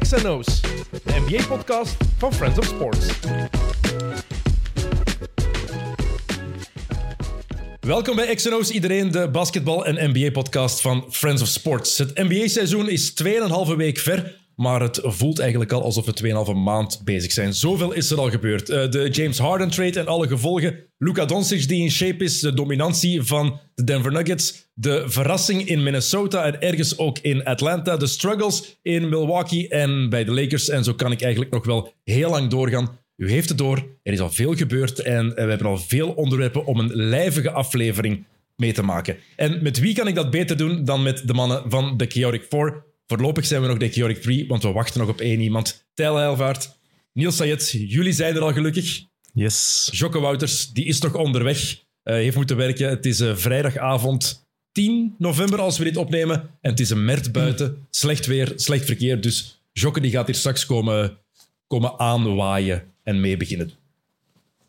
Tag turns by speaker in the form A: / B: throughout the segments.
A: XNO's, de NBA-podcast van Friends of Sports. Welkom bij XNO's, iedereen, de basketbal- en NBA-podcast van Friends of Sports. Het NBA-seizoen is 2,5 week ver, maar het voelt eigenlijk al alsof we 2,5 maand bezig zijn. Zoveel is er al gebeurd. Eh, De James Harden-trade en alle gevolgen. Luka Doncic die in shape is, de dominantie van de Denver Nuggets, de verrassing in Minnesota en ergens ook in Atlanta, de struggles in Milwaukee en bij de Lakers. En zo kan ik eigenlijk nog wel heel lang doorgaan. U heeft het door, er is al veel gebeurd en eh, we hebben al veel onderwerpen om een lijvige aflevering mee te maken. En met wie kan ik dat beter doen dan met de mannen van de Chaotic 4? Voorlopig zijn we nog de Chaotic 3, want we wachten nog op één iemand. Tijl Heilvaart, Niels Sayed, jullie zijn er al gelukkig.
B: Yes.
A: Jocke Wouters, die is toch onderweg, eh, heeft moeten werken. Het is eh, vrijdagavond 10 november als we dit opnemen. En het is een merd buiten, slecht weer, slecht verkeer. Dus Jocke die gaat hier straks komen, komen aanwaaien en mee beginnen.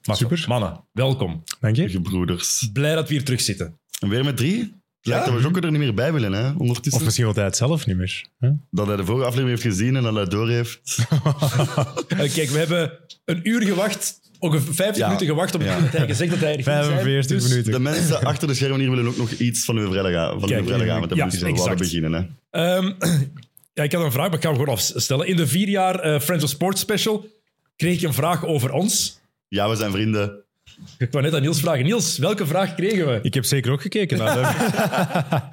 A: Maar
B: Super.
A: Mannen, welkom.
B: Dank je.
C: Je broeders.
A: Blij dat we hier terug zitten.
C: En weer met drie? Het Lijkt dat we Jokke er niet meer bij willen, hè? Ondertussen.
B: Of misschien wil hij het zelf niet meer. hè?
A: Dus,
C: Dat hij de vorige aflevering heeft gezien en dat hij het door heeft.
A: Eh, kijk, we hebben een uur gewacht, ongeveer 50
C: Ja.
A: minuten gewacht op het
C: Ja.
A: moment dat hij gezegd dat hij er ging zijn.
B: 45
A: Dus-
B: minuten.
C: De mensen achter de schermen hier willen ook nog iets van uw vrijdagavond van
A: Kijk,
C: uw vrijdagavond hebben.
A: ja,
C: dus we wouden
A: exact.
C: beginnen, hè?
A: Ehm, ja, ik had een vraag, maar ik ga hem gewoon afstellen. In de vier jaar eh, Friends of Sports special kreeg ik een vraag over ons.
C: Ja, we zijn vrienden.
A: Ik wou net aan Niels vragen. Niels, welke vraag kregen we?
B: Ik heb zeker ook gekeken naar hem.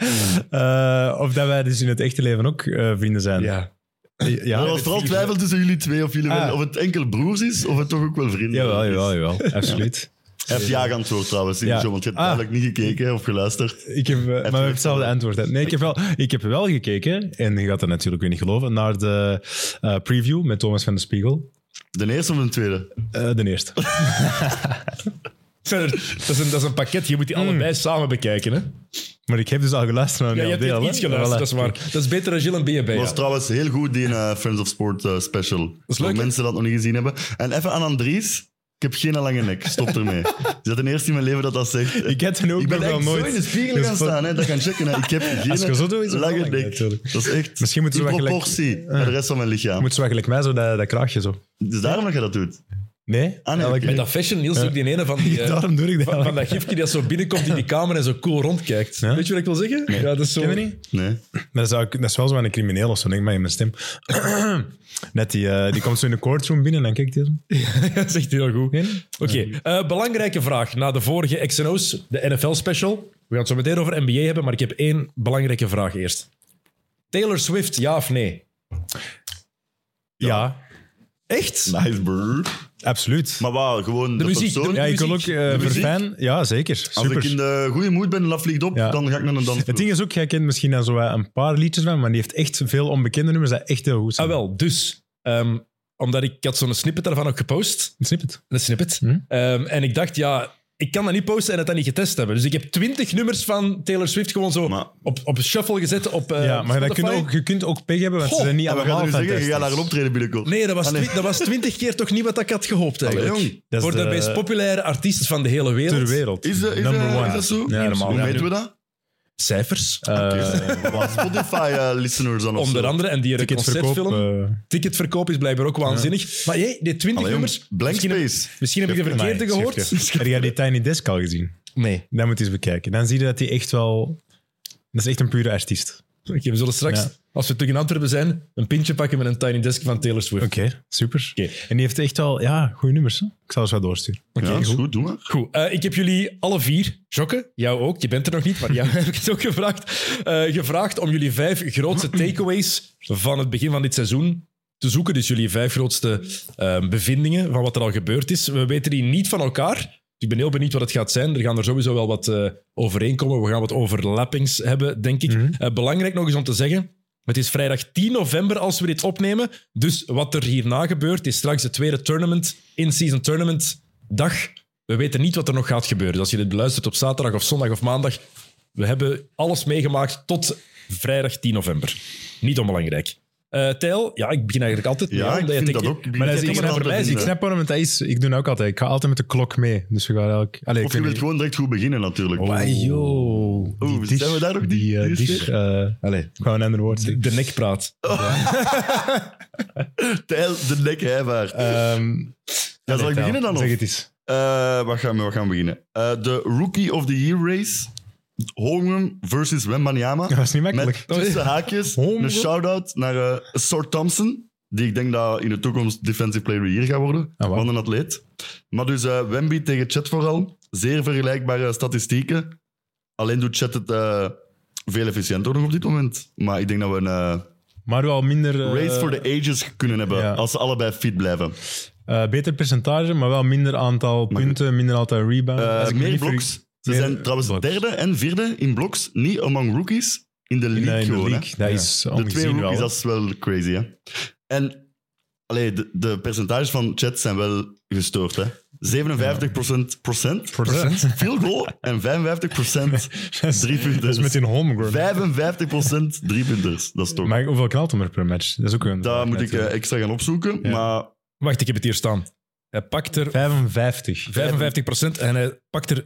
B: Eh, of dat wij dus in het echte leven ook eh, vrienden zijn.
A: Ja.
B: Eh, ja.
C: er was vooral twijfel tussen jullie twee of, jullie
B: Ah.
C: wel- of het enkel broers is of het toch ook wel vrienden
B: Jawel,
C: is.
B: jawel, jawel. Absoluut.
C: Hij heeft ja geantwoord trouwens,
B: Ja.
C: Joe, want je hebt
B: Ah.
C: eigenlijk niet gekeken of geluisterd.
B: Ik heb, eh, maar we hebben hetzelfde antwoord. hè. Nee, ik heb, wel, ik heb wel gekeken, en je gaat dat natuurlijk weer niet geloven, naar de eh, preview met Thomas van de Spiegel.
C: De eerste of de tweede?
B: Eh, de eerste.
A: Verder, dat, is een, dat is een pakket, je moet
B: Mm.
A: die allebei samen bekijken. Hè?
B: Maar ik heb dus al geluisterd naar
A: Ja,
B: een
A: je
B: heel
A: hebt
B: deel.
A: dit iets
B: hè.
A: geluisterd,
B: Voilà.
A: dat is waar. Dat is beter dan Gilles en BNB.
C: Dat was trouwens heel goed, die eh, Friends of Sport eh, special. Dat
A: is leuk, hè?
C: mensen dat nog niet gezien hebben. En even aan Andries. Ik heb geen lange nek, stop ermee. Is dat de eerste in mijn leven dat dat zegt?
B: Ik heb toen ook
C: Ik ben
B: nog wel
C: echt
B: nooit...
C: zo in de spiegel
B: Dus
C: gaan
B: voor-
C: staan, hè, dat gaan checken. Hè. Ik heb geen
B: Als je zo doet, is het
C: lange
B: wel lang,
C: nek.
B: natuurlijk.
C: Dat is echt
B: Misschien moeten
C: in
B: we wel gelijk-
C: proportie naar de rest van mijn lichaam.
B: Je moet zo eigenlijk mij zo dat, dat kraagje zo.
C: Dus daarom dat je dat doet.
B: Nee?
C: Ah, nee,
B: Elk-
C: oké.
A: Met dat fashion, Niels, ook die ene van die... eh,
B: Daarom doe ik dat.
A: van, van dat gifje dat zo binnenkomt in die kamer en zo cool rondkijkt.
B: Ja.
A: Weet je wat ik wil zeggen? Ja, dat is zo...
B: Ken je niet?
C: Nee.
B: Dat is, ook- dat is wel zo aan een crimineel of zo, denk ik, maar in mijn stem. Net die, eh, die komt zo in de courtroom binnen en dan kijkt hij zo.
A: dat is echt heel goed.
B: Nee?
A: Oké, eh, belangrijke vraag. Na de vorige XNO's, de NFL-special. We gaan het zo meteen over NBA hebben, maar ik heb één belangrijke vraag eerst. Taylor Swift, ja of nee?
B: Ja,
A: Echt?
C: Nice, brr.
B: absoluut.
C: Maar wauw, gewoon de,
A: muziek,
C: persoon.
A: de
B: ja, ik
A: muziek,
B: wil ook
C: de
B: eh
C: muziek.
B: verfijn. Ja, zeker.
C: Als
B: Super.
C: ik in de goede moed ben en dat vliegt op,
B: Ja.
C: dan ga ik naar een dans.
B: Het ding is ook, jij kent misschien dan zo eh, een paar liedjes van, maar die heeft echt veel onbekende nummers dat echt heel goed zijn.
A: Ah wel, dus. ehm, omdat ik ik had zo'n snippet daarvan ook gepost.
B: Snip het?
A: Een snippet.
B: Hm.
A: Ehm, en ik dacht, ja, ik kan dat niet posten en het dan niet getest hebben. Dus ik heb twintig nummers van Taylor Swift gewoon zo
C: Maar-
A: op, op shuffle gezet op eh,
B: ja, maar dat
A: Spotify.
B: kun je, ook, je kunt ook pech hebben, want
A: Goh,
B: ze zijn niet
C: Ja, we gaan
B: allemaal
C: nu zeggen, je
B: fantastisch.
C: gaat naar een optreden binnenkomt.
A: Nee, dat was,
C: Ah, nee.
A: twi- dat was twintig keer toch niet wat ik had gehoopt eigenlijk.
C: jong.
B: Dat is
A: Voor de,
B: de-
A: meest populaire artiest van de hele wereld.
B: Ter wereld.
C: Is, eh, is,
B: Number
C: eh,
B: one.
C: is dat zo?
B: Ja, normaal.
C: Hoe
B: Ja,
C: meten
B: nu-
C: we dat?
A: Cijfers,
B: eh,
C: Spotify-listeners eh, dan of
A: onder
C: zo.
A: andere. En die een
B: Ticketverkoop.
A: concertfilm.
B: eh,
A: Ticketverkoop is blijkbaar ook waanzinnig. Maar hey, die 20
C: Allee,
A: nummers.
C: jongens, Blank
A: misschien,
C: Space.
A: misschien heb ik de verkeerde
B: Amai,
A: gehoord.
B: schriftje. Heb jij die Tiny Desk al gezien?
A: Nee.
B: Dat moet je eens bekijken. Dan zie je dat hij echt wel... Dat is echt een pure artiest.
A: Oké, we zullen straks,
B: Ja.
A: als we terug in Antwerpen zijn, een pintje pakken met een Tiny Desk van Taylor Swift.
B: Oké, super.
A: Oké.
B: En die heeft echt wel... Ja, goede nummers. Hè? Ik zal eens wat doorsturen.
C: Ja, is goed, doe maar.
A: Goed, eh, ik heb jullie alle vier, Jokke, jou ook, je bent er nog niet, maar jou heb ik het ook gevraagd, eh, gevraagd om jullie vijf grootste takeaways van het begin van dit seizoen te zoeken. Dus jullie vijf grootste eh, bevindingen van wat er al gebeurd is. We weten die niet van elkaar. Dus Ik ben heel benieuwd wat het gaat zijn. Er gaan er sowieso wel wat eh, overeenkomen. We gaan wat overlappings hebben, denk ik.
B: Mhm.
A: Eh, belangrijk nog eens om te zeggen, het is vrijdag 10 november als we dit opnemen. Dus wat er hierna gebeurt, is straks de tweede tournament, in-season tournament dag. We weten niet wat er nog gaat gebeuren. Dus als je dit beluistert op zaterdag of zondag of maandag, we hebben alles meegemaakt tot vrijdag 10 november. Niet onbelangrijk. Ehm, Eh Tijl, ja, ik begin eigenlijk altijd mee,
C: Ja,
A: hè,
C: ik
A: omdat je
C: vind
A: denkt,
C: dat ook.
A: Maar dat is
C: Ik
A: iets
C: kan
A: naar
C: het
A: verwijzing.
B: Ik
C: vinden.
B: snap waarom, want dat is, ik doe dat ook altijd. Ik ga altijd met de klok mee. Dus we gaan elk... Allee,
C: Of
B: ik
C: je
B: weet
C: wilt
B: niet.
C: gewoon direct goed beginnen, natuurlijk.
B: Wauw, yo. Die
C: Oeh,
B: dish,
C: zijn we daar ook
B: Die,
C: niet?
B: eh,
C: Die is
B: dish, eh,
A: Allee,
B: ik wou een ander woord
A: de,
B: zeggen.
A: de nekpraat.
C: Tijl de nek heivaart.
B: Ehm,
C: ja, zal
B: allee,
C: ik beginnen dan? Of?
B: Zeg het eens.
C: Eh, wat, gaan we, wat gaan we beginnen? Eh, de Rookie of the Year race. Holmgren versus Wembanyama.
B: Dat was niet makkelijk.
C: Met tussen haakjes
B: Holmgren.
C: een shout-out naar eh Sor Thompson. Die ik denk dat in de toekomst Defensive Player of the Year gaat worden.
B: Ah, wauw.
C: van een atleet. Maar dus eh, Wemby tegen Chet vooral. Zeer vergelijkbare statistieken. Alleen doet Chet het eh, veel efficiënter nog op dit moment. Maar ik denk dat we een eh,
B: Maar wel minder... eh,
C: race for the ages kunnen hebben.
B: ja.
C: Als ze allebei fit blijven.
B: eh, beter percentage, maar wel minder aantal punten, minder aantal rebounds.
C: Eh,
B: Als ik me
C: meer
B: niet vergis-
C: bloks. Ze
B: meer
C: zijn trouwens
B: bloks.
C: derde en vierde in bloks. Niet among rookies. In de
B: In,
C: league
B: eh, in de
C: gewoon, hè.
B: league. Dat
A: Ja.
B: is
C: De twee
B: ongezien
C: rookies,
B: wel.
C: dat is wel crazy, hè. En allee, de, de percentages van Chet zijn wel gestoord, hè. 57% procent,
B: Procent.
C: field goal en 55%
B: Dat is-
C: drie
B: Dat is met
C: punters.
B: hun homegrown.
C: 55% drie punters, dat is toch.
B: Maar hoeveel knalt hem er per match? Dat is ook een
C: Daar moet ik eh, extra gaan opzoeken,
B: Ja.
C: maar
A: Wacht, ik heb het hier staan. Hij pakt er
B: 55.
A: 55% en hij pakt er 3,4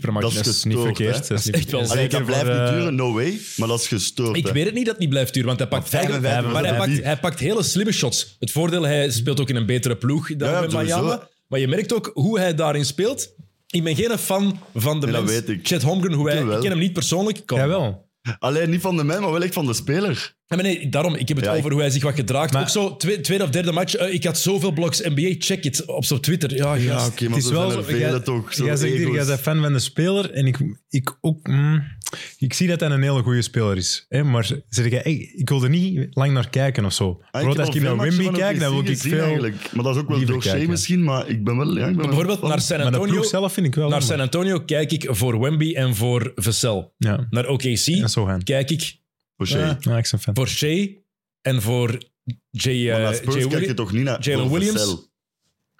A: per match.
C: Dat is
B: Dat is niet
C: gestoord,
B: verkeerd.
C: hè?
B: Dat is niet
A: echt wel
B: verkeerd.
C: allee, dat
B: Zeker
C: blijft
B: voor, eh,
C: niet duren, no way, maar dat is gestoord.
A: Ik
C: hè.
A: weet het niet dat het niet blijft duren, want hij pakt,
C: Maar
A: eigenlijk-
C: 55%
A: maar hij,
C: dat
A: pakt,
C: niet.
A: hij pakt hele slimme shots. Het voordeel, hij speelt ook in een betere ploeg dan
C: Ja,
A: bij
C: sowieso.
A: Miami. Maar je merkt ook hoe hij daarin speelt. Ik ben geen fan van de
C: Nee, dat
A: mens.
C: weet ik.
A: Chet Holmgren, hoe hij,
C: Ik wel.
A: ik ken hem niet persoonlijk. Ik kan-
B: Jawel.
C: Alleen niet van de man, maar wel echt van de speler.
A: Ja, maar nee, daarom, ik heb het
C: Ja, ik-
A: over hoe hij zich wat gedraagt.
B: Maar-
A: ook zo, twee- tweede of derde match, eh, ik had zoveel bloks NBA, check it, op zo'n Twitter. Ja,
C: Ja,
A: gast.
C: oké, maar
B: het is
C: zo
B: wel
C: zijn er
B: zo.
C: velen
B: jij-
C: toch. Zo
B: Jij zegt hier, jij bent fan van de speler. En ik, ik ook. mm, ik zie dat hij een hele goede speler is. Hè? Maar zeg jij, hey, ik wil er niet lang naar kijken of
C: Ah,
B: zo. Bijvoorbeeld als ik naar Wimby kijk, dan wil ik veel.
C: Eigenlijk. Maar dat is ook wel
B: liever
C: door Shea
B: kijken.
C: misschien, maar ik ben wel... Ja, ik ben wel
A: Bijvoorbeeld
C: fan.
A: naar San
B: Maar de
A: Antonio.
B: ploeg zelf vind ik wel.
A: Naar
B: jammer.
A: San Antonio kijk ik voor Wemby en voor Vassell.
B: Ja,
A: Naar OKC
B: en zo gaan.
A: kijk ik
C: Voor Shea.
B: Ja, ja, ik ben fan.
A: voor Shea en voor J.
C: Maar naar
A: eh,
C: Spurs
A: J.
C: kijk
A: Willi-
C: je toch niet naar...
A: Jalen
C: voor
A: Williams?
C: Vassell.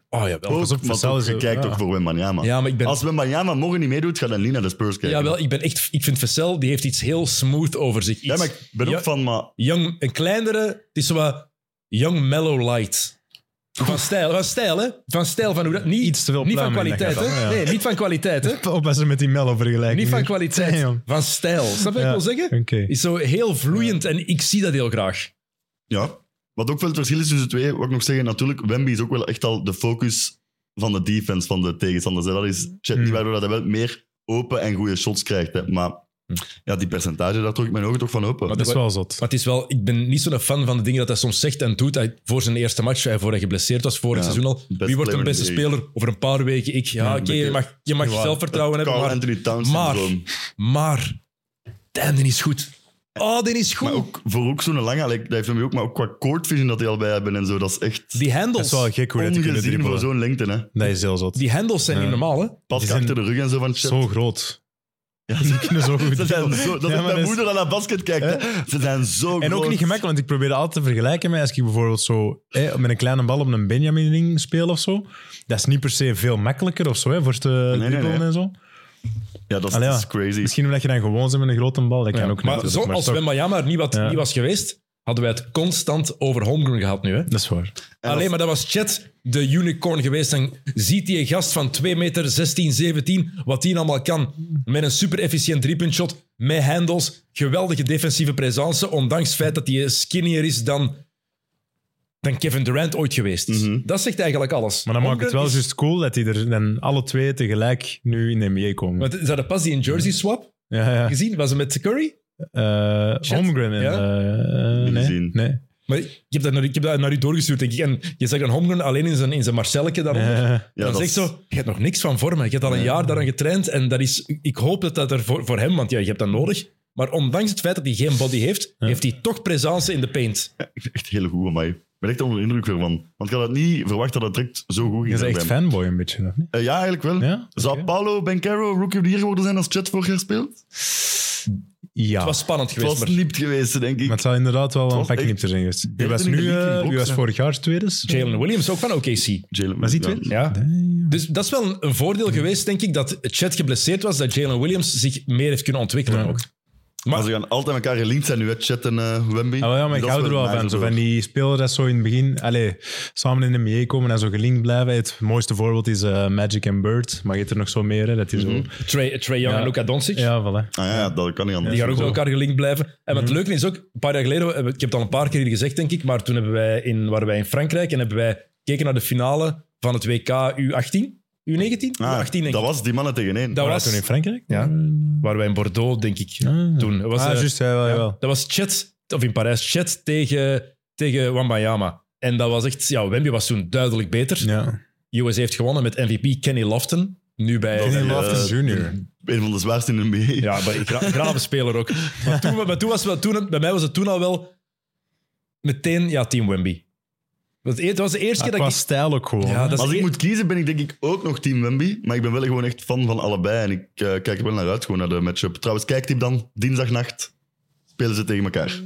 A: Oh ja, wel.
C: Ook,
B: pas op,
C: maar
B: Vassell
C: toch,
B: is
C: je
B: een-
C: kijkt
B: ja.
C: toch voor Wembanyama.
A: Ja, maar ik ben,
C: Als Wembanyama morgen niet meedoet, ga dan niet naar de Spurs kijken.
A: ja, wel, ik ben echt. Ik vind Vassell, die heeft iets heel smooth over zich. Iets
C: Ja, maar ik ben
A: Ja.
C: ook van, maar...
A: young, een kleinere, het is zo wat Young Mellow Light. Van stijl, van stijl, hè? Van stijl, van hoe dat. Niet,
B: Iets te veel
A: niet van
B: pluim in dat
A: kwaliteit, hè?
B: gaat dan, ja.
A: Nee, niet van kwaliteit, hè?
B: Op als ze met die Mello vergelijken.
A: Niet van
B: hier.
A: kwaliteit,
B: Damn.
A: van stijl. Snap je wat ik
B: Ja.
A: wil zeggen?
B: Oké.
A: Is zo heel vloeiend en ik zie dat heel graag.
C: Ja. Wat ook wel het verschil is tussen de twee, wat ik nog zeggen, natuurlijk, Wemby is ook wel echt al de focus van de defense van de tegenstanders. hè. Dat is Chet niet,
B: Hmm.
C: waardoor hij wel meer open en goede shots krijgt. Hè. Maar ja, die percentage, daar trok ik mijn ogen toch van open.
A: Hmm. Maar
B: Dat is wel zot.
A: Maar het is wel, ik ben niet zo'n fan van de dingen dat hij soms zegt en doet. Hij, voor zijn eerste match, eh, hij, voor hij geblesseerd was vorig
C: Ja,
A: seizoen al. Wie wordt de
C: player in
A: beste
C: the league.
A: speler? Over een paar weken ik. Ja,
C: Ja,
A: oké,
C: een
A: je
C: beetje-
A: mag, je mag
B: Ja,
A: zelfvertrouwen hebben,
C: Carl
A: maar...
C: Anthony Towns
A: maar-
C: syndroom.
A: Maar, damn, die is goed. Oh, die is goed.
C: Maar ook voor ook zo'n lange, like, dat heeft hem ook, maar ook qua court vision dat hij al bij hebben en zo, dat is echt
A: die
B: Dat
A: handles,
B: is wel gek hoe dat die kunnen
C: ongezien voor
B: dribbelen.
C: zo'n lengte. Hè.
B: Dat is heel zot.
A: die handles zijn
B: Ja.
A: niet normaal, hè?
C: Pas
B: Die zijn
C: achter de rug en zo van Chet.
B: Zo groot.
C: Ja,
B: Die
C: ze-
B: kunnen zo goed
C: ze zijn
B: dribbelen.
C: zo, dat
B: Ja,
C: is
B: maar
C: mijn
B: dat is-
C: moeder aan haar basket kijkt. hè. Ze zijn zo groot.
B: En ook niet gemakkelijk, want ik probeer dat altijd te vergelijken met als ik bijvoorbeeld zo hè, met een kleine bal op een Benjamin-ring speel of zo. Dat is niet per se veel makkelijker of zo, hè, voor te
C: nee,
B: dribbelen
C: nee.
B: en zo.
C: Ja, dat is,
B: Allee, Ah, ja.
C: dat is crazy.
B: Misschien omdat je dan gewoon bent met een grote bal. Dat kan
A: Ja,
B: ook
A: maar
B: natuurlijk,
A: zo,
B: maar
A: als
B: toch.
A: Wembanyama er niet, wat,
B: Ja.
A: niet was geweest, hadden wij het constant over Holmgren gehad nu, hè?
B: Dat is waar.
C: En
A: Alleen
C: als-
A: maar dat was Chet, de unicorn geweest. En ziet die gast van 2 meter 16, 17, wat die allemaal kan. Met een super efficiënt driepuntshot, met handles, geweldige defensieve presence, ondanks het feit dat hij skinnier is dan, dan Kevin Durant ooit geweest is.
C: Mhm.
A: Dat zegt eigenlijk alles.
B: Maar dan maakt het wel
A: Holmgren is-
B: juist cool dat die er dan alle twee tegelijk nu in de NBA komen.
A: Want ze hadden pas die in jersey swap
B: ja, ja.
A: gezien, was het met Curry?
B: Eh,
A: Shit.
B: Holmgren en...
A: Ja.
B: eh, eh,
C: Niet
B: nee,
C: gezien.
B: nee.
A: Maar ik heb dat naar, ik heb dat naar u doorgestuurd, denk ik. En je zegt dan Holmgren alleen in zijn, in zijn Marcelletje daaronder.
B: Eh,
C: Ja,
A: dan
C: dat
A: zeg ik
C: is-
A: zo, je hebt nog niks van vormen. Je hebt al een jaar daaraan getraind. En dat is, ik hoop dat dat er voor, voor hem, want ja, je hebt dat nodig. Maar ondanks het feit dat hij geen body heeft, heeft hij toch presence in de paint.
C: Echt heel goed, amai. Ik ben echt onder de indruk weer van. Want ik had het niet verwacht dat het direct zo goed
B: je
C: ging.
B: bent echt
C: bij hem.
B: fanboy een beetje, of niet?
C: Eh, ja, eigenlijk wel.
B: Ja?
C: Zou Paulo Bencaro Rookie of the Year geworden zijn als Chet vorig jaar speelt?
B: Ja.
A: Het was spannend
C: Het
A: geweest,
C: was
A: maar
C: niet geweest, denk ik.
B: Maar het zou inderdaad wel een
C: was
B: pak
C: echt-
B: knipter zijn geweest. Wie was,
C: in de
B: nu,
C: league in
B: eh, wie
C: blocks,
B: was
C: hè.
B: vorig jaar tweede?
A: Jalen Williams ook van OKC.
C: Jalen-
B: Was die
C: ja.
B: tweede?
A: Ja.
B: Damn.
A: Dus dat is wel een, een voordeel geweest, denk ik, dat Chet geblesseerd was, dat Jalen Williams zich meer heeft kunnen ontwikkelen
B: Ja.
A: ook.
C: Maar,
A: Maar-
C: ze gaan altijd elkaar gelinkt zijn, nu hè, Chat en eh, Wemby.
B: Ah, wel, ja, maar ik
C: Dat
B: hou
C: is
B: er wel van. Zo
C: nice,
B: van die spelers dat zo in het begin allee, samen in de NBA komen en zo gelinkt blijven. Het mooiste voorbeeld is eh, Magic and Bird. Maar je hebt er nog zo meer, hè, dat is zo...
A: Trey, Trey Young
B: Ja.
A: en Luka Doncic.
B: Ja, voilà.
C: broer. Ah, ja, ja, dat kan niet anders. Ah,
A: Die gaan ook
C: Ja.
A: bij elkaar gelinkt blijven. En
B: Mhm.
A: wat het leuke is ook, een paar jaar geleden, hebben we- ik heb het al een paar keer hier gezegd, denk ik, maar toen hebben wij in, waren wij in Frankrijk en hebben wij gekeken naar de finale van het WK U18, U19?
C: Ah,
A: U18, denk ik.
C: dat was die mannen tegen één.
A: Dat
B: Waren
A: was-
B: toen in Frankrijk? Ja.
A: Waren wij in Bordeaux, denk ik,
B: Ah.
A: toen. Dat was,
B: ah,
A: eh,
B: juist, ja, wel,
A: ja,
B: jawel.
A: dat was Chet, of in Parijs, Chet tegen, tegen Wambayama. En dat was echt, ja, Wemby was toen duidelijk beter.
B: Ja.
A: USA heeft gewonnen met MVP Kenny Lofton. Nu bij...
C: Kenny
B: Kenny
C: eh,
B: Loftus Jr.
C: Een van de zwaarste in de NBA.
A: Ja, maar ik gra- grave speler ook. Maar, toen, maar toen was het wel, toen, bij mij was het toen al wel meteen ja, Team Wemby. Dat het was de eerste
B: Ja,
A: keer
B: qua
A: dat ik...
B: stijl ook gewoon.
A: Ja, dat is
C: Als
A: de
C: ik
A: eer-
C: moet kiezen, ben ik denk ik ook nog Team Wemby. Maar ik ben wel gewoon echt fan van allebei. En ik eh, kijk er wel naar uit, gewoon naar de matchup. Trouwens, kijk die dan. Dinsdagnacht spelen ze tegen elkaar.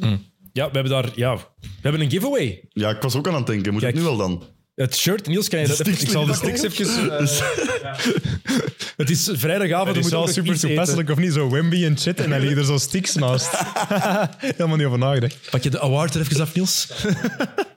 A: Ja, we hebben daar... Ja, we hebben een giveaway.
C: Ja, ik was ook aan het denken. Moet
A: Kijk.
C: het nu wel dan?
A: Het shirt, Niels, kan je dat...
C: Sticks-
A: Ik zal de
C: Sticks
A: sticks even... eh,
C: Dus-
A: Het is vrijdagavond,
B: Het
A: we moeten
B: is wel
A: ook nog
B: super
A: iets eten.
B: toepasselijk, of niet? Zo Wemby en shit en dan liggen er zo sticks naast. Helemaal niet over nagedacht.
A: Pak je de award er even af, Niels?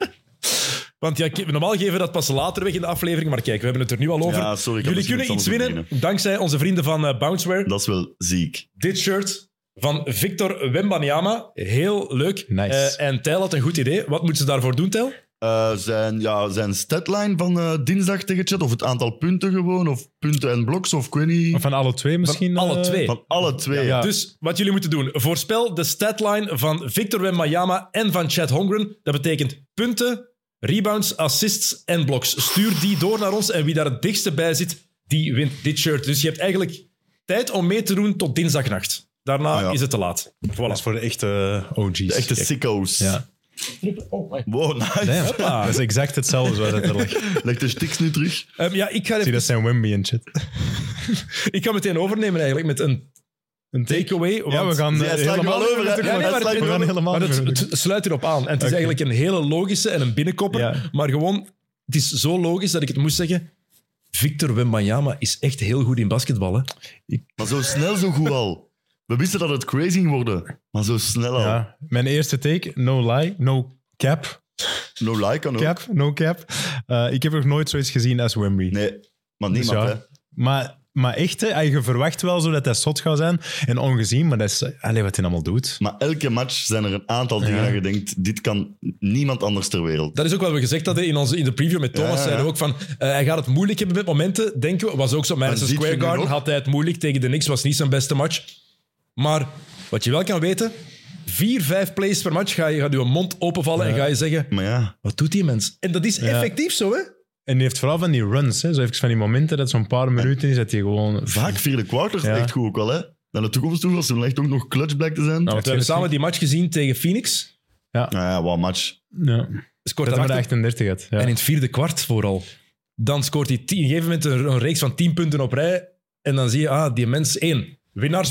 A: Want ja, ki- normaal geven we dat pas later weg in de aflevering, maar kijk, we hebben het er nu al over.
C: Ja, sorry, ik had
A: Jullie
C: misschien
A: kunnen
C: iets
A: iets
C: anders
A: winnen dankzij onze vrienden van eh, Bounceware.
C: Dat is wel ziek.
A: dit shirt van Victor Wembanyama. Heel leuk.
B: Nice.
A: Eh, en Tijl had een goed idee. Wat moeten ze daarvoor doen, Tijl?
C: Eh, zijn, ja, zijn statline van eh, dinsdag tegen Chat, of het aantal punten gewoon, of punten en bloks, of ik weet niet.
B: Van alle twee misschien?
A: alle
B: eh,
A: twee.
C: Van alle twee.
B: Ja.
A: Dus wat jullie moeten doen. Voorspel de statline van Victor Wembanyama en van Chad Hongren. Dat betekent punten, rebounds, assists en blocks. Stuur die door naar ons en wie daar het dichtste bij zit, die wint dit shirt. Dus je hebt eigenlijk tijd om mee te doen tot dinsdagnacht. Daarna
C: Ah, ja.
A: is het te laat.
B: Dat is
A: Voilà.
B: voor de echte OG's.
C: De echte
B: Kijk.
C: sicko's.
B: Ja.
C: Wow, nice.
B: Damn. Dat is exact hetzelfde zoals dat er ligt.
C: Leg de sticks nu terug.
A: Ehm, ja, ik ga,
B: Zie, dat zijn Wemby en shit.
A: ik ga meteen overnemen eigenlijk met een
B: Een
A: takeaway.
B: Ja,
A: want-
B: we gaan eh,
C: Ja, sla ik
B: helemaal
C: wel over, hè? Ja, nee, maar
B: We gaan
C: het-
B: helemaal
A: Maar het,
B: over.
A: het sluit erop aan. En het is
B: Oké.
A: eigenlijk een hele logische en een binnenkopper.
B: Ja.
A: Maar gewoon, het is zo logisch dat ik het moest zeggen. Victor Wembanyama is echt heel goed in basketballen.
C: Maar zo snel, zo goed al. We wisten dat het crazy ging worden, maar zo snel al.
B: Ja, mijn eerste take, no lie, no cap.
C: No like kan ook.
B: Cap, no cap. Eh, ik heb nog nooit zoiets gezien als Wemby.
C: Nee, maar
B: Dus
C: niemand,
B: ja.
C: hè.
B: Maar, maar echt, hè, je verwacht wel zo dat dat zot gaat zijn. En ongezien, maar dat is... eh, Allee, wat hij allemaal doet.
C: Maar elke match zijn er een aantal dingen
B: Ja.
C: dat je denkt, dit kan niemand anders ter wereld.
A: Dat is ook wat we gezegd hadden in, onze, in de preview met Thomas.
C: Ja, ja.
A: Zeiden we ook van, eh, hij gaat het moeilijk hebben met momenten, denken we. Was ook zo. Madison
C: ziet je
A: Square
C: nu
A: Garden
C: nog.
A: had hij het moeilijk tegen de Knicks. Was niet zijn beste match. Maar wat je wel kan weten... Vier, vijf plays per match ga je, gaat je mond openvallen en ga je zeggen...
C: Maar ja,
A: Wat doet die mens? En dat is effectief zo, hè?
B: En die heeft vooral van die runs, hè, zo even van die momenten dat zo'n paar minuten is, dat hij gewoon...
C: vaak vierde quarters
B: Ja.
C: echt goed ook al, hè. Naar de toekomst toe, als ze echt ook nog clutch blijkt te zijn.
A: Nou,
C: Nou
A: want we hebben samen die match gezien tegen Phoenix.
C: ja, wat match.
B: Ja.
A: Scoort
B: Dat
A: hij
B: hij maar
A: 38
B: 38 had. Ja.
A: En in het vierde kwart vooral. Dan scoort hij tien- op een gegeven moment een, een reeks van 10 punten op rij. En dan zie je, ah, die mens één.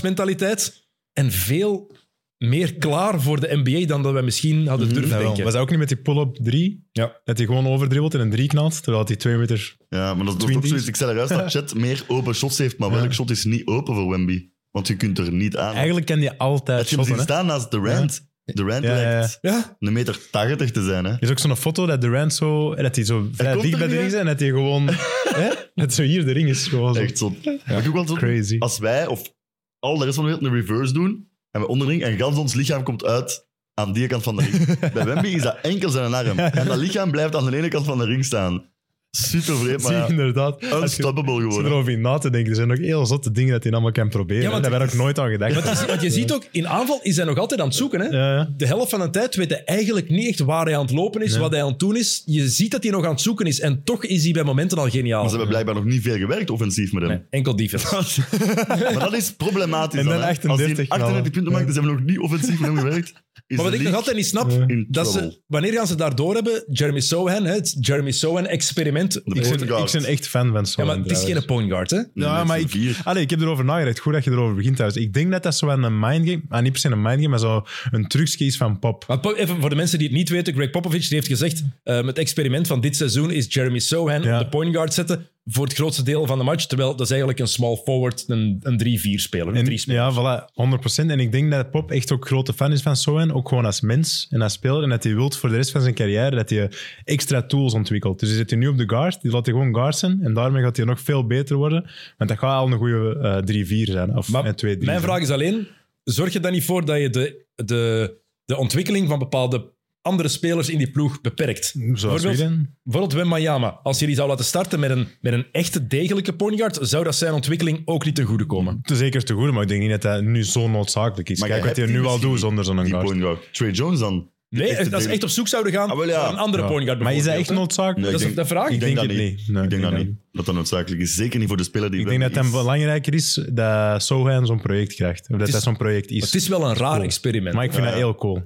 A: Winnaarsmentaliteit. En veel meer klaar voor de NBA dan dat wij misschien hadden durven
B: Jawel.
A: denken.
B: Was hij ook niet met die pull-up 3?
A: Ja.
B: Dat hij gewoon overdribbelt en een 3 knalt, terwijl hij 2 meter...
C: Ja, maar dat is ook
B: Twinties.
C: zoiets. Ik zei eruit dat Chet meer open shots heeft, maar welk shot is niet open voor Wemby? Want je kunt er niet aan.
B: Eigenlijk kan hij altijd
C: Heb je
B: shotten,
C: hem zien
B: hè.
C: staan naast Durant? Durant
B: Ja, ja, ja.
C: lijkt
A: Ja?
C: een meter 80 te zijn, hè.
B: Er is ook zo'n foto dat Durant zo... en Dat hij zo vrij
C: komt
B: dicht
C: er
B: bij de
C: niet,
B: ring is en dat hij gewoon... hè? Dat zo hier de ring is. Gewoon zo.
C: Echt zot. Maar ik ook wel zot,
B: Crazy.
C: Als wij of al de rest van de wereld een reverse doen, en we onderling, en gans ons lichaam komt uit aan die kant van de ring. Bij Wemby is dat enkel zijn arm. En dat lichaam blijft aan de ene kant van de ring staan. Super vreemd,
B: Zie je
C: maar ja,
B: inderdaad. Als je
C: unstoppable
B: zit
C: geworden.
B: erover na te denken, er zijn nog heel zotte dingen dat hij allemaal kan proberen.
A: Ja,
B: Ja,
A: want
B: Daar ben
A: het
B: ik nooit aan gedacht.
A: Want je, want je ziet ook, in aanval is hij nog altijd aan het zoeken. Hè?
B: Ja, ja.
A: De helft van de tijd weet hij eigenlijk niet echt waar hij aan het lopen is, wat hij aan het doen is. Je ziet dat hij nog aan het zoeken is. En toch is hij bij momenten al geniaal.
C: Maar ze hebben blijkbaar nog niet veel gewerkt offensief met hem.
A: Enkel defense.
C: Maar dat is problematisch.
B: En dan
C: hè. Als hij
B: 38
C: een 38 punten maakt, dus ze hebben nog niet offensief met hem gewerkt. Is
A: Maar wat
C: de
A: ik nog
C: league
A: altijd niet snap,
C: in
A: dat
C: trouble.
A: ze, wanneer gaan ze daardoor hebben? Jeremy Sohan, hè, het Jeremy Sohan-experiment.
C: Ik
B: Ik
C: zit-
B: ben,
C: Point guard.
B: ik ben echt fan van
A: Ja,
B: Sonnen.
A: maar het is geen
B: trouwens.
A: point guard, hè?
C: Nee,
B: Ja,
C: dat
B: maar
C: is een
B: ik,
C: vier.
B: allee, ik heb erover nagedacht. Goed dat je erover begint trouwens. Ik denk dat dat zo wel een mindgame, ah, niet per se een mindgame, maar zo een trucje is van Pop.
A: Maar po- even voor de mensen die het niet eh, weten, Greg Popovich die heeft gezegd: ehm, het experiment van dit seizoen is Jeremy Sohan
B: Ja.
A: op de point guard zetten. voor het grootste deel van de match. Terwijl dat is eigenlijk een small forward, een, een 3-4 speler. Een
B: En-
A: drie speler.
B: ja, voilà, 100%. En ik denk dat Pop echt ook grote fan is van Sohan, ook gewoon als mens en als speler. En dat hij wilt voor de rest van zijn carrière dat hij extra tools ontwikkelt. Dus hij zit hij nu op de guard, die laat hij gewoon guard zijn. En daarmee gaat hij nog veel beter worden. Want dat gaat al een goede eh, 3-4 zijn. Of
A: Maar
B: eh, 2-3.
A: Mijn
B: zijn.
A: vraag is alleen, zorg je dan niet voor dat je de, de, de ontwikkeling van bepaalde andere spelers in die ploeg beperkt?
B: Zoals wie
A: Bijvoorbeeld-
B: dan?
A: Bijvoorbeeld Wembanyama. Als je die zou laten starten met een, met een echte degelijke point guard, zou dat zijn ontwikkeling ook niet ten goede komen.
B: Te zeker te goed, maar ik denk niet dat dat nu zo noodzakelijk is.
C: Maar
B: Kijk
C: jij
B: wat hij
C: hebt
B: nu
C: die
B: al doet
C: misschien
B: zonder zo'n
C: Die
B: guard.
C: point guard. Trey Jones dan?
A: Nee,
C: Echte
A: als ze
C: degelijke-
A: echt op zoek zouden gaan
C: Ah, wel,
A: naar
C: ja.
A: een andere
B: Ja.
A: point guard
B: Maar is dat
A: bijvoorbeeld,
B: echt
A: hè?
B: noodzakelijk?
C: Nee,
A: Dat
C: ik
A: is
C: denk-
A: de vraag.
B: Ik
C: denk
B: denk
C: dat
B: het
C: niet.
B: niet. Nee,
C: ik denk dat
B: dat
C: niet. Dat dat noodzakelijk is. Zeker niet voor de speler die
B: Ik denk dat het
C: Wemby is.
B: belangrijker is dat Sohan zo'n project krijgt. Of dat
A: is-
B: dat zo'n project is.
A: Het is wel een raar
B: Cool.
A: experiment.
B: Maar ik vind
C: Ja,
B: dat
C: ja.
B: heel cool.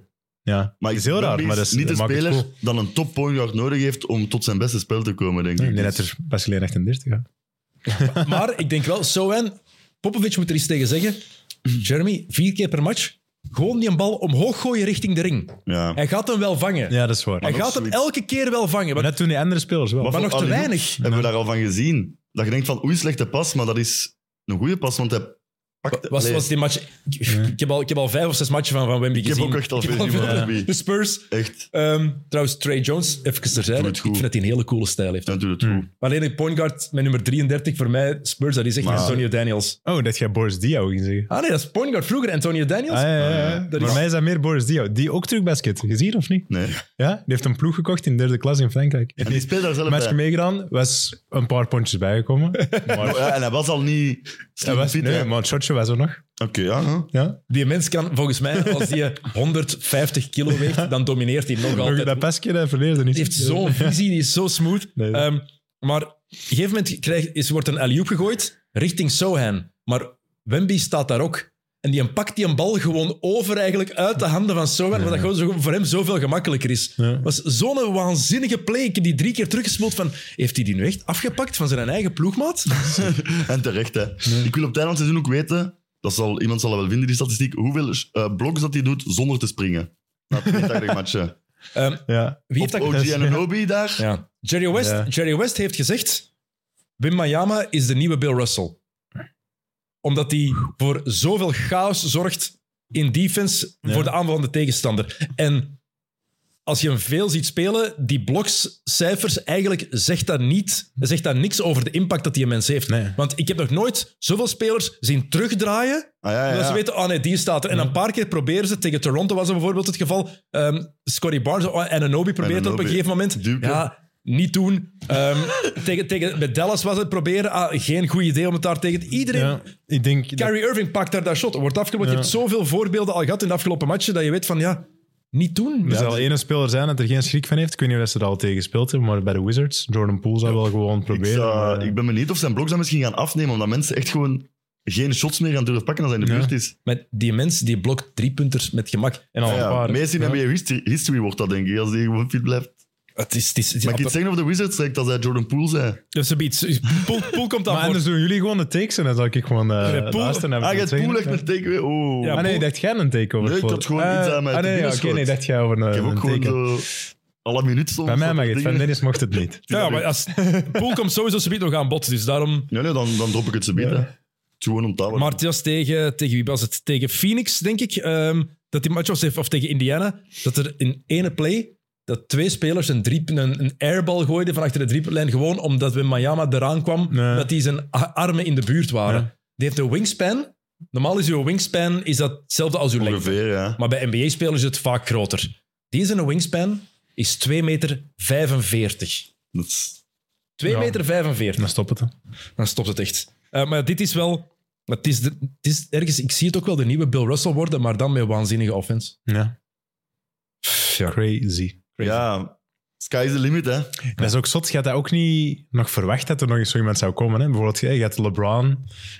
B: Ja,
C: Maar
B: het is heel
C: Wemby
B: raar, maar dat is
C: niet de
B: dat maakt het
C: speler
B: cool.
C: dan een top point guard nodig heeft om tot zijn beste spel te komen, denk ik.
B: Ik denk
C: Dus-
B: dat er pas alleen 38 gaat.
A: Maar ik denk wel, Sohan, Popovic moet er iets tegen zeggen. Jeremy, vier keer per match, gewoon die een bal omhoog gooien richting de ring.
C: ja.
A: Hij gaat hem wel vangen.
B: Ja, dat is waar.
A: hij
B: Maar
C: nog
A: gaat hem
C: zoiets.
A: elke keer wel vangen. Maar
B: net toen die andere spelers wel.
A: maar
C: voor
A: nog te
C: alley-oop
A: weinig.
C: Hebben we daar al van gezien? Dat je denkt van, oei, slechte pas, maar dat is een goede pas, want hij pakt...
A: was,
C: Allee,
A: was die match... Ik heb, al, ik heb al vijf of zes matchen van, van Wemby
C: ik heb
A: gezien.
C: ook echt al
A: Ik heb
C: veel gezien van Wemby.
A: De Spurs.
C: Echt,
A: Ehm, trouwens, Trey Jones, even terzijde.
C: Doe
A: Ik
C: het goed.
A: vind dat hij een hele coole stijl heeft.
C: dan doet het
B: Hmm.
C: goed.
A: Maar Alleen een point guard met nummer 33 voor mij, Spurs, dat is echt
C: Maar-
A: Antonio Daniels.
B: Oh, dat jij Boris Diaw ging zeggen.
A: Ah nee, dat is point guard vroeger, Antonio Daniels.
B: Ah, ja, ja, ja.
A: dat
B: Voor
A: is-
B: mij is dat meer Boris Diaw. Die ook terugbasket. Gezien of niet?
C: Nee.
B: Ja, die heeft een ploeg gekocht in derde klas in Frankrijk.
C: En die speelt daar zelf bij.
B: matchje meegedaan, was een paar pondjes bijgekomen.
C: Oh,
B: Maar,
C: ja, en hij was al niet...
B: dat was,
C: fit, hè.
B: nee, maar het shotje was er nog.
C: Oké, ja. hè.
B: Ja.
A: Die mens kan volgens mij, als die 150 kilo weegt, dan domineert hij nog
B: Nog
A: altijd.
B: dat pasje dat verleerde niet.
A: Die heeft zo'n visie, die is zo smooth.
B: Nee.
A: Ehm, maar op een gegeven moment krijgt, is, wordt een alley gegooid richting Sohan. Maar Wemby staat daar ook. En die pakt die een bal gewoon over eigenlijk uit de handen van Sohan, wat dat gewoon zo, voor hem zoveel gemakkelijker is.
B: Ja.
A: was zo'n waanzinnige play. Ik heb die drie keer teruggespeeld van... Heeft hij die nu echt afgepakt van zijn eigen ploegmaat? Ehm,
C: En terecht, hè. Ik wil op het einde van het seizoen ook weten, dat zal, iemand zal dat wel vinden, die statistiek, hoeveel eh, bloks dat hij doet zonder te springen. Na 82 matchen.
A: Ehm,
B: Ja.
A: wie heeft
C: Op
A: dat...
C: OG en Anobi daar. Ah,
A: Ja. Jerry, West,
B: Ja.
A: Jerry West heeft gezegd... Wim Mayama is de nieuwe Bill Russell. Omdat hij voor zoveel chaos zorgt in defense
B: Ja.
A: voor de aanval van de tegenstander. En als je hem veel ziet spelen, die blokscijfers, eigenlijk zegt dat niet... Zegt dat niks over de impact dat die mens heeft.
B: Nee.
A: Want ik heb nog nooit zoveel spelers zien terugdraaien
C: Ah, ja, ja,
A: Dat
C: ja. Mhm.
A: ze weten, oh nee, die staat er. En een paar keer proberen ze, tegen Toronto was dat bijvoorbeeld het geval. Ehm Scotty Barnes en Anobi probeert het op een
C: Anunoby.
A: gegeven moment.
C: Duke.
A: Ja, niet doen. Ehm, tegen, tegen, bij Dallas was het proberen. Ah, geen goed idee om het daar tegen iedereen.
B: Ja, ik denk dat-
A: Kyrie Irving pakt daar dat shot. Wordt afgelopen. Je hebt zoveel voorbeelden al gehad in de afgelopen matchen dat je weet van ja, niet doen.
B: Er
A: Ja,
B: zal één speler zijn dat er geen schrik van heeft. Ik weet niet of ze er al tegen gespeeld hebben, maar bij de Wizards, Jordan Poole zou wel gewoon
C: Ik,
B: proberen.
C: zou-
B: maar, eh,
C: ik ben benieuwd of zijn blogs dan misschien gaan afnemen, omdat mensen echt gewoon geen shots meer gaan durven pakken als hij in de
B: Ja.
C: buurt is.
A: Met die mens die blokt driepunters met gemak.
B: en al
C: Ja,
B: een paar.
C: meest in
B: Ja.
C: NBA history, history wordt dat, denk ik, als hij gewoon fit blijft.
A: Het is, het is, het is
C: Maar ik iets zeggen over de Wizards, zeg ik, dat hij Jordan Poole zei.
A: Dus ze biedt- Poel, Poel komt aan
B: Maar
A: voor.
B: anders doen jullie gewoon de takes en dan zal ik gewoon eh
A: Poole-
B: luisteren. naar wat
C: Ah,
B: ik
C: je hebt
B: wil
C: Poole echt
B: zeggen.
C: een takeaway. Oh.
A: Ja,
B: Ah nee,
A: Poole-
B: dacht jij een take over?
C: Nee, ik
B: voor-
C: had gewoon iets aan mij
B: ah,
C: te
B: nee,
C: binnen
B: oké,
C: schoot.
B: nee, dacht jij over een,
C: ik heb ook
B: een
C: gewoon
B: take.
C: zo alle minuten soms.
B: Bij mij
C: dat
B: mag
C: soort
B: het, van
C: dingen.
B: Dennis mocht het niet.
C: dus-
A: Ja, maar als, Poel komt sowieso subiet nog aan bod. Dus daarom
C: Nee, nee, dan, dan drop ik het ze binnen. Het is gewoon om tafel.
A: Maar het was tegen, tegen wie was het? Tegen Phoenix, denk ik. ehm, dat die match was, heeft- of tegen Indiana. Dat er in ene play dat twee spelers een, drie, een, een airbal gooiden van achter de driepuntlijn. Gewoon omdat we Miami eraan kwam,
B: Nee.
A: dat die zijn a- armen in de buurt waren.
B: Ja.
A: Die heeft een wingspan. Normaal is uw wingspan is dat hetzelfde als uw lengte.
C: Ongeveer, ja.
A: Maar bij NBA-spelers is het vaak groter. Die zijn wingspan is 2,45 meter. 45.
C: Dat is-
A: 2,45
B: Ja.
A: meter. 45
B: Dan stop het. hè.
A: dan stopt het echt. Eh, maar dit is wel. Het is, de, het is ergens, ik zie het ook wel de nieuwe Bill Russell worden, maar dan met waanzinnige offense.
B: Ja. Crazy.
C: ja, sky is the limit, hè.
B: Dat is ook zot. Je had dat ook niet nog verwacht dat er nog eens zo iemand zou komen. Hè? Bijvoorbeeld, je had LeBron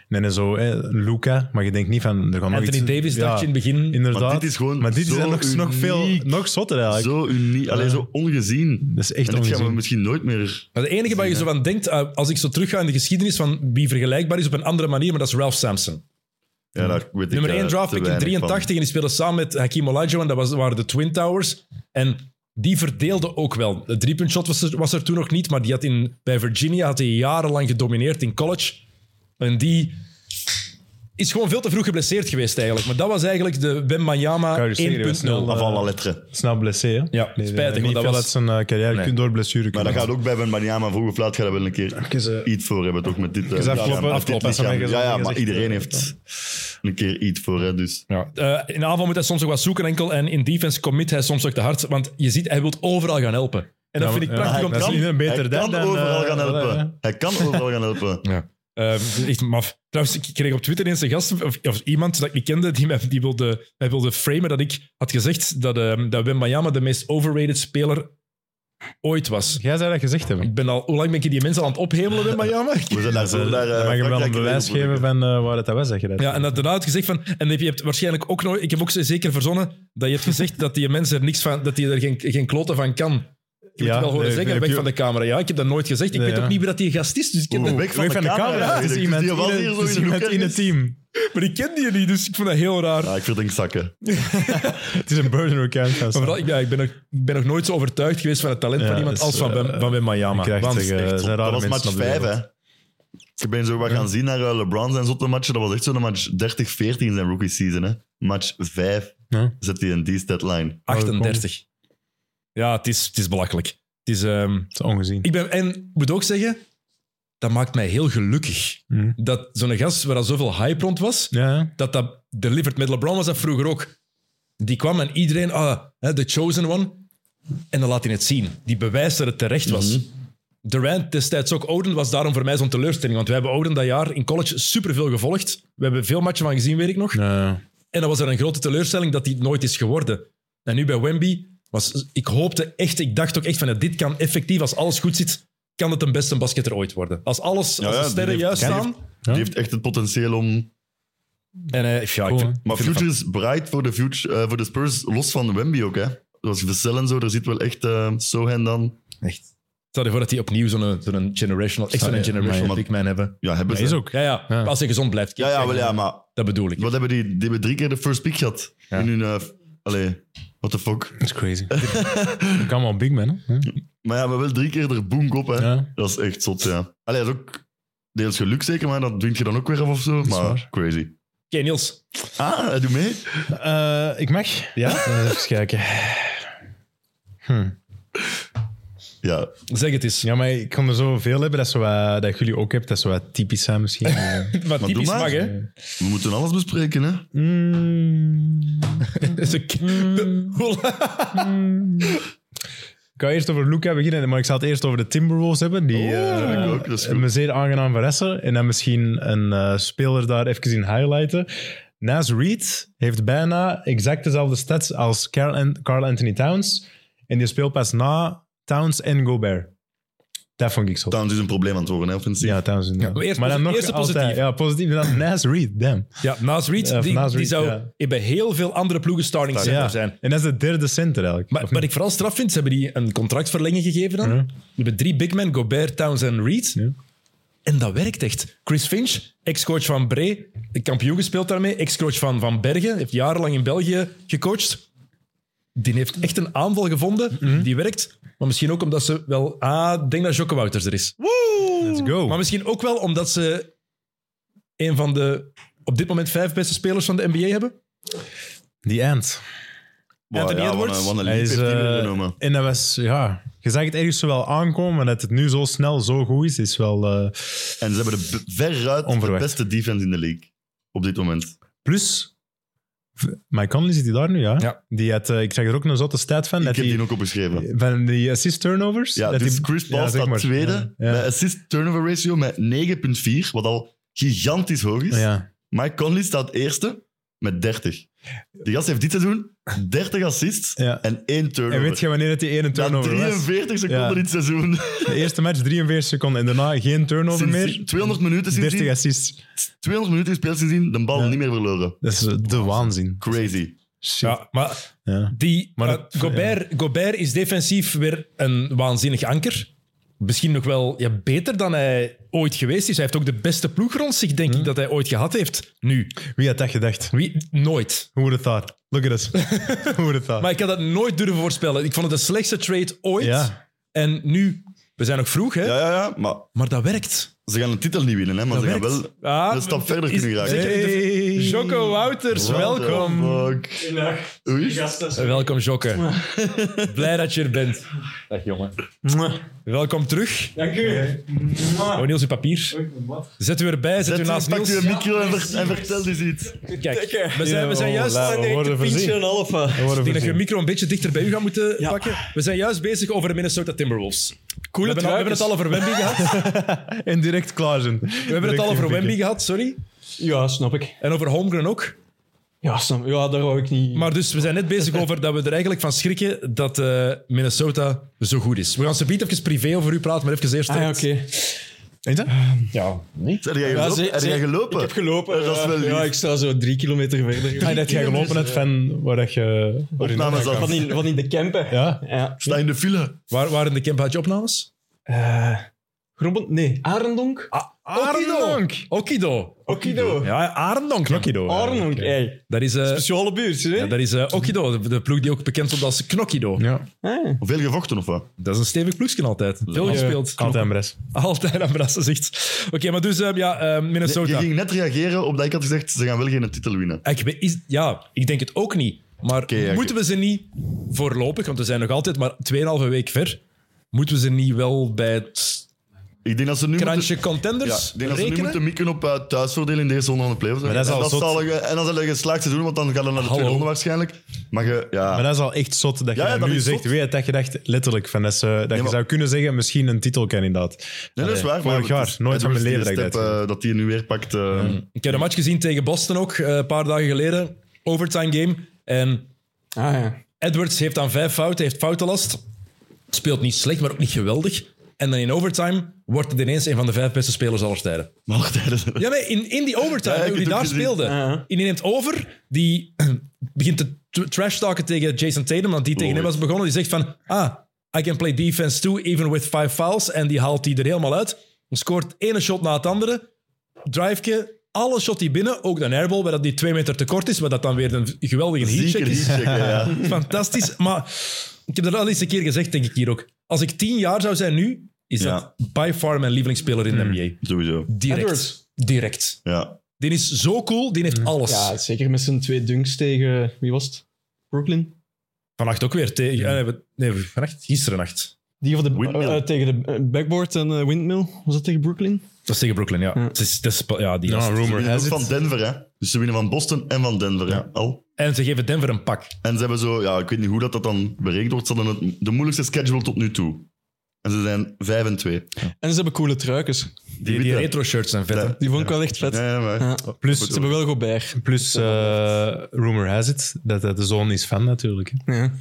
B: en dan zo hè, Luca, maar je denkt niet van... Er gaat nog
A: Anthony
B: iets-
A: Davis dacht je in het begin.
B: Inderdaad.
C: Maar dit is gewoon
B: Maar dit is
C: zo
B: dan nog, nog, veel,
C: uniek.
B: nog zotter eigenlijk.
C: Zo uniek, alleen zo ongezien.
B: Dat is echt
C: en dit gaan we
B: ongezien.
C: misschien nooit meer...
A: Maar de enige waar je zo van denkt, eh, als ik zo terugga in de geschiedenis van wie vergelijkbaar is op een andere manier, maar dat is Ralph Sampson.
C: Ja, daar weet
A: Nummer
C: ik, eh,
A: 1 draft
C: te
A: pick in
C: weinig van.
A: 83 en die speelde samen met Hakim Olajuwon, dat was, waren de Twin Towers. En die verdeelde ook wel. De driepuntshot was er, was er toen nog niet, maar die had in, bij Virginia had hij jarenlang gedomineerd in college. En die is gewoon veel te vroeg geblesseerd geweest eigenlijk. Maar dat was eigenlijk de Wembanyama 1.0.
B: Koude serie was nul.
C: Af alle letteren.
B: Snel blessé, hè?
A: Ja, spijtig,
B: niet
A: want dat
B: veel
A: was-
B: uit zijn eh, carrière
A: Nee.
B: kun- door blessure
C: Maar dat
B: kunnen.
C: gaat ook bij Ben Banyama vroeg of laat gaat dat wel een keer
B: Even, eh,
C: iets voor hebben, toch? Met dit, eh,
B: Even
C: lichaam,
B: afkloppen,
C: met dit
B: afkloppen,
C: lichaam.
B: even
C: Ja, ja,
B: gezegd.
C: maar iedereen heeft een keer iets voor, hè, dus...
A: Ja. eh, in de aanval moet hij soms ook wat zoeken enkel. En in defense commit hij soms ook te hard. Want je ziet, hij wil overal gaan helpen. En dat
B: Ja,
A: vind ik
B: ja,
A: prachtig
B: hij
A: om te
B: kan-
A: zien.
B: iedereen beter
C: hij kan
B: dan, eh,
C: overal gaan
B: wel,
C: helpen.
B: ja.
C: Hij kan overal gaan helpen.
A: Ja. Ehm, echt maf. Trouwens, ik kreeg op Twitter eens een gast, of, of iemand dat ik niet kende, die, mij, die wilde, mij wilde framen dat ik had gezegd dat, ehm dat Wembanyama de meest overrated speler ooit was.
B: Jij zou dat gezegd hebben.
A: Ik ben al, hoe lang ben ik die mensen al aan het ophemelen, Wembanyama?
C: We zijn daar zo naar... eh,
B: dan mag je me wel een
C: Frankrijk
B: bewijs
C: geregeld
B: geven van eh, waar het dat was, zeg je dat.
A: Ja, en dat daarna had gezegd van... En heb je hebt waarschijnlijk ook nooit... Ik heb ook zeker verzonnen dat je hebt gezegd dat die mensen er niks van... Dat die er geen, geen kloten van kan. Ik heb
B: Ja,
A: het wel horen
B: nee,
A: zeggen,
B: heb
A: weg
B: je-
A: van de camera. Ja, ik heb dat nooit gezegd. Ik
B: Nee,
A: weet
B: ja.
A: ook niet wie dat die gast is, dus ik heb
C: Oeh.
A: dat-
C: Weg van de camera,
B: Het is
C: weet ik.
B: iemand
C: Die
B: in
C: was hier
B: het-
C: zo
B: het is
C: in de
B: iemand
C: hoek
B: in het
C: ergens.
B: team.
A: Maar ik kende die niet, dus ik vond dat heel raar.
C: worden. Ja, ik verdink zakken.
B: Het is een burden account. gaan
A: Maar
B: staan.
A: vooral, ja, ik, ben nog, ik ben nog nooit zo overtuigd geweest van het talent
B: Ja,
A: van iemand
B: dus,
A: als van,
B: eh,
A: Ben- van Ben
B: Je
A: Mayama.
B: krijgt
A: Want-
B: zeggen, eh, zijn
C: dat
B: rare
C: was
B: mensen
C: match
B: op de
C: 5,
B: wereld.
C: hè. Ik ben zo wat gaan zien naar eh, LeBron zijn zotte matchen. Dat was echt zo'n match 30-14 zijn rookie season, hè. Match 5
B: Ja.
C: zet hij een die deadline.
A: 38. Ja, het is, het is belachelijk. Het is... ehm,
B: Het is ongezien.
A: Ik ben, en ik moet ook zeggen, dat maakt mij heel gelukkig.
B: Mhm.
A: Dat zo'n gast waar al zoveel hype rond was,
B: Ja, hè?
A: dat dat delivered. Met LeBron was dat vroeger ook. Die kwam en iedereen, ah, hè, the chosen one. En dan laat hij het zien. Die bewijst dat het terecht was.
C: Mhm.
A: Durant destijds ook. Oden was daarom voor mij zo'n teleurstelling. Want we hebben Oden dat jaar in college superveel gevolgd. We hebben veel matchen van gezien, weet ik nog.
B: Ja, Eh,
A: En dan was er een grote teleurstelling dat hij het nooit is geworden. En nu bij Wemby, was, ik hoopte echt, ik dacht ook echt van, dit kan effectief, als alles goed zit, kan het een beste basketter ooit worden. Als alles,
C: Ja,
A: als de
C: ja, die
A: sterren
C: heeft-
A: juist
C: die
A: staan.
B: Ja.
C: Die heeft echt het potentieel om...
A: En eh, ja, ik
B: Cool,
A: vind,
B: hè?
C: Maar
A: ik vind
C: Future is bright voor de, future, eh, voor de Spurs, los van Wemby ook. Hè. Zoals Vassell en zo, daar zit wel echt eh, Sohan dan.
A: dat- echt. Stel je voor dat hij opnieuw zo'n zo'n generational, echt zo'n
B: Ja, ja,
A: generational
C: maar-
A: big man hebben.
C: Ja, hebben
B: dat is
C: ze.
B: ook.
A: Ja, ja,
B: Ja.
A: als hij gezond blijft.
C: Ja, ja, wel, ja, maar
A: Dat bedoel ik.
C: wat hebben die? Die hebben drie keer de first pick gehad.
A: Ja.
C: In hun... eh, f- allee, what the fuck.
B: Dat is crazy. Dat kan wel big man, hè?
C: Maar ja, maar wel drie keer er boom op, hè.
B: Ja.
C: Dat is echt zot, ja. Allee, dat is ook deels geluk zeker, maar dat dwingt je dan ook weer af of zo. Maar
B: waar.
C: crazy.
A: Oké, Niels.
C: Ah, hij doet mee.
B: Eh, ik mag?
A: Ja?
B: Eh, Even kijken. Hm.
C: Ja,
A: Zeg het eens.
B: Ja, maar ik kon er zoveel hebben dat, zo wat, dat jullie ook hebben. Dat is wat typisch zijn misschien. Eh,
A: Maar
C: doe
A: typisch
C: maar.
A: mag, hè?
C: we moeten alles bespreken, hè.
B: mm,
A: Ze- Hoe laat-
B: ik ga eerst over Luca beginnen, maar ik zal het eerst over de Timberwolves hebben. Die eh,
C: Oh, dat heb ik ook, dat is goed.
B: me zeer aangenaam verrassen. En dan misschien een eh, speler daar even in highlighten. Nas Reed heeft bijna exact dezelfde stats als Carl, An- Carl Anthony Towns. En die speelt pas na Towns en Gobert. Dat vond ik zo.
C: Towns is een probleem aan het worden, hè, offensief.
B: Ja, Towns. inderdaad.
A: maar eerst
B: dan
A: posi- eerst de
B: altijd-
A: positieve.
B: Ja, positief. En dan Nas Reed, damn.
A: Ja, Nas Reed,
B: Ja,
A: die,
B: Nas
A: die
B: Reed,
A: zou
B: ja.
A: bij heel veel andere ploegen starting center
B: Ja.
A: zijn.
B: En dat is de derde center eigenlijk.
A: Maar
B: Of
A: wat
B: niet?
A: ik vooral straf vind, ze hebben die een contractverlenging gegeven dan.
B: Ja.
A: We hebben drie big men, Gobert, Towns en Reed.
B: Ja.
A: En dat werkt echt. Chris Finch, ex-coach van Bree, kampioen gespeeld daarmee, ex-coach van Van Bergen, heeft jarenlang in België gecoacht. Die heeft echt een aanval gevonden,
B: Mhm.
A: die werkt. Maar misschien ook omdat ze wel... Ah, ik denk dat Jocke Wouters er is.
B: Let's go.
A: Maar misschien ook wel omdat ze een van de op dit moment vijf beste spelers van de NBA hebben.
B: The Ant.
C: Wow,
A: Anthony
C: ja, wat een-
A: Edwards?
C: Wat een
B: Hij
C: leap
B: is,
C: heeft hij weer
B: eh,
C: genomen.
B: en dat was, ja... Je zag het ergens zo wel aankomen, maar dat het nu zo snel zo goed is, is wel... eh,
C: En ze hebben de b- veruit
B: Onverwacht.
C: de beste defense in de league. Op dit moment.
B: plus... v- Mike Conley zit hij daar nu, ja?
A: Ja.
B: Die had, eh, ik zag er ook een zotte stat van.
C: Ik
B: Dat
C: heb die
B: die,
C: ook opgeschreven.
B: van die assist turnovers.
C: Ja,
B: dat
C: dus
B: die-
C: Chris Paul
B: ja, zeg
C: staat
B: maar.
C: tweede
B: Ja.
C: bij assist turnover ratio met 9,4, wat al gigantisch hoog is.
B: Ja. ja.
C: Mike Conley staat eerste met 30. Die gast heeft dit seizoen 30 assists
B: Ja.
C: en één
B: En
C: turnover.
B: weet je wanneer dat die ene
C: Na
B: turnover was?
C: 43 seconden
B: Ja.
C: dit seizoen.
B: De eerste match 43 seconden en daarna geen turnover
C: Sinds-
B: meer.
C: 200
B: 30
C: minuten sindsdien.
B: assists.
C: 200 minuten gespeeld sindsdien, de bal niet meer verloren.
B: Dat is eh, de waanzin.
C: Crazy.
B: Shit.
A: Ja, maar
B: ja.
A: Die,
B: Maar
A: eh,
B: dat-
A: Gobert, Gobert is defensief weer een waanzinnig anker. misschien nog wel ja, beter dan hij ooit geweest is. Hij heeft ook de beste ploeg rond zich, denk
C: Hm.
A: ik, dat hij ooit gehad heeft. Nu.
B: Wie had dat gedacht?
A: Wie? Nooit.
B: Who would have thought? Look at us. Who would have thought?
A: Maar ik had dat nooit durven voorspellen. Ik vond het de slechtste trade ooit.
B: Ja.
A: En nu, we zijn nog vroeg, hè?
C: Ja, ja, ja, maar
A: Maar dat werkt.
C: ze gaan de titel niet winnen, hè, maar
A: Dat
C: ze gaan
A: werkt.
C: wel
A: Ah,
C: een stap verder
A: is-
C: kunnen geraken.
A: zeker.
B: Hey.
A: Jocko Wouters,
C: What the
A: welkom.
C: fuck?
D: Goedendag,
C: Oei.
D: gasten.
A: Welkom, Jokke. Blij dat je er bent. Dag, jongen. Welkom terug.
D: Dank u.
A: Oh, Niels, je papier.
D: Wat?
A: Zet u erbij, zet, u
C: Zet
A: naast
C: u, pak
A: Niels.
C: uw micro en, ver- en vertel eens iets.
A: Kijk,
D: Lekker.
A: we zijn, we zijn juist...
B: Ja, we worden voorzien.
D: halve.
B: We worden
A: Ik denk dat je je
B: voorzien.
A: micro een beetje dichter bij u gaat moeten
D: Ja.
A: pakken. We zijn juist bezig over de Minnesota Timberwolves. we, hebben al- we hebben het al
D: alle.
A: over Wemby gehad.
B: En direct klaar zijn. We
A: We hebben het al over Wemby gehad, sorry.
D: Ja, snap ik.
A: En over Holmgren ook.
D: Ja, snap Ja, daar wou ik niet.
A: Maar dus, we zijn net bezig over dat we er eigenlijk van schrikken dat eh, Minnesota zo goed is. We gaan ze even privé over u praten, maar even eerst...
D: Ah, ja,
A: het-
D: oké.
B: Is dat?
A: Ja, nee.
C: Heb jij
D: Ja,
C: gelopen?
D: ze-
C: Heb
D: ze-
C: jij gelopen?
D: Ik heb gelopen.
C: Eh, dat is wel
D: ja.
C: lief.
D: Ja, ik sta zo drie kilometer verder.
B: Ah, dat jij gelopen hebt van waar dat je... waar je
C: Opnames
B: naartoe
C: af.
B: kwam.
D: Van in, van in de campen.
B: Ja.
D: ja.
C: Sta in de file.
A: Waar, waar in de camp had je opnames?
D: Eh, Grobbel- Nee, Arendonk.
B: Arendonk.
A: Okido.
D: Okido.
A: Ja, Arendonk.
B: Knokkido.
D: Arendonk,
B: eigenlijk.
D: ey.
A: Dat is, eh,
D: Speciale buurt, hè?
A: ja, dat is eh, Okido, de, de ploeg die ook bekend stond als Knokkido.
B: Ja,
D: Ah.
C: Veel gevochten of wat?
A: Dat is een stevig ploegje altijd. Veel
D: Ja.
A: gespeeld.
B: altijd een bres.
A: Altijd aan Brassen zegt. Oké, maar dus eh, ja, eh,
C: Je
A: Minnesota.
C: ging net reageren op dat ik had gezegd, ze gaan wel geen titel winnen.
A: Ik weet- is, ja, ik denk het ook niet. Maar
C: ja, oké.
A: moeten we ze niet voorlopig, want we zijn nog altijd maar 2,5 week ver, moeten we ze niet wel bij het
C: Ik denk dat ze nu
A: krantje
C: moeten,
A: contenders
C: ja, ik denk dat ze nu
A: rekenen?
C: moeten mikken op eh, thuisvoordeel in deze ronde van de playoffs.
B: Maar dat is
C: en,
B: al
C: dat
B: zot.
C: zal een- en dan zal je geslaagd seizoen, want dan gaan we naar de tweede
A: Hallo.
C: ronde waarschijnlijk. Maar je, ja,
B: Maar dat is al echt zot dat je
C: Ja, ja,
B: dat
C: dat
B: nu
C: is
B: zegt.
C: zot.
B: Weet je, dat je dacht letterlijk van dat, ze, dat je
C: maar-
B: zou kunnen zeggen misschien een titelkandidaat.
C: nee, dat is
B: Allee,
C: waar.
B: Vorig
C: maar
B: jaar,
C: het is-
B: nooit van mijn
C: Edwards
B: leven dat
C: die
B: ik dat
C: step, eh, dat hij nu weer pakt. eh,
A: Ik heb een match gezien tegen Boston ook, eh, een paar dagen geleden. Overtime game. En
D: Ah, ja.
A: Edwards heeft dan vijf fouten, heeft foutenlast. Speelt niet slecht, maar ook niet geweldig. En dan in overtime wordt het ineens een van de vijf beste spelers aller tijden.
C: Maar wacht, hè, dat is-
A: Ja, nee, in, in die overtime,
C: Ja, ik
A: hoe die
C: heb het ook
A: daar
C: gezien.
A: speelde.
D: Ja, ja.
A: En die neemt over, die begint te tr- trash-talken tegen Jason Tatum, want die tegen hem was begonnen. Die zegt van, ah, I can play defense too, even with five fouls. En die haalt die er helemaal uit. Hij scoort ene shot na het andere. Driveje, alle shot die binnen, ook de airball, waar dat die twee meter te kort is, waar dat dan weer een geweldige heatcheck
C: Zeker
A: is.
C: niet checken, ja.
A: Fantastisch. Maar ik heb dat al eens een keer gezegd, denk ik hier ook. Als ik tien jaar zou zijn nu, is
C: Ja. Hmm.
A: dat by far mijn lievelingsspeler in de NBA.
C: Sowieso.
A: Direct.
D: Edwards.
A: Direct.
C: Ja.
A: Die is zo cool, die
C: Mm.
A: heeft alles.
D: ja, zeker met zijn twee dunks tegen... Wie was het? Brooklyn?
A: Vannacht ook weer. Tegen,
C: Mm.
A: eh, we- nee, vannacht? Gisteren nacht.
D: Die van de,
C: Windmill.
D: eh, tegen de eh, backboard en eh, windmill. Was dat tegen Brooklyn?
A: Dat is tegen Brooklyn, ja.
D: Ja.
A: Het is, dat is- ja, die
B: Ja,
A: gast.
C: Ze
B: rumor
C: winnen ook
B: has it.
C: Mm. van Denver, hè. Dus ze winnen van Boston en van Denver, hè. Al.
A: En ze geven Denver een pak.
C: En ze hebben zo, ja, ik weet niet hoe dat, dat dan berekend wordt, ze hadden het, de moeilijkste schedule tot nu toe. En ze zijn 5 en 2.
D: En ze hebben coole truikens.
A: Die, die, retro-shirts zijn vet. hè.
C: Ja.
D: Die vond ik wel echt vet.
C: Nee, maar,
D: Ja.
B: Plus,
D: Ze hebben wel Gobert.
B: plus eh, rumor has it dat dat de zoon is van natuurlijk. hè.
D: Ja.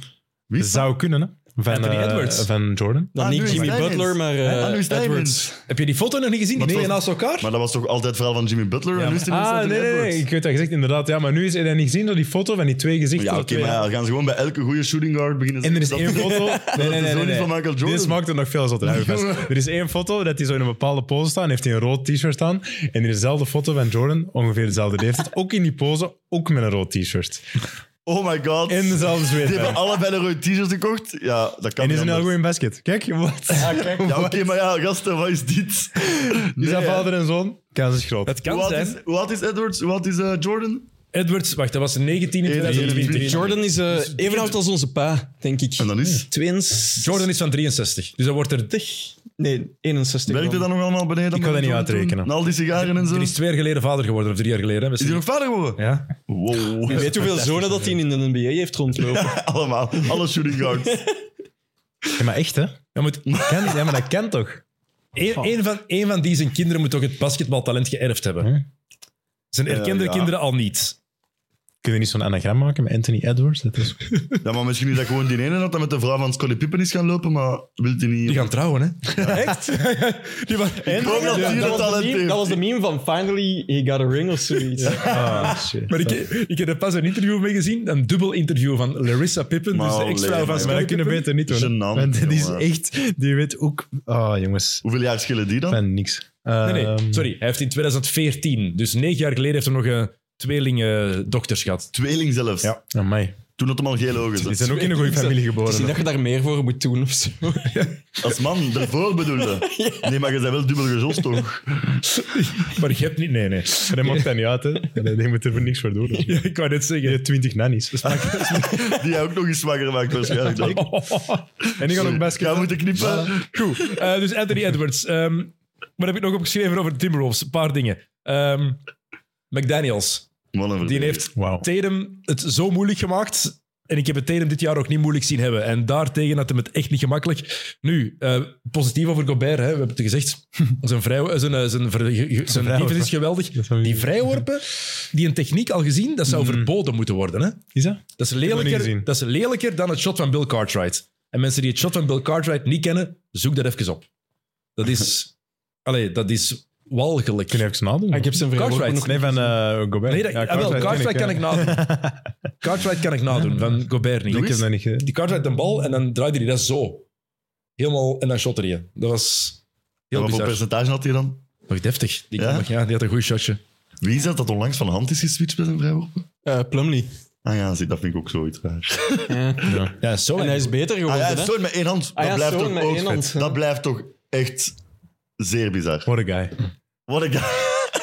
C: Wie?
B: Zou kunnen, hè? Van,
A: Anthony
B: eh,
A: Edwards.
B: van Jordan.
D: Dan
C: Ah, nu
D: niet
C: is
D: Jimmy
C: hij
D: Butler,
C: eens.
D: maar eh,
C: Ah, nu is hij
D: Edwards.
A: Heb je die foto nog niet gezien? Die
C: Maar het
A: twee
C: was-
A: naast elkaar?
C: maar dat was toch altijd het verhaal van Jimmy Butler?
A: Ja,
C: en nu is hij
B: Ah, nee, nee, nee, ik weet dat gezegd, inderdaad. Ja, maar nu is hij dat niet gezien door die foto van die twee gezichten.
C: Ja, oké,
B: dat twee-
C: maar ja, gaan ze gewoon bij elke goede shooting guard beginnen
B: En er is
C: zeggen
B: één
C: dat-
B: foto. Nee, nee,
C: de
B: nee.
C: zoon
B: nee, nee.
C: is van Michael Jordan.
B: Dit maakt het nog veel zotter. Hou je vast. Er is één foto dat hij zo in een bepaalde pose staat. en heeft hij een rood t-shirt aan. En in dezelfde foto van Jordan, ongeveer dezelfde leeftijd. Ook in die pose, ook met een rood t-shirt.
C: Oh my god.
B: En dezelfde
C: Die
B: zweet.
C: hebben allebei de rode t-shirts gekocht. Ja, dat kan
B: En die
C: niet
B: zijn heel goed
C: anders. Ah,
B: in basket. Kijk, wat?
C: Ja, oké, maar ja, gasten, wat is dit?
B: Die zijn
C: Nee, hè.
B: vader en zoon. Kans is groot.
A: Dat kan
C: Hoe oud
A: zijn.
C: is, hoe oud is Edwards? Hoe oud is eh, Jordan?
A: Edwards, wacht, dat was 19 in 2020.
C: 21.
D: Jordan is eh, even oud als onze pa, denk ik.
C: Dus En dan is...
D: 62?
A: Jordan is van 63, dus dat wordt er... Er
D: Nee, 61.
C: Werkt hij dan nog allemaal beneden?
B: kan dat niet uitrekenen.
C: Na al die sigaren en zo.
A: is
C: Is
A: twee jaar geleden vader geworden, of drie jaar geleden. hè, met
C: hij
A: z'n-
C: nog vader geworden?
A: Ja.
C: Wow.
D: Je weet hoeveel zonen dat hij in de NBA heeft rondlopen.
C: Allemaal. Alle shooting guards.
B: Ja, maar echt, hè?
A: Ja, moet,
B: Kan, ja, maar dat kan toch?
A: Eén één van, één van die zijn kinderen moet toch het basketbaltalent geërfd hebben. Zijn erkende
C: Eh, ja.
A: kinderen al niet.
B: Kun je niet zo'n anagram maken met Anthony Edwards? Dat is...
C: Ja, maar misschien is dat gewoon die ene dat dan met de vrouw van Scottie Pippen is gaan lopen, maar wilt hij niet...
A: Die gaan trouwen, hè? Echt? Die waren-
C: Ik hoop dat
D: Ja,
C: die het
D: dat, was de
C: talent
D: meme,
C: heeft.
D: dat was de meme van Finally he got a ring of zoiets.
B: Ah, shit.
A: Maar ik, ik heb er pas een interview mee gezien, een dubbel interview van Larissa Pippen,
C: Maar
A: dus de ex-vrouw
C: alleen,
A: van
C: maar
B: Maar
A: Scottie
B: dat kunnen we
A: Pippen.
B: beter niet doen. hè.
C: Gênant,
B: Want die is
C: jongen.
B: echt... Die weet ook... Ah, jongens.
C: Hoeveel jaar schillen die dan?
B: Ik ben niks.
A: Nee, nee,
B: Ehm,
A: sorry. Hij heeft in 2014, dus negen jaar geleden, heeft hij nog een tweelingen dokters gehad.
C: Tweeling zelfs.
B: Ja, amai.
C: Toen had hem al gele ogen.
B: Die
C: zat.
B: zijn ook in een goede familie geboren.
D: Misschien dat je daar meer voor moet doen of zo.
C: Als man, daarvoor bedoelde. Nee, maar je bent wel dubbel gejost, toch?
A: Maar je hebt niet... Nee, nee.
B: Maar dat maakt dat niet uit, hè. Die- Die moet er voor niks voor doen. Die
A: Ja, ik wou net zeggen.
B: heeft 20 nannies. Dat is makkelijk.
C: Die hij ook nog eens zwanger maakt, waarschijnlijk. dan.
B: En die gaan ook best...
C: Ga moeten knippen.
A: Goed. Eh, dus Anthony Edwards. ehm, wat heb ik nog opgeschreven over de Timberwolves? Een paar dingen. Ehm, McDaniels.
C: Wat een
A: Die
C: verdediger.
A: heeft
B: Wauw.
A: Tatum het zo moeilijk gemaakt. En ik heb het Tatum dit jaar ook niet moeilijk zien hebben. En daartegen had hem het echt niet gemakkelijk. Nu, eh, positief over Gobert. Hè. We hebben het gezegd. Zijn, vrij, zijn, eh, zijn, ver- ge- ge- zijn defense is geweldig.
B: Dat zou ik-
A: Die vrijworpen, die een techniek al gezien, dat zou verboden moeten worden. Hè.
B: Is dat?
A: Dat is,
B: hem niet gezien.
A: lelijker, dat is lelijker dan het shot van Bill Cartwright. En mensen die het shot van Bill Cartwright niet kennen, zoek dat even op. Dat is... allee, dat is walgelijk.
B: Kun je even nadoen?
D: Ik heb zijn vrouw ook
A: Cartwright.
D: nog
B: Ah, Nee, van eh Gobert.
A: Nee, dat,
B: Ja,
A: ah, wel,
B: ken
A: Cartwright kan
B: hè.
A: ik nadoen. Cartwright kan ik nadoen, van Gobert niet.
B: Ik heb dat niet gedaan.
A: Die Cartwright een bal en dan draaide hij dat zo. Helemaal, en dan shotte hij. Dat was
C: En
A: heel
C: Wat voor
A: bizar.
C: percentage had hij dan?
A: Nog deftig. Die,
C: Ja?
A: kon nog- ja, die had een goed shotje.
C: Wie is dat dat onlangs van de hand is geswitcht bij zijn vrijworpen?
D: Eh, Plumlee.
C: Ah ja, zie, dat vind ik ook zoiets raar.
A: Ja, zo.
D: En hij is beter
C: Ah
D: geworden,
C: ja,
D: hè?
C: sorry, met één hand. Dat
D: Ah ja,
C: blijft
D: sorry,
C: toch
D: met
C: ook
D: één hand,
C: vet.
D: hè.
C: Dat blijft toch echt zeer bizar.
B: What a guy.
C: Wat een guy.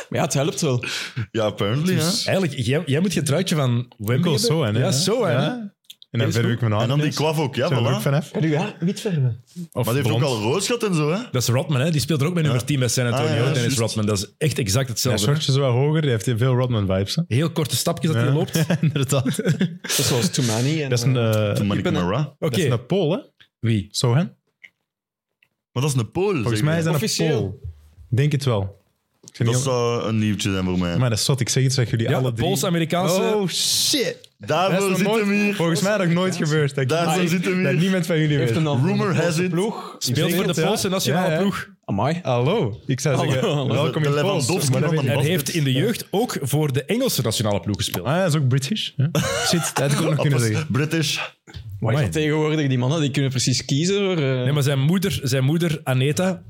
D: Maar ja, het helpt wel.
C: Ja, apparently, hè.
A: Eigenlijk, jij, jij moet je truitje van
B: Ik
A: Wembley
B: wil
A: hebben.
B: zo, hè.
A: Ja, zo, hè.
B: En dan verf ik mijn haar.
C: En dan die kwaf ook, ja,
B: Zijn we er ook
C: voilà.
B: vanaf?
D: Kan u ja, wit verven?
B: Of
C: Maar die heeft ook
B: blond?
C: al rood gehad en zo, hè.
A: Dat is Rodman, hè? die speelt er ook met nummer 10 bij San Antonio.
C: Ah, ja,
A: Dennis
C: juist.
A: Rodman, dat is echt exact
B: Ja,
A: hetzelfde.
B: shortje is wel hoger. Die heeft veel Rodman-vibes, hè.
A: Heel korte stapjes dat hij
B: Ja.
A: loopt. Oké,
B: Inderdaad.
D: Dat is zoals Too Many. En,
B: Dat is een...
D: eh,
B: eh,
C: Toen ben ik
D: ben-
C: Mara.
B: Dat is een Pool, hè.
A: wie?
B: Zo, hè.
C: Maar dat is een Pool.
B: Volgens
C: zeg
B: mij
C: maar.
B: is dat
D: Officieel.
B: een Pool. Denk het wel. Ik vind
C: Dus Dat
B: niet-
C: zou een nieuwtje zijn voor mij.
B: Maar dat is zot. Ik zeg het, zeg jullie
A: Ja,
B: alle
A: de
B: drie.
A: Pools-Amerikaanse...
B: Oh, shit. Dat is
C: Daarvoor
B: nog
C: zit
B: nooit-
C: hem hier.
B: Volgens mij nog nooit gebeurd. Dat ik-
C: Daar zo
B: dat
C: zit hem hier.
B: niemand van jullie
D: heeft een
B: weet.
D: andere
C: Rumor has
D: grote
C: it.
D: ploeg.
A: speelt voor de
B: Ja.
A: Poolse nationale
B: Ja, ja.
A: ploeg.
D: Amai.
B: Hallo. Ik zou
D: Hallo.
B: zeggen,
D: Hallo.
B: welkom
C: De
B: in
C: Lewandowski
B: Pols. Maar dat
C: van
B: weet
C: de
A: En
B: ik-
C: Basket.
A: heeft in de jeugd ook voor de Engelse nationale ploeg gespeeld.
B: Ah, dat is ook British. hè. Shit, dat kon ik nog kunnen
C: Appels,
B: zeggen.
C: British.
D: Maar ja, tegenwoordig, die mannen, die kunnen precies kiezen. Hoor. Eh,
A: Nee, maar zijn moeder, zijn moeder Aneta,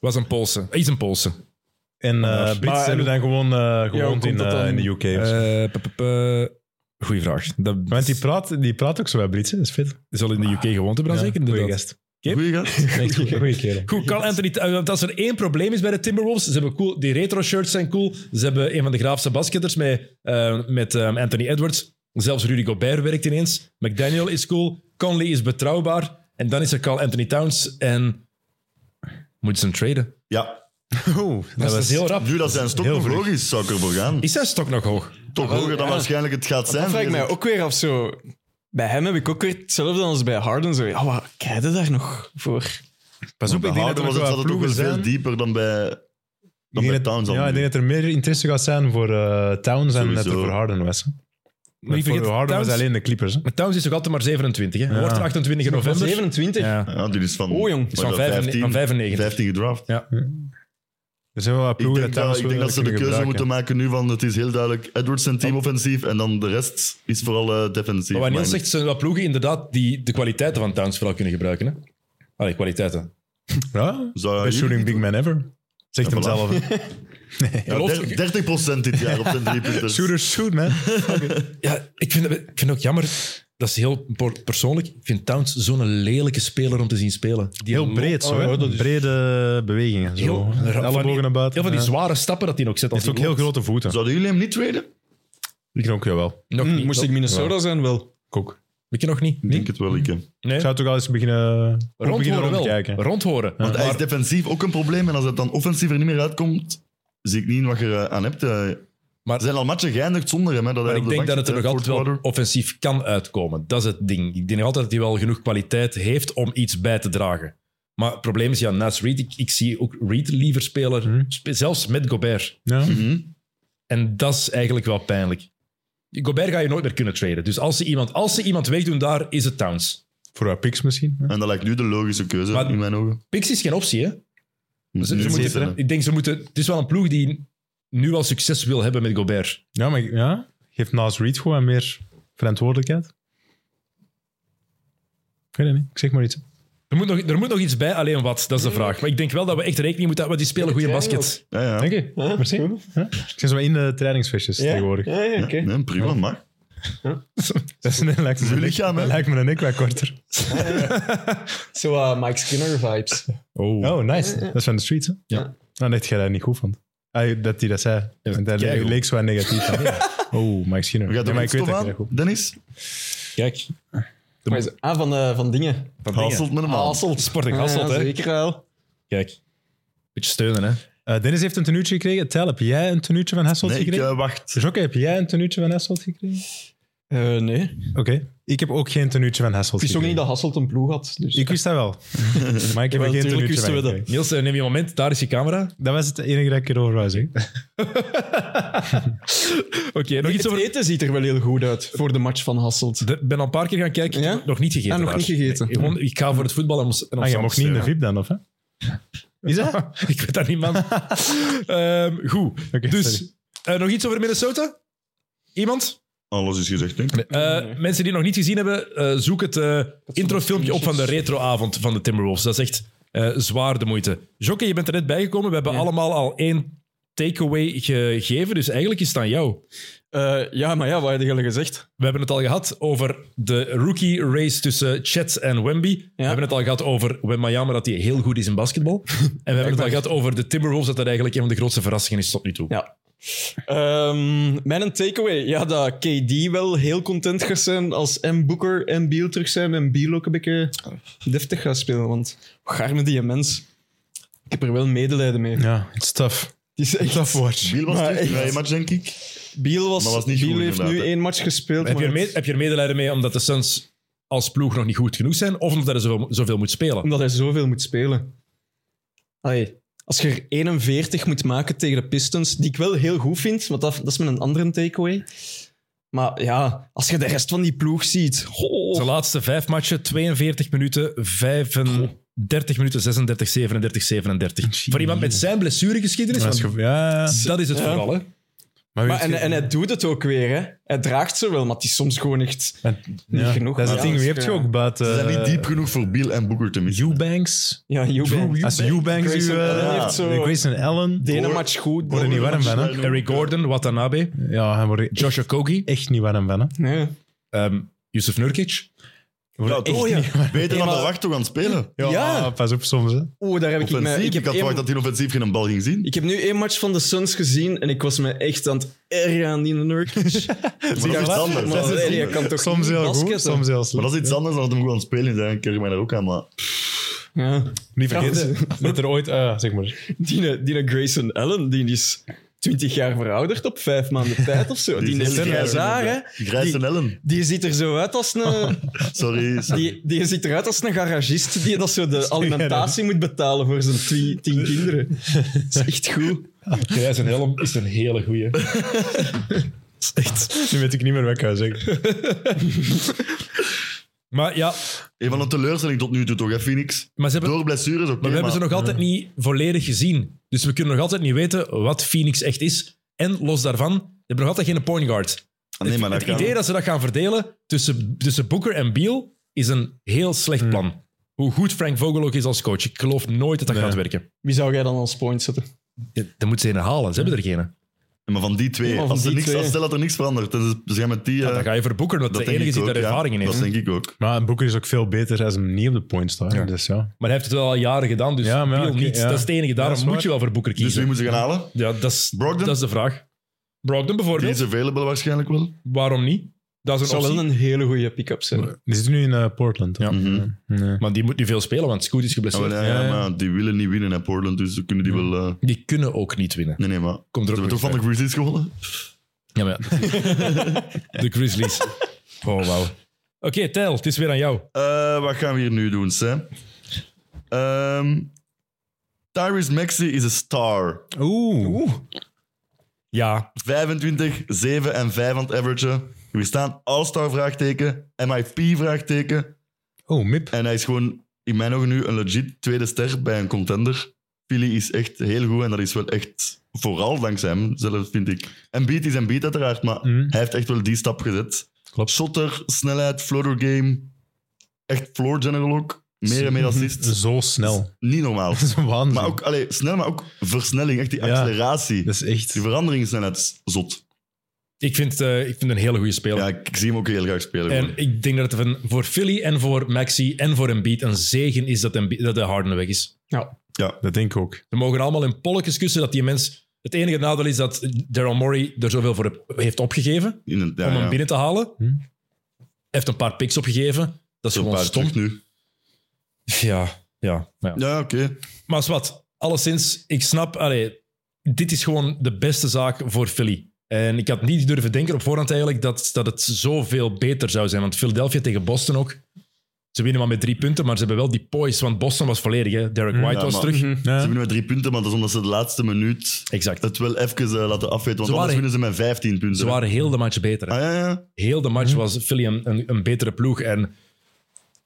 A: was een Poolse. Is een Poolse.
B: En eh Brits
D: Maar-
B: hebben dan gewoon eh
D: hoe
B: gewoond
D: komt
B: in,
D: dat
B: eh,
D: dan?
B: in de UK. of zo.
A: Eh, p- p- p- Goeie vraag. Dat
B: Want die praat, die praat ook zo bij Brits, hè. dat is vet.
A: zal in de UK gewoond hebben, dan zeker
B: goeie
A: inderdaad.
B: gast.
A: Yep.
C: Goeie gast.
B: Echt goeie, goeie kerel.
A: Goed, Carl Anthony, eh, want als er één probleem is bij de Timberwolves, ze hebben cool, die retro shirts zijn cool, ze hebben een van de graafste basketters met, eh, met eh, Anthony Edwards, zelfs Rudy Gobert werkt ineens, McDaniel is cool, Conley is betrouwbaar, en dan is er Carl Anthony Towns en moeten ze hem traden.
C: Ja.
B: Oeh,
A: Dat, is heel rap.
C: Nu dat zijn stok
B: Heel
C: nog
B: vlug.
C: hoog is, zou ik ervoor gaan.
A: Is zijn stok nog hoog?
C: Toch
D: wel,
C: hoger dan
D: ja.
C: waarschijnlijk het gaat zijn.
D: dat vraag ik mij
C: vrees
D: ook weer af. Zo. Bij hem heb ik ook weer hetzelfde als bij Harden. Zo. Ja, wat krijg je daar nog voor?
B: Pas op, ik
C: Bij
B: denk dat er
C: Harden
B: nog
C: was het,
B: wel
C: zat het ook
B: ploegen
C: wel veel
B: zijn.
C: dieper dan bij, dan
B: Ik
C: bij
B: denk dat-
C: Towns. al
B: ja, ik
C: nu.
B: denk dat er meer interesse gaat zijn voor eh, Towns en dat er
C: Sowieso.
B: voor Harden was. hè.
A: Maar niet
B: Voor
A: vergeten,
B: Harden was
A: Towns,
B: alleen de Clippers. hè.
A: maar Towns is ook altijd maar 27. Hè. Hij
B: Ja.
A: Wordt er 28 in november.
D: 27.
A: Ja.
C: Ja, die is van,
D: Oh, jong.
A: Is
C: wat is
A: van,
C: dat,
A: 15, van 95.
C: 15 gedraft.
B: Er zijn wel wat
C: Ik
B: ploegen
C: denk, dat, ik denk dat ze de keuze moeten maken nu van het is heel duidelijk Edwards en team offensief en dan de rest is vooral eh, defensief.
A: Ah. Maar wat Niels
C: Maar-
A: zegt, zijn wat ploegen inderdaad die de kwaliteiten van Towns vooral kunnen gebruiken. Hè? Allee, kwaliteiten.
B: Ja,
C: Zou
B: best
C: jullie-
B: shooting big man ever. Zegt
C: Ja,
B: hem
C: voilà.
B: zelf. hè.
C: Ja,
A: Geloof-
C: 30 30% dit jaar op zijn drie punters.
B: Shooter shoot, man.
A: Ja, ik vind, ik vind ook jammer. Dat is heel por- persoonlijk. Ik vind Towns zo'n lelijke speler om te zien spelen. Die
B: Heel
A: loopt-
B: breed, zo.
A: Oh,
B: hè.
A: ja, dat is-
B: Brede bewegingen. Zo.
A: Heel- van die-
B: Ellebogen naar buiten.
A: Heel van die
B: Ja.
A: zware stappen dat hij nog zet.
B: Hij
A: Als
B: heeft ook
A: hij
B: heel
A: loopt.
B: grote voeten.
C: Zouden jullie hem niet traden?
B: Ik denk ook wel. wel.
A: Nog
D: Hm,
A: niet.
D: moest ik Minnesota zijn, wel.
B: Ik ook.
A: Weet je nog niet?
C: Ik denk het wel, ik. hè.
A: Nee.
B: Ik zou toch al eens beginnen, ook beginnen
A: Rondhoren
B: rond
A: wel.
B: te kijken.
A: Rondhoren.
C: Want hij is
A: Maar-
C: defensief ook een probleem en als het dan offensief er niet meer uitkomt, zie ik niet wat je eh, aan hebt. eh.
A: Maar-
C: er zijn al matchen geëindigd zonder hem. Hè, dat hij
A: Maar ik
C: op de
A: denk dat
C: bank
A: het er nog
C: zit, eh, hè,
A: altijd wel
C: Portwater.
A: offensief kan uitkomen. Dat is het ding. Ik denk nog altijd dat hij wel genoeg kwaliteit heeft om iets bij te dragen. Maar het probleem is, ja, naast Reed, ik, ik zie ook Reed liever spelen,
B: Mhm.
A: spe- zelfs met Gobert.
B: Ja.
C: Mhm.
A: En dat is eigenlijk wel pijnlijk. Gobert ga je nooit meer kunnen traden. Dus als ze iemand, als ze iemand wegdoen daar, is het Towns.
B: Voor haar picks misschien. hè?
C: En dat lijkt nu de logische keuze
A: Maar-
C: in mijn ogen.
A: Pix is geen optie, hè?
C: Moet
A: Ze-
C: nu
A: ze moeten-
C: zitten, hè.
A: ik denk ze moeten... Het is wel een ploeg die nu al succes wil hebben met Gobert.
B: Ja, maar ja, geeft Nas Reed gewoon meer verantwoordelijkheid? Ik weet het niet. Ik zeg maar iets.
A: Er moet nog, er moet nog iets bij, alleen wat, dat is de vraag. Maar ik denk wel dat we echt rekening moeten houden, want die spelen goede basket.
C: Ja, ja.
B: Dank je.
D: Ja,
B: Merci.
D: cool.
B: Ja? Ik zit zo in de trainingsfestjes
D: Ja,
B: tegenwoordig.
D: ja, ja, oké.
C: Nee, prima, maar.
B: Dat is een, lijkt, me
C: Uw
B: een
C: lichaam, hè?
B: lijkt me een nek wat korter.
D: Zo eh, Mike Skinner vibes.
A: Oh.
B: Oh, nice. Dat is van de streets, hè?
A: Ja.
B: Nou, dacht jij dat niet goed vond. Ah, dat hij dat zei. Want dat
A: keigoed.
B: leek zo negatief. aan. Oh, Mike Skinner.
C: We gaan
B: Ja,
C: er
B: maar
C: een
B: ik weet
C: stof
B: dat jij dat goed
C: aan, Dennis.
A: Kijk.
D: Maar is- Ah, van, eh, van dingen.
A: Van dingen.
C: Hasselt met hem aan.
D: Hasselt.
A: Sporting
D: Ja,
A: Hasselt, hè?
D: Zeker wel.
A: Kijk. Beetje steunen, hè?
B: Eh, Dennis heeft een tenuutje gekregen. Tel, heb jij een tenuutje van Hasselt
C: Nee, ik
B: gekregen?
C: eh, wacht.
B: Jokke, heb jij een tenuutje van Hasselt gekregen?
D: Eh, nee.
B: Oké. Ik heb ook geen tenuutje van Hasselt
D: Ik wist ook
B: gekregen.
D: niet dat Hasselt een ploeg had. Dus.
B: Ik wist dat wel. maar ik heb
D: Ja,
B: er geen
D: natuurlijk
B: tenuutje
D: wisten
B: van
D: we dat.
B: gekregen.
A: Niels, eh, neem je een moment. Daar is je camera.
B: Dat was het enige dat ik erover wou zeggen. Ah,
A: Oké, nog iets
D: het
A: over...
D: eten ziet er wel heel goed uit voor de match van Hasselt.
A: Ik ben al een paar keer gaan kijken. Ik heb
D: Ja?
A: Nog niet gegeten.
D: Ah, nog
A: daar.
D: niet gegeten.
A: Ik, gewoon- ik ga voor het voetbal en ons en
B: Ah,
A: ons
B: je mocht niet in de VIP dan, of hè? Is dat? Oké,
A: Ik weet dat niet, man. Ehm, goed.
B: sorry.
A: Dus, eh, nog iets over Minnesota? Iemand?
C: Alles is gezegd, denk ik.
A: Eh,
D: Nee.
A: Mensen die het nog niet gezien hebben, eh, zoek het eh, introfilmpje op van de retroavond van de Timberwolves. Dat is echt eh, zwaar de moeite. Jokke, je bent er net bijgekomen. We hebben
D: Ja.
A: allemaal al één takeaway gegeven, dus eigenlijk is het aan jou.
D: Eh, ja, maar ja, wat hadden jullie gezegd?
A: We hebben het al gehad over de rookie race tussen Chet en Wemby. We hebben het al gehad over Wembanyama, dat hij heel goed is in basketbal. En we hebben het al gehad over de Timberwolves, dat dat eigenlijk een van de grootste verrassingen is tot nu toe.
D: Ja. Ehm, mijn takeaway, ja, dat KD wel heel content gaat zijn als M. Booker en Beal terug zijn en Beal ook een beetje deftig gaat spelen, want garme die mens. Ik heb er wel medelijden mee.
B: Ja, it's tough.
D: Het is echt...
B: Tough watch.
C: Biel was
D: Maar
C: terug in
D: echt.
C: de match, denk ik.
D: Beal, was,
C: Maar was niet
D: Beal
C: goed,
D: heeft nu
C: inderdaad, hè.
D: één match gespeeld.
A: Heb, je er
D: maar
A: mee, heb je er medelijden mee omdat de Suns als ploeg nog niet goed genoeg zijn, of omdat hij zoveel, zoveel moet spelen?
D: Omdat hij zoveel moet spelen. Allee, als je er 41 moet maken tegen de Pistons, die ik wel heel goed vind, want dat, dat is mijn andere takeaway. Maar ja, als je de rest van die ploeg ziet... oh.
A: Zijn laatste vijf matchen, 42 minuten, 35 minuten, 36, 37, 37. Voor iemand met zijn blessuregeschiedenis,
B: Maar dat is
A: want
B: ge- Ja,
A: dat is het
D: Ja.
A: vooral. Hè?
B: maar
D: Maar
B: weet
D: en,
B: je-
D: en hij doet het ook weer, hè. Hij draagt ze wel, maar het is soms gewoon echt...
B: Ja,
D: niet genoeg,
B: Dat is
D: maar
B: het ding.
D: ja,
B: Wie
D: dat
B: heb
D: is
B: je ook eh, buiten...
C: Ze zijn niet diep genoeg voor Biel en Booker te missen.
B: Eubanks.
D: Ja, Eubank.
B: Als Eubanks
D: Grayson
B: uw...
D: Allen
B: eh,
D: heeft zo-
B: de Grayson Allen.
D: De ene match goed.
B: Worden niet warm van, hè?
A: Eric Gordon, Watanabe,
B: Ja, hij wordt echt,
A: Josh Okogie,
B: echt niet warm van, hè.
D: Nee.
A: ehm Yusuf Nurkic.
B: Hij wordt echt
D: oh ja.
B: niet warm.
C: Beter dan
D: maar-
C: de wacht toch aan het spelen.
B: Ja,
D: Ja.
B: pas op soms, hè.
D: Oeh, daar heb ik...
C: Offensief.
D: Mijn,
C: Ik,
D: ik, heb
C: had verwacht
D: één,
C: dat hij offensief geen bal ging zien.
D: ik heb nu één match van de Suns gezien en ik was me echt aan het ergeren aan die Nurkic.
C: Maar dat is iets anders.
D: Maar
C: Dat is iets
D: nee, je
C: anders.
D: kan toch
B: Soms
D: niet
B: heel
D: basketten?
B: goed, soms heel
C: Maar
B: slecht.
C: dat is iets anders dan dat hem gewoon aan het spelen is. hè. Ik keer mij daar ook aan, maar...
D: Ja.
B: Niet vergeten, dat er ooit... eh, zeg maar.
D: Die, die Grayson Allen, die is 20 jaar verouderd op vijf maanden tijd of zo. Die, is
C: heel
D: grijs haar, hè.
C: Grijs en Ellen.
D: Die ziet er zo uit als een...
C: Sorry. sorry.
D: Die, die ziet eruit als een garagist die dat zo de alimentatie moet betalen voor zijn twee, tien kinderen. Dat is echt goed.
A: Ja, zijn helm is een hele goeie.
B: Echt. Nu weet ik niet meer wat ik ga zeggen.
A: Maar ja,
C: Een van de teleurstellingen tot nu toe toch, hè, Phoenix?
A: maar ze hebben,
C: Door blessures, oké.
A: maar we hebben ze
C: maar- Mm.
A: nog altijd niet volledig gezien. Dus we kunnen nog altijd niet weten wat Phoenix echt is. En los daarvan, ze hebben nog altijd geen point guard.
C: Ah, nee, maar
A: het
C: dat kan.
A: idee dat ze dat gaan verdelen tussen, tussen Booker en Beal is een heel
C: Mm.
A: slecht plan. Hoe goed Frank Vogel ook is als coach, ik geloof nooit dat dat
B: Nee.
A: gaat werken.
D: Wie zou jij dan als point zetten?
A: Dan moeten ze een halen, ze hebben er geen.
C: Maar van die twee,
D: Ja, van
C: als
D: die
C: er niks,
D: twee.
C: als stel dat er niks verandert, dan is- ze gaan met die... eh,
A: Ja, dan ga je voor Booker, dat,
C: dat
A: de
C: denk
A: enige
C: ik
A: is die
C: ook,
A: daar
C: ja.
A: ervaring in heeft.
C: Dat denk ik ook.
B: Maar Boeker is ook veel beter als hem niet op de point staat.
A: Ja.
B: Dus ja.
A: Maar hij heeft het wel al jaren gedaan, dus
B: Ja, maar ja,
A: Beal
B: oké,
A: niet.
B: ja.
A: Dat is het enige, daarom
B: Ja, dat is
A: moet je wel voor Booker
C: Dus
A: kiezen.
C: wie moeten ze gaan halen?
A: Ja, dat is,
C: Brogdon?
A: dat is de vraag. Brogdon
C: Die
A: bijvoorbeeld,
C: is available waarschijnlijk wel.
A: waarom niet? Dat
D: Dat
A: is een
D: zou wel
A: optie.
D: een hele goede pick-up zijn.
B: Die zit nu in eh, Portland. hè?
A: Ja.
C: Mhm.
B: Nee.
A: Maar die moet nu veel spelen, want Scoot is
C: Ja,
A: geblesseerd.
C: Oh, wel, ja, ja,
B: Ja, ja.
C: maar die willen niet winnen in Portland, dus ze kunnen die wel... eh,
A: Die kunnen ook niet winnen.
C: Nee, nee, maar... Ze
A: Komt er ook
C: hebben toch van de
A: nog
C: Grizzlies gewonnen?
A: bij. Ja, maar ja. de Grizzlies. Oh, wauw. Oké, Tijl, het is weer aan jou.
C: Eh, wat gaan we hier nu doen, Sam? Ehm Tyrese Maxey is een star.
B: Oeh.
A: Ja,
C: 25, 7 en 5 aan het average. We staan All-Star vraagteken, MIP vraagteken.
B: Oh, Mip.
C: En hij is gewoon in mijn ogen nu een legit tweede ster bij een contender. Philly is echt heel goed en dat is wel echt vooral dankzij hem zelf, vind ik. En beat is en beat uiteraard, maar
B: Mm.
C: hij heeft echt wel die stap gezet.
A: Klopt.
C: Shotter, snelheid, floater game. Echt floor general ook. Meer en meer
A: Dus
C: assists.
B: Zo snel.
C: Niet normaal.
B: Dat is een waanzin.
C: Maar ook allee, snel, maar ook versnelling. Echt die
B: Ja.
C: acceleratie.
A: Dus-
B: Dat is echt...
C: Die verandering snelheid is zot.
A: ik vind, eh, ik vind een hele goede speler.
C: Ja, ik, ik zie hem ook heel graag spelen.
A: En
C: gewoon.
A: ik denk dat het van- voor Philly en voor Maxi en voor Embiid een zegen is dat, Embiid, dat de Harden weg is.
B: Dat denk ik ook.
A: Ze mogen allemaal in polletjes kussen dat die mens... Het enige nadeel is dat Daryl Morey er zoveel voor heb- heeft opgegeven
C: In een, ja,
A: om hem
C: ja.
A: binnen te halen.
B: Hm.
A: Hij heeft een paar picks opgegeven. Dat is
C: Zo'n
A: gewoon
C: paar
A: stom.
C: terug nu.
A: Ja, ja, ja.
C: Ja, oké.
A: Maar is wat, alleszins, ik snap, allee, dit is gewoon de beste zaak voor Philly. En ik had niet durven denken op voorhand eigenlijk dat, dat het zoveel beter zou zijn. Want Philadelphia tegen Boston ook. Ze winnen maar met drie punten, maar ze hebben wel die poise. Want Boston was volledig, hè. Derek
B: Mm,
A: White
C: Hm. ja,
A: was
C: maar-
A: terug.
C: Ze
B: Ja.
C: winnen met drie punten, maar dat is omdat ze de laatste minuut
A: Exact.
C: het wel even eh, laten afweten. Want
A: Ze
C: anders
A: waren-
C: winnen ze met 15 punten.
A: Ze waren heel de match beter. hè.
C: Ah, ja, ja.
A: Heel de
B: Mhm.
A: match was Philly een, een, een betere ploeg. En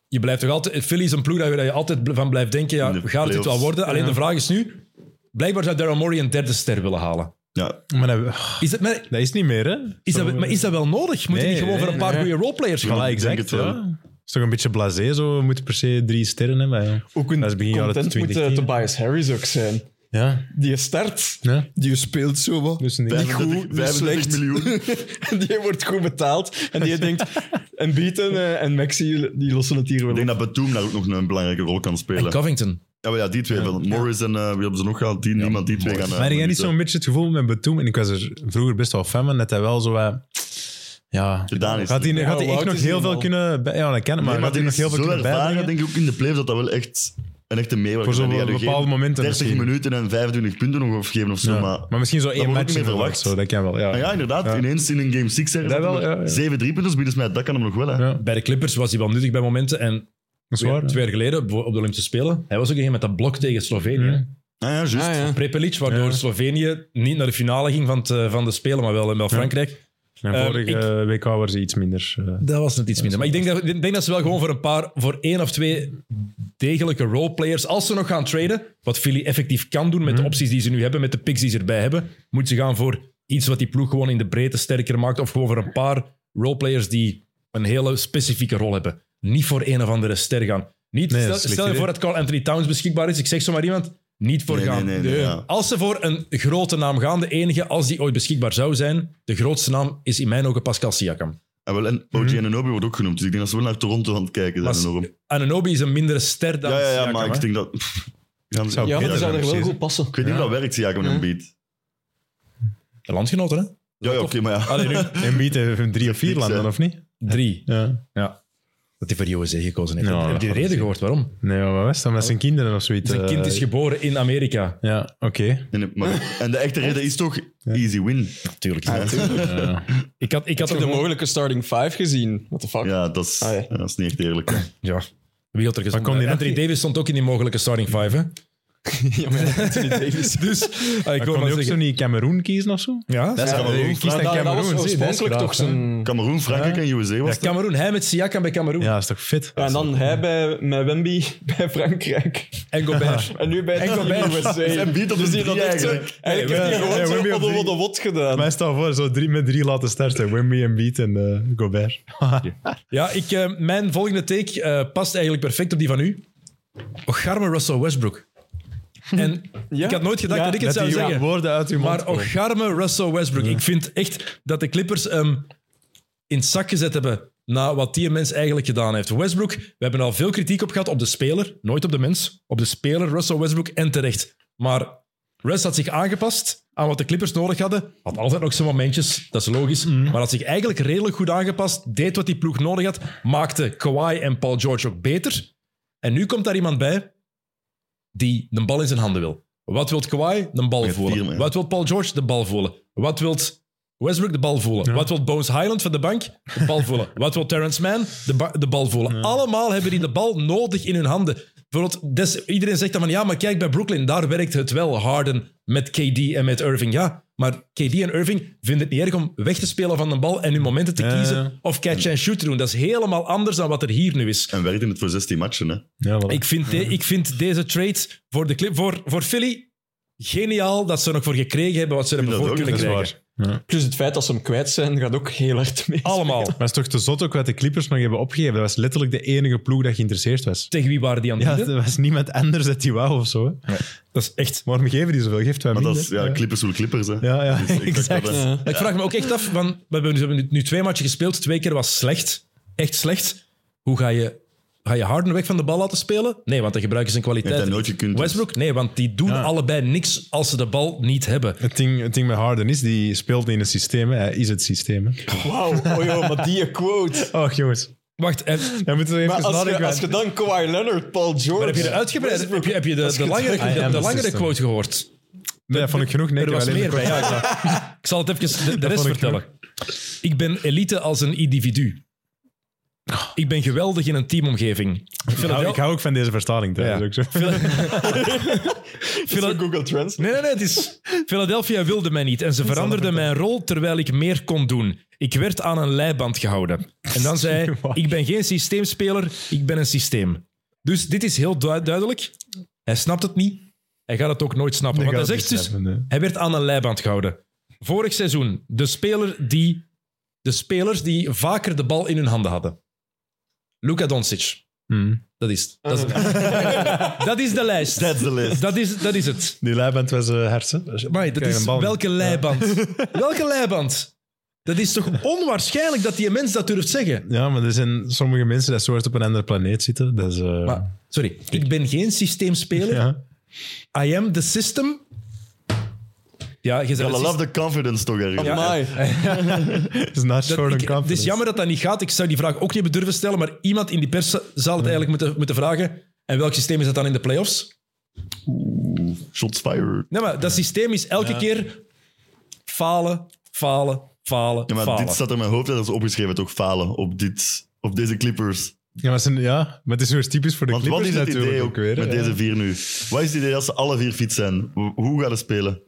A: je blijft toch altijd... Philly is een ploeg waar je, waar je altijd bl- van blijft denken,
C: In
A: ja,
C: de
A: gaat dit wel
C: playoffs.
A: worden? Alleen de vraag is nu... Blijkbaar zou Daryl Morey een derde ster willen halen.
C: ja.
B: Maar dat, ah.
A: Is het, maar
B: dat is niet meer, hè?
A: Is
B: Zo-
A: dat, maar is dat wel nodig? Moet je
B: Nee,
A: niet gewoon voor een
B: nee,
A: paar
D: nee.
A: goede roleplayers gaan?
C: Ja.
B: Voilà,
C: Ik denk
B: exact.
C: het wel.
B: Ja. is toch een beetje blasé, zo. We moeten per se drie sterren hebben. Ja.
D: Ook een
B: Dat is begin jaren
D: content moet eh,
B: 2010.
D: Tobias Harris ook zijn.
B: Ja.
D: Die start,
B: ja.
D: die speelt zo wat.
B: Dus niet.
D: Niet
C: 35,
D: goed, niet
C: 35
D: slecht.
C: miljoen.
D: die wordt goed betaald. En die denkt, en Beaton eh, en Maxi, die lossen het hier wel
C: Ik denk
D: op.
C: dat Batum daar ook nog een belangrijke rol kan
A: En
C: spelen.
A: Covington.
C: Ja, maar ja, die twee. wel. Morris en eh, wie hebben ze nog gehad? Die, niemand die twee gaan...
B: Maar
C: eh,
B: ik heb niet
C: minuten.
B: zo'n beetje het gevoel met Batum, en ik was er vroeger best wel fan van, dat hij wel zo wat... Ja.
C: Gedaan is.
B: Gaat hij,
C: Nee,
B: gaat hij
D: hoe
B: echt
D: oud
B: nog
D: is hij
B: heel veel
D: al?
B: kunnen... bij- Ja, dat ken ik, maar gaat
C: maar
B: hij
C: die
B: nog
C: is
B: heel veel
C: zo
B: kunnen
C: ervaren,
B: bijbrengen?
C: denk ik, ook in de playoffs, dat dat wel echt een echte meerwaarde
B: Voor
C: is.
B: zo'n
C: Die hadden geen
B: bepaalde momenten
C: 30
B: misschien.
C: minuten en 25 punten nog gegeven of zo,
B: Ja.
C: maar...
B: Maar, misschien zo één
C: wordt
B: match
C: ook niet meer
B: inderdaad,
C: verwacht.
B: Zo, dat kan wel, ja.
C: Ah ja, inderdaad. Ineens in een game 6 er
B: Dat wel, ja, ja.
C: zeven dus driepunters binnen, maar dat kan hem nog wel. Hè.
B: Ja.
A: Bij de Clippers was hij wel nuttig bij momenten. En
B: Dat is
A: twee,
B: waar. hè.
A: twee jaar geleden op de Olympische Spelen, hij was ook een met dat blok tegen Slovenië.
B: Ja.
C: Ah ja, juist.
D: Ah, ja.
A: Prepelic, waardoor
B: Mhm. Ja.
A: Slovenië niet naar de finale ging van, het, eh, van de Spelen, maar wel in wel Frankrijk.
B: En
C: Eh,
A: Ehm,
B: vorige WK was hij iets minder... eh,
A: Dat was net iets minder. Maar ik denk dat, ik denk dat ze wel gewoon voor een paar, voor één of twee degelijke roleplayers, als ze nog gaan traden, wat Philly effectief kan doen met de opties die ze nu hebben, met de picks die ze erbij hebben, moeten ze gaan voor iets wat die ploeg gewoon in de breedte sterker maakt, of gewoon voor een paar roleplayers die een hele specifieke rol hebben. Niet voor een of andere ster gaan. Niet,
B: Nee, dat
A: stel,
B: is slecht
A: stel je
B: idee.
A: voor dat Carl Anthony Towns beschikbaar is, ik zeg zomaar iemand, niet voor
C: Nee,
A: gaan.
C: nee, nee, nee, ja.
A: Als ze voor een grote naam gaan, de enige, als die ooit beschikbaar zou zijn, de grootste naam is in mijn ogen Pascal Siakam.
C: En, wel, en OG
B: Mhm.
C: Ananobi wordt ook genoemd, dus ik denk dat ze wel naar Toronto aan het kijken zijn.
A: Maar-
C: enorm.
A: Ananobi is een mindere ster dan
C: Ja, ja, ja,
A: Siakam,
C: maar
A: hè?
C: ik denk dat... Pff, ik ga hem-
B: Zou
C: ik
D: Ja,
B: beter zijn,
D: die zou er wel
B: precies.
D: goed passen.
C: weet niet of dat werkt, Siakam en Embiid.
A: De landgenoten, hè?
C: Ja, ja oké, maar ja.
A: Allee, nu
B: En biedt even drie of vier
C: niks,
B: landen,
C: hè.
B: of niet?
A: drie.
B: Ja.
A: Dat hij voor de USA E gekozen heeft.
B: Ja,
A: Heb je de
B: dat
A: reden gehoord waarom?
B: Nee, maar wat was dat? Omdat zijn kinderen of zoiets...
A: Zijn kind
B: eh,
A: is geboren in Amerika.
B: Ja, oké.
C: Nee, nee, maar- en de echte reden is toch easy win.
A: Tuurlijk.
B: Ja.
A: Ik had, ik had
D: Ik had
A: ook de
D: de
A: mogelijkheid.
D: mogelijke starting 5 gezien. What the fuck?
C: Ja, dat is,
D: Ah, ja.
C: ja, dat is niet echt eerlijk. hè.
A: Ja. Wie had er gezond?
B: Maar kon die nog
A: Anthony
B: niet?
A: Davis stond ook in die mogelijke starting five, hè?
D: Ja, maar ja, Anthony Davis.
A: Dus, ah, ik
B: Maar
A: wil
B: kon
A: maar
B: hij ook zo
A: zeggen...
B: niet Cameroen kiezen of zo?
A: Ja,
C: is
D: Ja,
C: Cameroen.
B: je kiest dan
D: dat, dat
B: Cameroen,
D: was
B: zie je, dat is
D: oorspronkelijk
B: graag,
D: toch zijn...
C: Cameroen, Frankrijk en USA was
A: ja, Cameroen. Hij met Siakam bij Cameroen.
B: Ja, dat is toch fit?
D: Ja, en dan hij bij, met Wemby bij Frankrijk.
A: En Gobert.
D: En nu bij
A: Enkel
D: Enkel
A: bij-
D: bij
C: Dus hij biedt op de
D: die dat
C: drie
D: echt zo-
C: eigenlijk.
D: Eigenlijk
B: Nee,
D: heeft hij
B: we-
D: gewoon
B: nee,
D: zo
B: Wemby op
D: Oddo
B: drie.
D: Oddo Wot gedaan.
B: Mij staat voor, zo drie met drie laten starten. Wimby, Embiid en eh, Gobert.
A: Ja, ik, eh, mijn volgende take eh, past eigenlijk perfect op die van u. Ocharme Russell Westbrook. En
D: Ja?
A: ik had nooit gedacht
D: Ja,
A: dat ik het
B: Dat
A: zou
B: die
A: zeggen.
B: woorden uit uw mond
A: Maar
B: komen.
A: ocharme Russell Westbrook. Ik vind echt dat de Clippers hem in het zak gezet hebben na wat die mens eigenlijk gedaan heeft. Westbrook, we hebben al veel kritiek op gehad op de speler, nooit op de mens. Op de speler Russell Westbrook en terecht. Maar Russ had zich aangepast aan wat de Clippers nodig hadden. Had altijd nog zijn momentjes, dat is logisch.
C: Mhm.
A: Maar had zich eigenlijk redelijk goed aangepast, deed wat die ploeg nodig had, maakte Kawhi en Paul George ook beter. En nu komt daar iemand bij die de bal in zijn handen wil. Wat wil Kawhi? De bal
C: Met
A: voelen.
C: vier, man.
A: Wat wil Paul George? De bal voelen. Wat wil Westbrook? De bal voelen. Wat wil Bones Highland van de bank? De bal voelen. Wat wil Terrence Mann? De, ba- de bal voelen. Allemaal hebben die de bal nodig in hun handen. bijvoorbeeld, des- iedereen zegt dan van ja, maar kijk bij Brooklyn, daar werkt het wel. Harden met KD en met Irving. Ja, maar KD en Irving vinden het niet erg om weg te spelen van de bal en hun momenten te
B: Ja,
A: kiezen
B: ja.
A: of catch and shoot te doen. Dat is helemaal anders dan wat er hier nu is.
C: En werkte het voor 16 matchen, hè.
B: Ja, voilà.
A: Ik vind, de- ik vind deze trade voor, de clip, voor, voor Philly geniaal dat ze er nog voor gekregen hebben wat ze
C: vind
A: ervoor
C: dat ook,
A: kunnen
B: dat is
A: krijgen.
B: waar. Ja.
D: Plus het feit dat ze hem kwijt zijn, gaat ook heel hard mee.
A: Allemaal.
B: Maar het is toch te zot ook wat de Clippers nog hebben opgegeven. Dat was letterlijk de enige ploeg dat geïnteresseerd was.
A: Tegen wie waren die aan het
B: Ja,
A: bieden?
B: er was niemand anders dat die wou of zo. hè.
A: Dat is echt...
B: Waarom geven die zoveel? Geeft wij
C: Maar
B: minder.
C: dat is, ja, clippers hoe clippers, hè.
B: ja, ja,
C: Dus ik dacht
B: exact.
C: dat, hè.
D: Ja.
A: Maar Ik vraag me ook echt af, want we hebben, nu- we hebben nu twee matchen gespeeld. Twee keer was slecht. Echt slecht. Hoe ga je, ga je Harden weg van de bal laten spelen? Nee, want dan gebruiken ze zijn
C: Heeft
A: kwaliteit.
C: hij nooit gekund, dus.
A: Westbrook? Nee, want die doen allebei niks als ze de bal niet hebben.
B: Het ding, het ding met Harden is, die speelt in een systeem. hè. Hij is het systeem. hè.
D: Wauw, oh joh, maar die quote.
B: Och, jongens.
A: Wacht, en, maar
B: Jij moet er even
D: Maar als je,
B: nadenken.
D: als je dan Kawhi Leonard, Paul George...
A: heb je de uitgebreide, heb je, heb je de, de
D: het-
A: langere,
B: I
A: de,
B: am
A: de
B: the
A: langere
B: system.
A: quote gehoord?
B: Nee, dat vond ik genoeg. Nee,
A: Er
B: ik heb
A: was
B: alleen
A: meer
B: de-
A: bij. Ja, ik, zal, ik zal het even de, de rest
B: vond ik
A: vertellen. Ik ben elite als een individu. Ik ben geweldig in een teamomgeving.
B: ik, hou, ik hou ook van deze vertaling. trouwens,
A: Ja.
B: ook zo.
D: Dat is een Google Trends.
A: Nee, nee, nee. Het is... Philadelphia wilde mij niet en ze veranderden mijn rol terwijl ik meer kon doen. Ik werd aan een leiband gehouden. En dan zei hij, ik ben geen systeemspeler, ik ben een systeem. Dus dit is heel dui- duidelijk. Hij snapt het niet. Hij gaat het ook nooit snappen.
B: Ik
A: Want
B: ga
A: hij
B: het
A: zegt dus,
B: beseffen, nee.
A: hij werd aan een leiband gehouden. Vorig seizoen, de, speler die, de spelers die vaker de bal in hun handen hadden. Luka Doncic.
B: Hmm.
A: Dat is, het. dat, is dat is de lijst.
C: That's the list.
A: Dat is, dat is het.
B: Die leiband was eh, hersen.
A: Amai, dat
B: Krijg
A: is,
B: een bal.
A: welke leiband? welke leiband? Dat is toch onwaarschijnlijk dat die een mens dat durft zeggen?
B: Ja, maar er zijn sommige mensen dat soort op een andere planeet zitten. Dat is, eh,
A: Maar, sorry, ik ben geen systeemspeler.
B: ja.
A: I am the system. Ja, je
C: I
A: zegt... eh,
C: love the confidence toch ergens.
D: Amai.
B: Het is not short on
A: ik, het
B: confidence.
A: is jammer dat dat niet gaat. Ik zou die vraag ook niet durven stellen, maar iemand in die pers zou het eigenlijk moeten, moeten vragen. En welk systeem is dat dan in de playoffs?
C: Shots fired.
A: Nee, maar dat systeem is elke keer falen, falen, falen,
C: Ja, maar
A: falen.
C: dit staat er in mijn hoofd dat is opgeschreven, toch falen op, dit, op deze clippers.
B: Ja, maar, het zijn- ja, maar het is weer typisch voor de
C: Want wat
B: Clippers
C: is het
B: natuurlijk
C: idee ook
B: ook weer.
C: met
B: hè.
C: deze vier nu? Wat is het idee als ze alle vier fit zijn? Hoe- Hoe gaan ze spelen?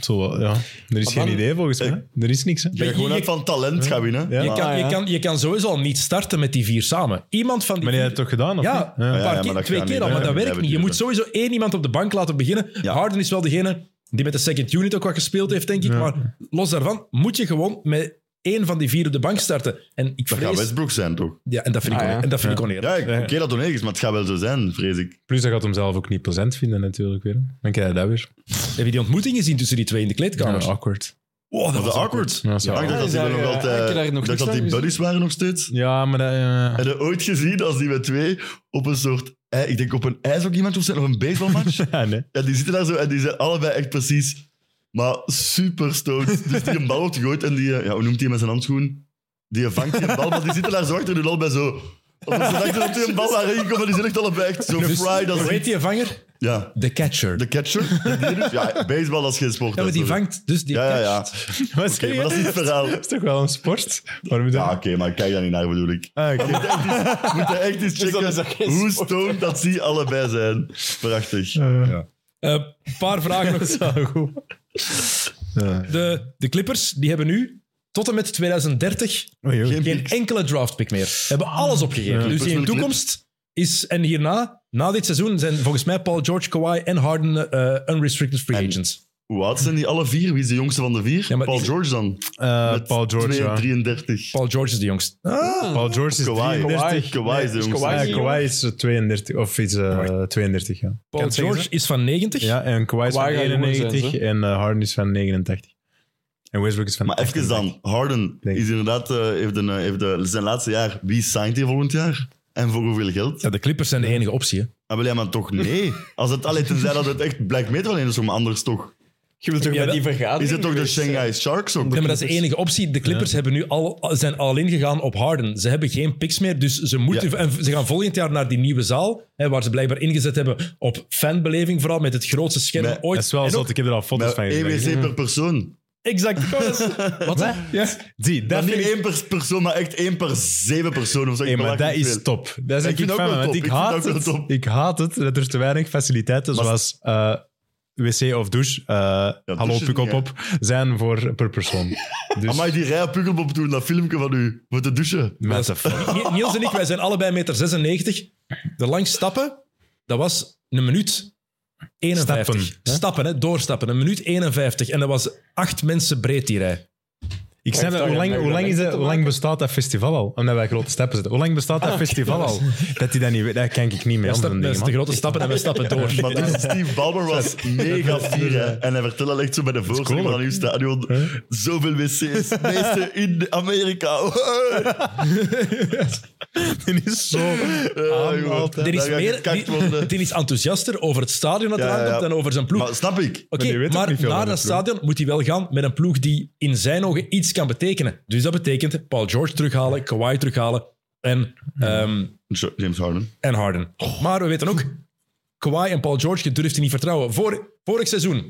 B: Zo, ja. Er is
D: dan-
B: geen idee volgens mij. Er is niks. Hè?
C: Je gaat gewoon
A: je-
C: uit van talent gaan winnen.
B: Ja.
A: Je,
C: Maar-
A: kan,
D: Ah,
A: je,
D: ja.
A: kan, je kan sowieso al niet starten met die vier samen. Iemand van die
B: Maar jij
A: vier-
B: hebt het toch gedaan? Of
A: Ja,
B: niet?
A: een
C: ja,
A: paar
C: maar
A: keer,
C: dat
A: twee
C: gaat
A: keer
C: niet
A: al, maar dat
C: blijven
A: werkt niet. Je
C: duren.
A: moet sowieso één iemand op de bank laten beginnen.
C: Ja.
A: Harden is wel degene die met de second unit ook wat gespeeld heeft, denk ik. Maar los daarvan moet je gewoon met één van die vier op de bank starten. En ik
C: Dat gaat
A: vrees...
C: Westbrook zijn, toch?
A: Ja, en dat vind ik,
D: Ah,
A: on-
D: ja.
A: En dat vind ik oneerlijk.
C: Ja, ik- oké dat het oneerlijk is, maar het gaat wel zo zijn, vrees ik.
B: Plus, dat gaat hem zelf ook niet plezant vinden natuurlijk weer. Dan krijg je dat weer.
A: Heb je die ontmoeting gezien tussen die twee in de
B: Ja,
A: kleedkamer?
B: awkward.
A: Wow, dat
C: Was dat
A: was
C: awkward?
B: Ja, dat is
C: Ja, ik
B: awkward.
C: dacht dat die
D: Ja,
C: wel
D: ja,
C: nog
D: ja. Ik
C: altijd...
D: heb daar nog
C: Ik dacht
D: niks
C: dat die
D: van
C: buddies waren nog steeds.
B: Ja, maar dat... eh,
C: Heb je ooit gezien als die met twee op een soort... eh, Ik denk op een ijs ook iemand of zijn, of een baseballmatch.
B: ja, nee.
C: En die zitten daar zo en die zijn allebei echt precies, maar super stoned. Dus die een bal wordt gegooid en die, eh, ja, hoe noemt hij met zijn handschoen? Die vangt die bal, maar die zitten daar zo achter hun al bij zo. Omdat ze dachten dat die een bal daarin komt, maar die zijn echt allebei echt zo fried als...
A: Dus, Hoe heet die vanger?
C: Ja,
A: De catcher.
C: de catcher. die doet- Ja, baseball als geen sport.
A: Ja, maar
C: hè,
A: die
C: sorry.
A: vangt dus die
C: Ja, ja,
A: catcht.
C: ja.
B: Maar
C: Oké, maar dat is niet het
B: serieus?
C: verhaal.
B: Dat is toch wel een sport? Waarom
C: Ja,
B: ja.
C: oké, maar kijk daar niet naar, bedoel ik.
B: Ah, oké.
C: Moet je echt eens, moet je echt eens
D: dan
A: dus
D: is dat
C: checken
D: geen
C: hoe stoned dat die allebei zijn. Prachtig.
A: Eh, Een paar vragen nog.
B: Ja.
A: De, de Clippers die hebben nu tot en met 2030
B: Oei, oei.
C: Geen
A: geen
C: picks.
A: enkele draftpick meer. Ze hebben alles opgegeven.
B: Ja.
A: Dus in
C: Clippers
A: de
C: willen
A: toekomst is, en hierna, na dit seizoen, zijn volgens mij Paul George, Kawhi en Harden eh, unrestricted free
C: En-
A: agents.
C: Hoe oud zijn die alle vier? Wie is de jongste van de vier?
A: Ja, maar
C: Paul
A: is-
C: George dan?
B: Eh,
C: Met
B: Paul George,
C: twee-
B: ja.
C: 33.
A: Paul George is de Ah, jongst.
B: Paul George is
C: Kawhi.
B: 33.
C: Kawhi is de jongste.
D: Kawhi
B: Ja,
D: is-
B: Kawhi is eh, 32. Of is eh, 32, ja. Kan
A: Paul
B: het zeggen,
A: George is van 90.
B: Ja, en Kawhi is van
D: Kawhi gaat jonger zijn,
B: 91 en eh, Harden is van 89. En Westbrook is van
C: Maar even
B: 88.
C: dan, Harden
B: Denk
C: is inderdaad, eh, heeft, een, eh, heeft eh, zijn laatste jaar. Wie signed hij volgend jaar? En voor hoeveel geld?
A: Ja, de Clippers zijn de enige optie. hè.
C: Ah, wel ja, maar toch nee. Als het alleen tenzij dat het echt Black Metal is, maar anders toch.
D: Je wilt toch
A: Ja,
D: bij
A: dat-
D: die vergadering dus.
C: Is het toch de
D: geweest zijn?
C: Shanghai Sharks ook?
A: Nee, maar dat is de enige optie. De Clippers hebben nu al, zijn al ingegaan op Harden. Ze hebben geen picks meer, dus ze, moeten,
C: Ja.
A: en ze gaan volgend jaar naar die nieuwe zaal, hè, waar ze blijkbaar ingezet hebben op fanbeleving, vooral met het grootste scherm
C: Maar
A: ooit.
B: Dat is wel
A: En
B: zo,
A: ook-
B: ik heb er al foto's
C: Met
B: van gezien.
C: EWC E per persoon.
A: Exact. Kom eens.
D: Wat? hè?
B: Ja. Die, dat
C: Dat niet
B: vind ik...
C: één per persoon, maar echt één per zeven personen. Of zo.
B: Hey,
C: Ik
B: maar
C: wil
B: dat
C: echt niet
B: is
C: veel.
B: top. Dat is
C: Ik
B: ik,
C: vind
B: ik
C: dat
B: fan
C: ook
B: van,
C: wel
B: want
C: top.
B: ik
C: Ik vind
B: haat
C: dat ook wel
B: het.
C: top.
B: Ik haat het dat er te weinig faciliteiten
C: Maar-
B: zoals eh, wc of douche, eh, hallo
C: douche is niet,
B: pukkelpop, zijn voor per persoon. Dus,
C: Amai, die rij op Pukkelpop doen, dat filmpje van u, voor te douchen.
B: what the fuck.
A: Ni- Niels en ik, wij zijn allebei meter 96. De lang stappen, dat was een minuut 51.
B: Stappen,
A: Stappen,
B: hè?
A: hè? doorstappen. Een minuut 51. En dat was acht mensen breed die rij.
B: Ik snap
D: heeft
B: dat. Hoe
D: daar
B: lang,
D: een
B: hoe, lang is
D: mee
B: dat-
D: te
B: hoe lang bestaat dat festival al? Omdat wij grote stappen zitten. Hoe lang bestaat dat festival al? Dat die dat niet weet, dat kan ik niet meer.
A: Ja,
B: andere
A: stappen, dat
B: dingen,
A: is
B: man.
A: de grote stappen en we stappen door.
C: Maar dus Steve Ballmer was mega fier. hè. En hij vertelde echt zo bij de voorstelling
B: cool,
C: van uw stadion. Zoveel wc's, de meeste in Amerika.
B: Die is zo aan altijd.
A: Er is,
C: Daar ga ik
A: meer,
C: gekakt
A: die,
C: worden.
A: die is enthousiaster over het stadion dat
C: Ja,
A: eraan
C: ja, ja.
A: komt dan over zijn ploeg.
C: Maar snap ik.
A: Oké,
B: Maar die weet ook
A: maar,
B: niet veel
A: naar
B: van
A: dat
B: de ploeg.
A: stadion moet hij wel gaan met een ploeg die in zijn ogen iets kan betekenen. Dus dat betekent Paul George terughalen, Kawhi terughalen en, ehm,
C: Jo- James Harden.
A: en Harden. Maar we weten ook, Kawhi en Paul George, je durft die niet vertrouwen. Vor, vorig seizoen, we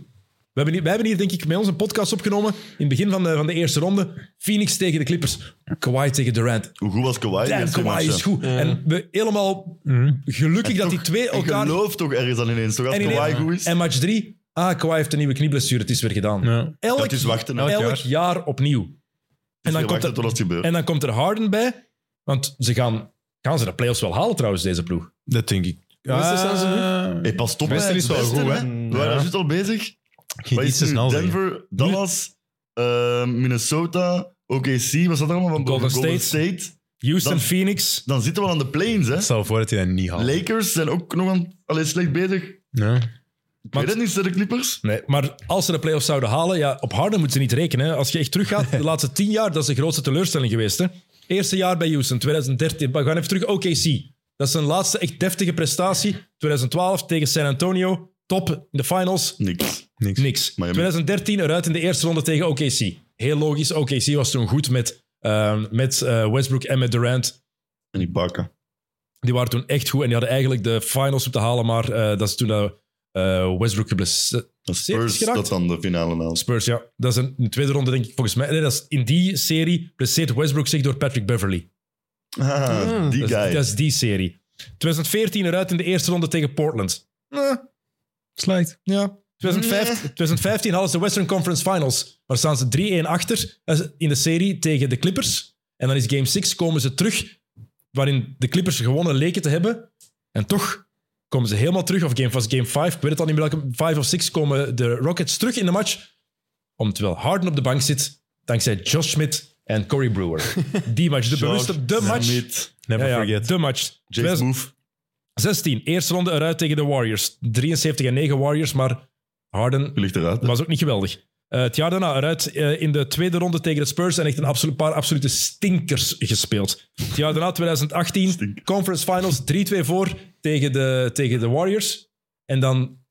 A: hebben, hier, wij hebben hier denk ik met ons een podcast opgenomen in het begin van de, van de eerste ronde. Phoenix tegen de Clippers, Kawhi tegen Durant.
C: Hoe goed was Kawhi?
A: Damn, Kawhi is goed. En we helemaal
B: Mhm.
A: gelukkig dat die twee
C: Ik
A: elkaar...
C: geloof toch ergens aan ineens. Toch als
A: En, in-
C: Kawhi goed is,
A: en match 3, ah, Kawhi heeft een nieuwe knieblessure, het is weer gedaan.
B: Ja.
A: Elk,
C: dat is wachten. hè.
B: elk
A: elk
B: jaar.
A: jaar. opnieuw. En
C: Je
A: dan, komt
C: wacht tot
A: er,
C: het gebeurt.
A: en dan komt er Harden bij, want ze gaan, gaan ze de playoffs wel halen trouwens, deze ploeg.
B: Dat denk ik.
D: Westen staan ze nu?
B: Ah,
C: Hey, pas op,
B: Westen
C: hè.
B: is wel
C: Westen,
B: goed, hè.
C: We waren
B: Ja.
C: daar juist al bezig.
B: Ging iets
C: Wat is
B: te
C: nu?
B: snel zeggen.
C: Denver, Dallas, eh, Minnesota, OKC, wat staat er allemaal van boven?
A: Golden State. Houston,
C: Dan-
A: Phoenix.
C: Dan zitten we aan de plains, hè.
B: Stel voor dat hij dat niet haalt.
C: Lakers zijn ook nog aan, alleen slecht bezig. Ik
B: Ja.
C: weet het niet, zijn de Clippers?
A: Nee, maar als ze de playoffs zouden halen, ja, op Harden moeten ze niet rekenen. hè. Als je echt teruggaat, de laatste tien jaar, dat is de grootste teleurstelling geweest. Hè. Eerste jaar bij Houston, 2013. Maar we gaan even terug, OKC. Dat is zijn laatste echt deftige prestatie. 2012 tegen San Antonio, top in de finals.
C: Niks.
B: Niks.
A: Niks.
C: Miami.
A: 2013 eruit in de eerste ronde tegen OKC. Heel logisch. OKC was toen goed met, ehm, met eh, Westbrook en met Durant.
C: En die Barca.
A: Die waren toen echt goed en die hadden eigenlijk de finals op te halen. Maar eh, dat is toen dat, eh, Westbrook geblesseerd
C: Dat
A: is
C: Spurs,
A: geraakt.
C: dat dan de finale haalt.
A: Spurs, ja. Dat is een, in de tweede ronde, denk ik, volgens mij. Nee, dat is in die serie blesseert Westbrook zich door Patrick Beverly.
C: Ah, die
A: Dat is,
C: guy.
A: dat is die serie. 2014 eruit in de eerste ronde tegen Portland.
B: Slijt.
A: Ja. 2015, 2015 hadden ze de Western Conference Finals. Maar staan ze 3-1 achter eh, in de serie tegen de Clippers. En dan is Game 6 komen ze terug, waarin de Clippers gewonnen leken te hebben. En toch komen ze helemaal terug. Of game, was Game 5, ik weet het al niet meer welke. 5 of 6 komen de Rockets terug in de match. Om terwijl Harden op de bank zit, dankzij Josh Smith en Corey Brewer. Die match, de bewuste, de match.
C: Smith,
B: Never
A: Ja, ja,
B: forget.
A: de match.
C: James Move.
A: 16, eerste ronde eruit tegen de Warriors. 73 en 9 Warriors, maar Harden
C: Wie ligt eruit?
A: was ook niet geweldig. Eh, het jaar daarna eruit eh, in de tweede ronde tegen de Spurs en echt een absolu- paar absolute stinkers gespeeld. Het jaar daarna, 2018,
C: Stink.
A: Conference Finals, 3-2 voor tegen de, tegen de Warriors. En dan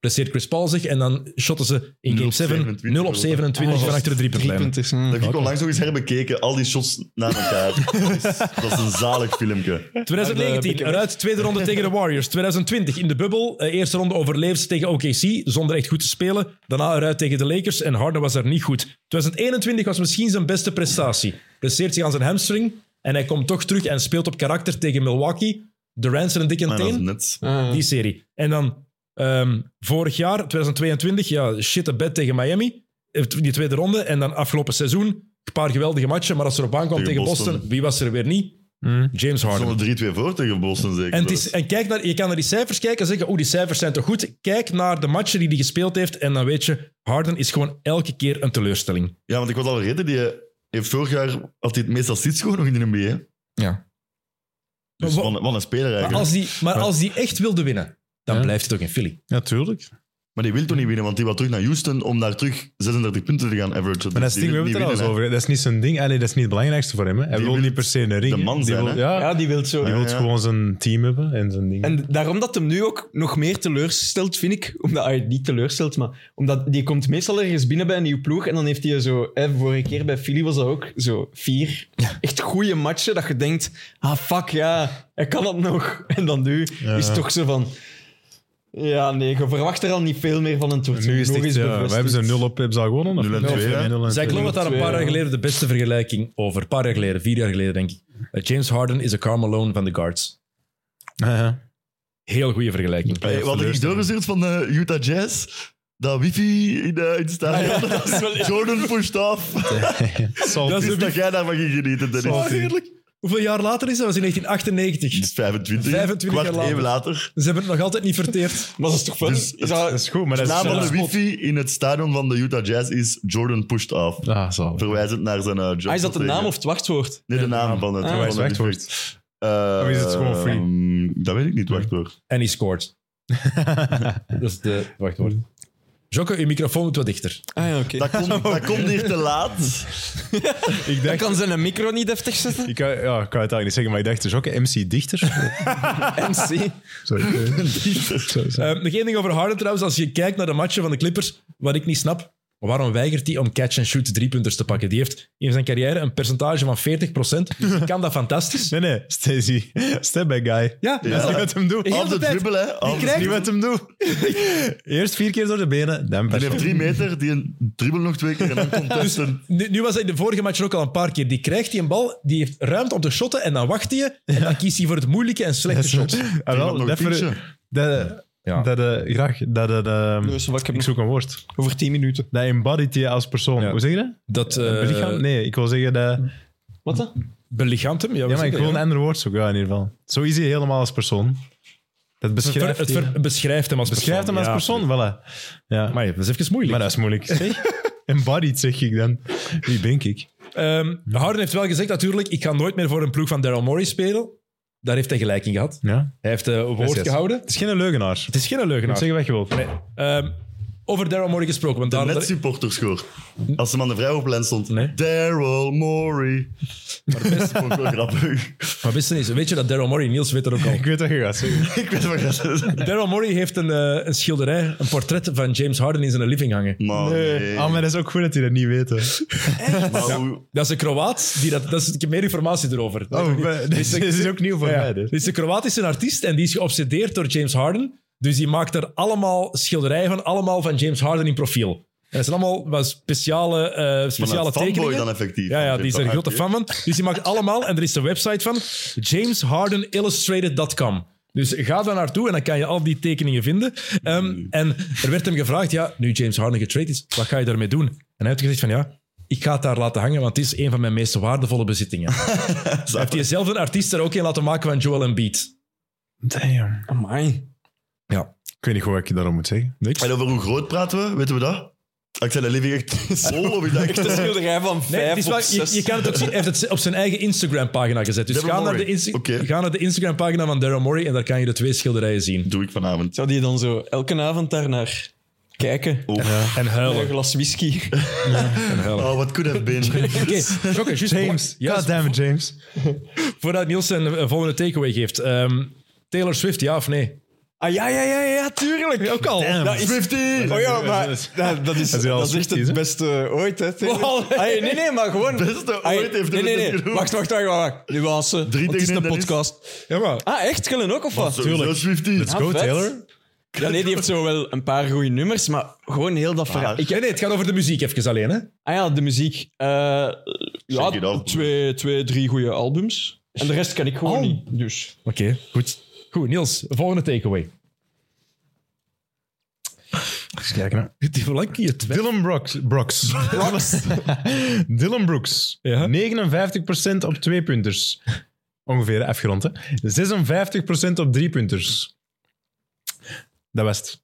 A: blesseert Chris Paul zich en dan shotten ze in
C: 0
A: Game
C: op
A: 7
C: 27
A: 0 op 27 van achter de driepuntlijn.
D: punten.
C: Dat heb ik al langs nog eens herbekeken. Al die shots na elkaar. dat, is, dat is een zalig filmpje.
A: 2019, eruit tweede ronde tegen de Warriors. 2020 in de bubbel. Eh, eerste ronde overleefd tegen OKC, zonder echt goed te spelen. Daarna eruit tegen de Lakers en Harden was er niet goed. 2021 was misschien zijn beste prestatie. Blesseert zich aan zijn hamstring en hij komt toch terug en speelt op karakter tegen Milwaukee. Durant en Ah, een dikke
C: Maar dat is
A: teen.
C: net.
A: Die serie. En dan ehm, vorig jaar, 2022, ja, shit de bed tegen Miami. Eh, Die tweede ronde. En dan afgelopen seizoen, een paar geweldige matchen. Maar als er op aankwam tegen,
C: Tegen
A: Boston,
C: Boston.
A: wie was er weer niet? James Harden.
C: Zonder 3-2 voor tegen Boston zeker.
A: En, het is, en kijk naar, je kan naar die cijfers kijken en zeggen, oeh, die cijfers zijn toch goed. Kijk naar de matchen die hij gespeeld heeft en dan weet je, Harden is gewoon elke keer een teleurstelling.
C: Ja, want ik was al reden, die heeft vorig jaar had hij het meest assists gewoon nog in de NBA.
A: Ja.
C: Dus
A: Maar wa-
C: wat, een- wat een speler eigenlijk.
A: Maar
C: Maar,
A: als die, maar
B: Ja.
A: als die echt wilde winnen, dan
B: Ja.
A: blijft het ook in Philly.
B: Natuurlijk.
C: die wil toch niet winnen, want die wil terug naar Houston om daar terug 36 punten te gaan
B: Maar
C: averagen.
B: dat
C: Dus
B: is
C: die
B: het ding, we
C: wil
B: hebben het er al
C: niet
B: eens
C: winnen,
B: over. hè. Dat is niet zijn ding. Allee, dat is niet het belangrijkste voor hem. Hè. Hij
C: Die
B: wil
C: wil
B: niet per se een ring.
C: de man
B: Die
C: zijn,
B: wil-
C: hè.
B: ja,
D: Ja, die wil zo.
B: die wil
C: ja.
B: gewoon zijn team hebben en zijn ding.
D: En daarom dat hem nu ook nog meer teleurstelt, vind ik. Omdat hij niet teleurstelt, maar omdat die komt meestal ergens binnen bij een nieuw ploeg. En dan heeft hij zo. Hè, vorige keer bij Philly was dat ook zo vier echt goede matchen. Dat je denkt: ah fuck ja, hij kan dat nog. En dan nu is het toch zo van. Ja, nee, je verwacht er al niet veel meer van een toernooi.
B: Nu is het
D: Nog
B: echt,
D: eens
B: ja, we
D: bevestigd.
B: hebben ze 0 op, hebben ze al gewonnen? of
C: Nul en
B: niet?
C: twee, hè?
B: Nee, nul en
A: Zij
B: twee.
A: klopt dat daar een
D: twee,
A: paar jaar
D: ja.
A: geleden de beste vergelijking over. Een paar jaar geleden, vier jaar geleden denk ik. Eh, James Harden is een Carmelo van de Guards.
B: Ja, ja.
A: Heel goede vergelijking.
C: Hey, wat ik doorgestuurd van de Utah Jazz, dat wifi in, eh, in het stadion, dat is wel- Jordan pushed off.
B: Salt.
C: Dat is dat jij daarvan ging genieten, Dennis.
A: Oh, heerlijk. Hoeveel jaar later is dat? Dat was in
C: Het
A: 1998.
C: is 25,
A: 25
C: kwart
A: jaar later.
C: even later.
A: Ze hebben het nog altijd niet verteerd.
D: Maar dat is toch wel...
C: Dus
D: is dat-
B: Dat is goed, maar dat
C: De
B: is...
C: naam van de
B: dat is-
C: wifi in het stadion van de Utah Jazz is Jordan pushed off.
B: Ah, zal.
C: Verwijzend naar zijn eh, job.
D: ah, is dat de naam of het wachtwoord?
C: Nee, de naam van het
D: Ah.
C: van
B: Waar
C: de
B: is
C: wifi.
B: het wachtwoord?
C: Eh,
B: Of is het gewoon free?
C: ehm, dat weet ik niet, wachtwoord.
A: En hij scoort. dat is de... Wacht hoor. Jocke, je microfoon moet wat dichter.
D: Ah ja, oké.
C: Dat,
B: Oh.
C: komt- dat komt hier te laat.
B: Ik
D: Dan
B: dacht...
D: kan zijn micro niet deftig zetten.
B: Ik, kan- ja, ik kan het eigenlijk niet zeggen, maar ik dacht, dus ook een MC Dichter.
D: MC.
B: Sorry. Sorry, sorry.
A: Eh, nog één ding over Harden trouwens. Als je kijkt naar de matchen van de Clippers, wat ik niet snap, waarom weigert hij om catch-and-shoot driepunters te pakken? Die heeft in zijn carrière een percentage van 40%. Dus die kan dat fantastisch.
B: Nee, nee, Stacey. Step back guy.
A: Ja,
B: Dat is niet wat hem doet.
A: Heel
C: Af
A: de
C: de
A: tijd.
C: dribbel, hè. Af de
B: Dat is niet wat hem doet. Eerst vier keer door de benen, dan
C: Die heeft
B: pas.
C: drie meter, die een dribbel nog twee keer en dan
A: Dus-
C: contesten.
A: Nu, nu was hij in de vorige match ook al een paar keer. Die krijgt die een bal, die heeft ruimte om te shotten en dan wacht hij. En dan kiest hij voor het moeilijke en slechte shot.
B: Ah,
C: Iemand nog
B: wel,
C: een
B: dat
C: pintje?
B: ver- dat...
A: Ja.
B: Dat, eh, graag, dat, eh, de-
D: Dus wat ik heb
B: ik zoek een woord.
D: over 10 minuten.
B: Dat embodied je als persoon.
A: Ja.
B: Hoe zeg je dat?
A: Dat eh
B: Belichaam? Nee, ik wil zeggen dat...
D: Wat dan?
A: belichaamt hem. Ja, we
B: Ja, maar ik
A: zeggen,
B: wil een
A: ja.
B: ander woord zoeken, ja, in ieder geval. Zo is hij helemaal als persoon. Dat
A: Het ver-
B: beschrijft,
A: het
B: hij.
A: ver- beschrijft hem als persoon.
B: beschrijft hem als
A: Ja.
B: persoon, voilà. Ja. Maar,
A: Maar ja, dat is even moeilijk.
B: dat is moeilijk. Embodied, zeg ik dan. Wie ben ik?
A: Ehm, Harden heeft wel gezegd natuurlijk, ik ga nooit meer voor een ploeg van Daryl Morey spelen. Daar heeft hij gelijk in gehad.
B: Ja.
A: Hij heeft eh woord
B: Yes, yes.
A: gehouden.
B: Het is geen leugenaar.
A: Het is geen leugenaar.
B: Zeg wat je wilt.
A: Ehm, over Daryl Morey gesproken. Want daar,
C: Net supporters scoor. Als hem aan de vrijhoofdplein stond.
A: Nee.
C: Daryl Morey. Maar de beste vond ik wel grappig.
A: maar wist je niet, weet je dat Daryl Morey, Niels weet dat ook al.
B: Ik weet wat je gaat zeggen.
C: ik weet wat dat is.
A: Daryl Morey heeft een, eh, een schilderij, een portret van James Harden in zijn living hangen.
C: Maar nee.
B: Ah, maar dat is ook goed dat hij dat niet weet. hè.
C: Maar hoe-
A: Dat is een Kroaat. Die dat, dat is, ik heb meer informatie erover.
B: Oh, maar- dit is, dit is ook nieuw voor
A: Ja.
B: mij.
A: Dit
B: Dit.
A: is een Kroatische artiest en die is geobsedeerd door James Harden. Dus die maakt er allemaal schilderijen van, allemaal van James Harden in profiel. En dat zijn allemaal wat speciale, eh
C: maar
A: speciale
C: een fanboy
A: tekeningen.
C: dan effectief.
A: ja, ja, die is er een grote fan van. Dus die maakt allemaal, en er is een website van, jameshardenillustrated.com. Dus ga daar naartoe en dan kan je al die tekeningen vinden. Ehm,
C: Mm.
A: En er werd hem gevraagd, ja, nu James Harden getraind is, wat ga je daarmee doen? En hij heeft gezegd van, ja, ik ga het daar laten hangen, want het is een van mijn meest waardevolle bezittingen. Heeft hij zelf een artiest er ook een laten maken van Joel Embiid?
B: Damn.
D: Amai.
A: Ja.
B: Ik weet niet goed wat ik daarom moet zeggen. Niks.
C: En over hoe groot praten we? Weten we dat? Ik zei dat living echt vol of ik dacht...
D: Echt een schilderij van
A: Nee, het
D: 5
A: is wel,
D: op
A: je,
D: 6.
A: je kan het ook zien. Hij heeft het op zijn eigen Instagram-pagina gezet. Dus
C: Daryl
A: ga naar, de
C: Morey.
A: Insta-
C: Oké.
A: ga naar de Instagram-pagina van Daryl Morey en daar kan je de twee schilderijen zien.
C: Doe ik vanavond.
D: Zou die dan zo elke avond daarnaar kijken?
C: Oh,
A: En
D: Een
A: huilen.
D: glas whisky.
C: oh what could have been.
A: Oké, Jokke, juist
B: James.
A: Ja,
B: God damn it, James.
A: voordat Niels zijn eh, volgende takeaway geeft. Ehm, Taylor Swift, ja of nee?
D: Ah ja, ja, ja, ja, tuurlijk. Ook al.
B: Damn.
D: Dat is,
C: Swiftie!
D: oh ja, maar
B: Dat is-
D: dat, dat is,
B: dat is wel
D: dat is echt
B: Swifties,
D: het
B: hè?
D: beste eh, ooit, hè? Taylor.
A: Wow.
D: Ah, nee, nee, maar gewoon...
C: Beste
D: Ah,
C: ooit heeft
D: nee, nee,
C: het
D: nee.
C: genoemd.
D: Wacht, wacht, wacht, wacht. wacht. Nuance. want het is
C: tegen één,
D: een
C: dat is-
D: podcast.
A: Ja, maar.
D: Ah, echt? Gillen ook, of wat?
C: Sowieso Swiftie.
B: Let's go,
D: vet.
B: Taylor.
D: Ja, nee, die heeft zo wel een paar goede nummers, maar gewoon heel dat verhaal. Ik-
A: nee, nee, het gaat over de muziek even alleen. Hè?
D: ah ja, de muziek. Eh,
C: it
D: ja,
C: off.
D: twee, twee, drie goede albums. En de rest kan ik gewoon niet. Dus.
A: Oké, goed. Goed, Niels, volgende takeaway.
B: Eens kijken, hè.
A: Die verlangt je twee.
B: Dylan Brooks. Brooks. Dylan Brooks.
A: Ja.
B: 59% op tweepunters. Ongeveer, afgerond, hè. 56% op driepunters. Dat was het.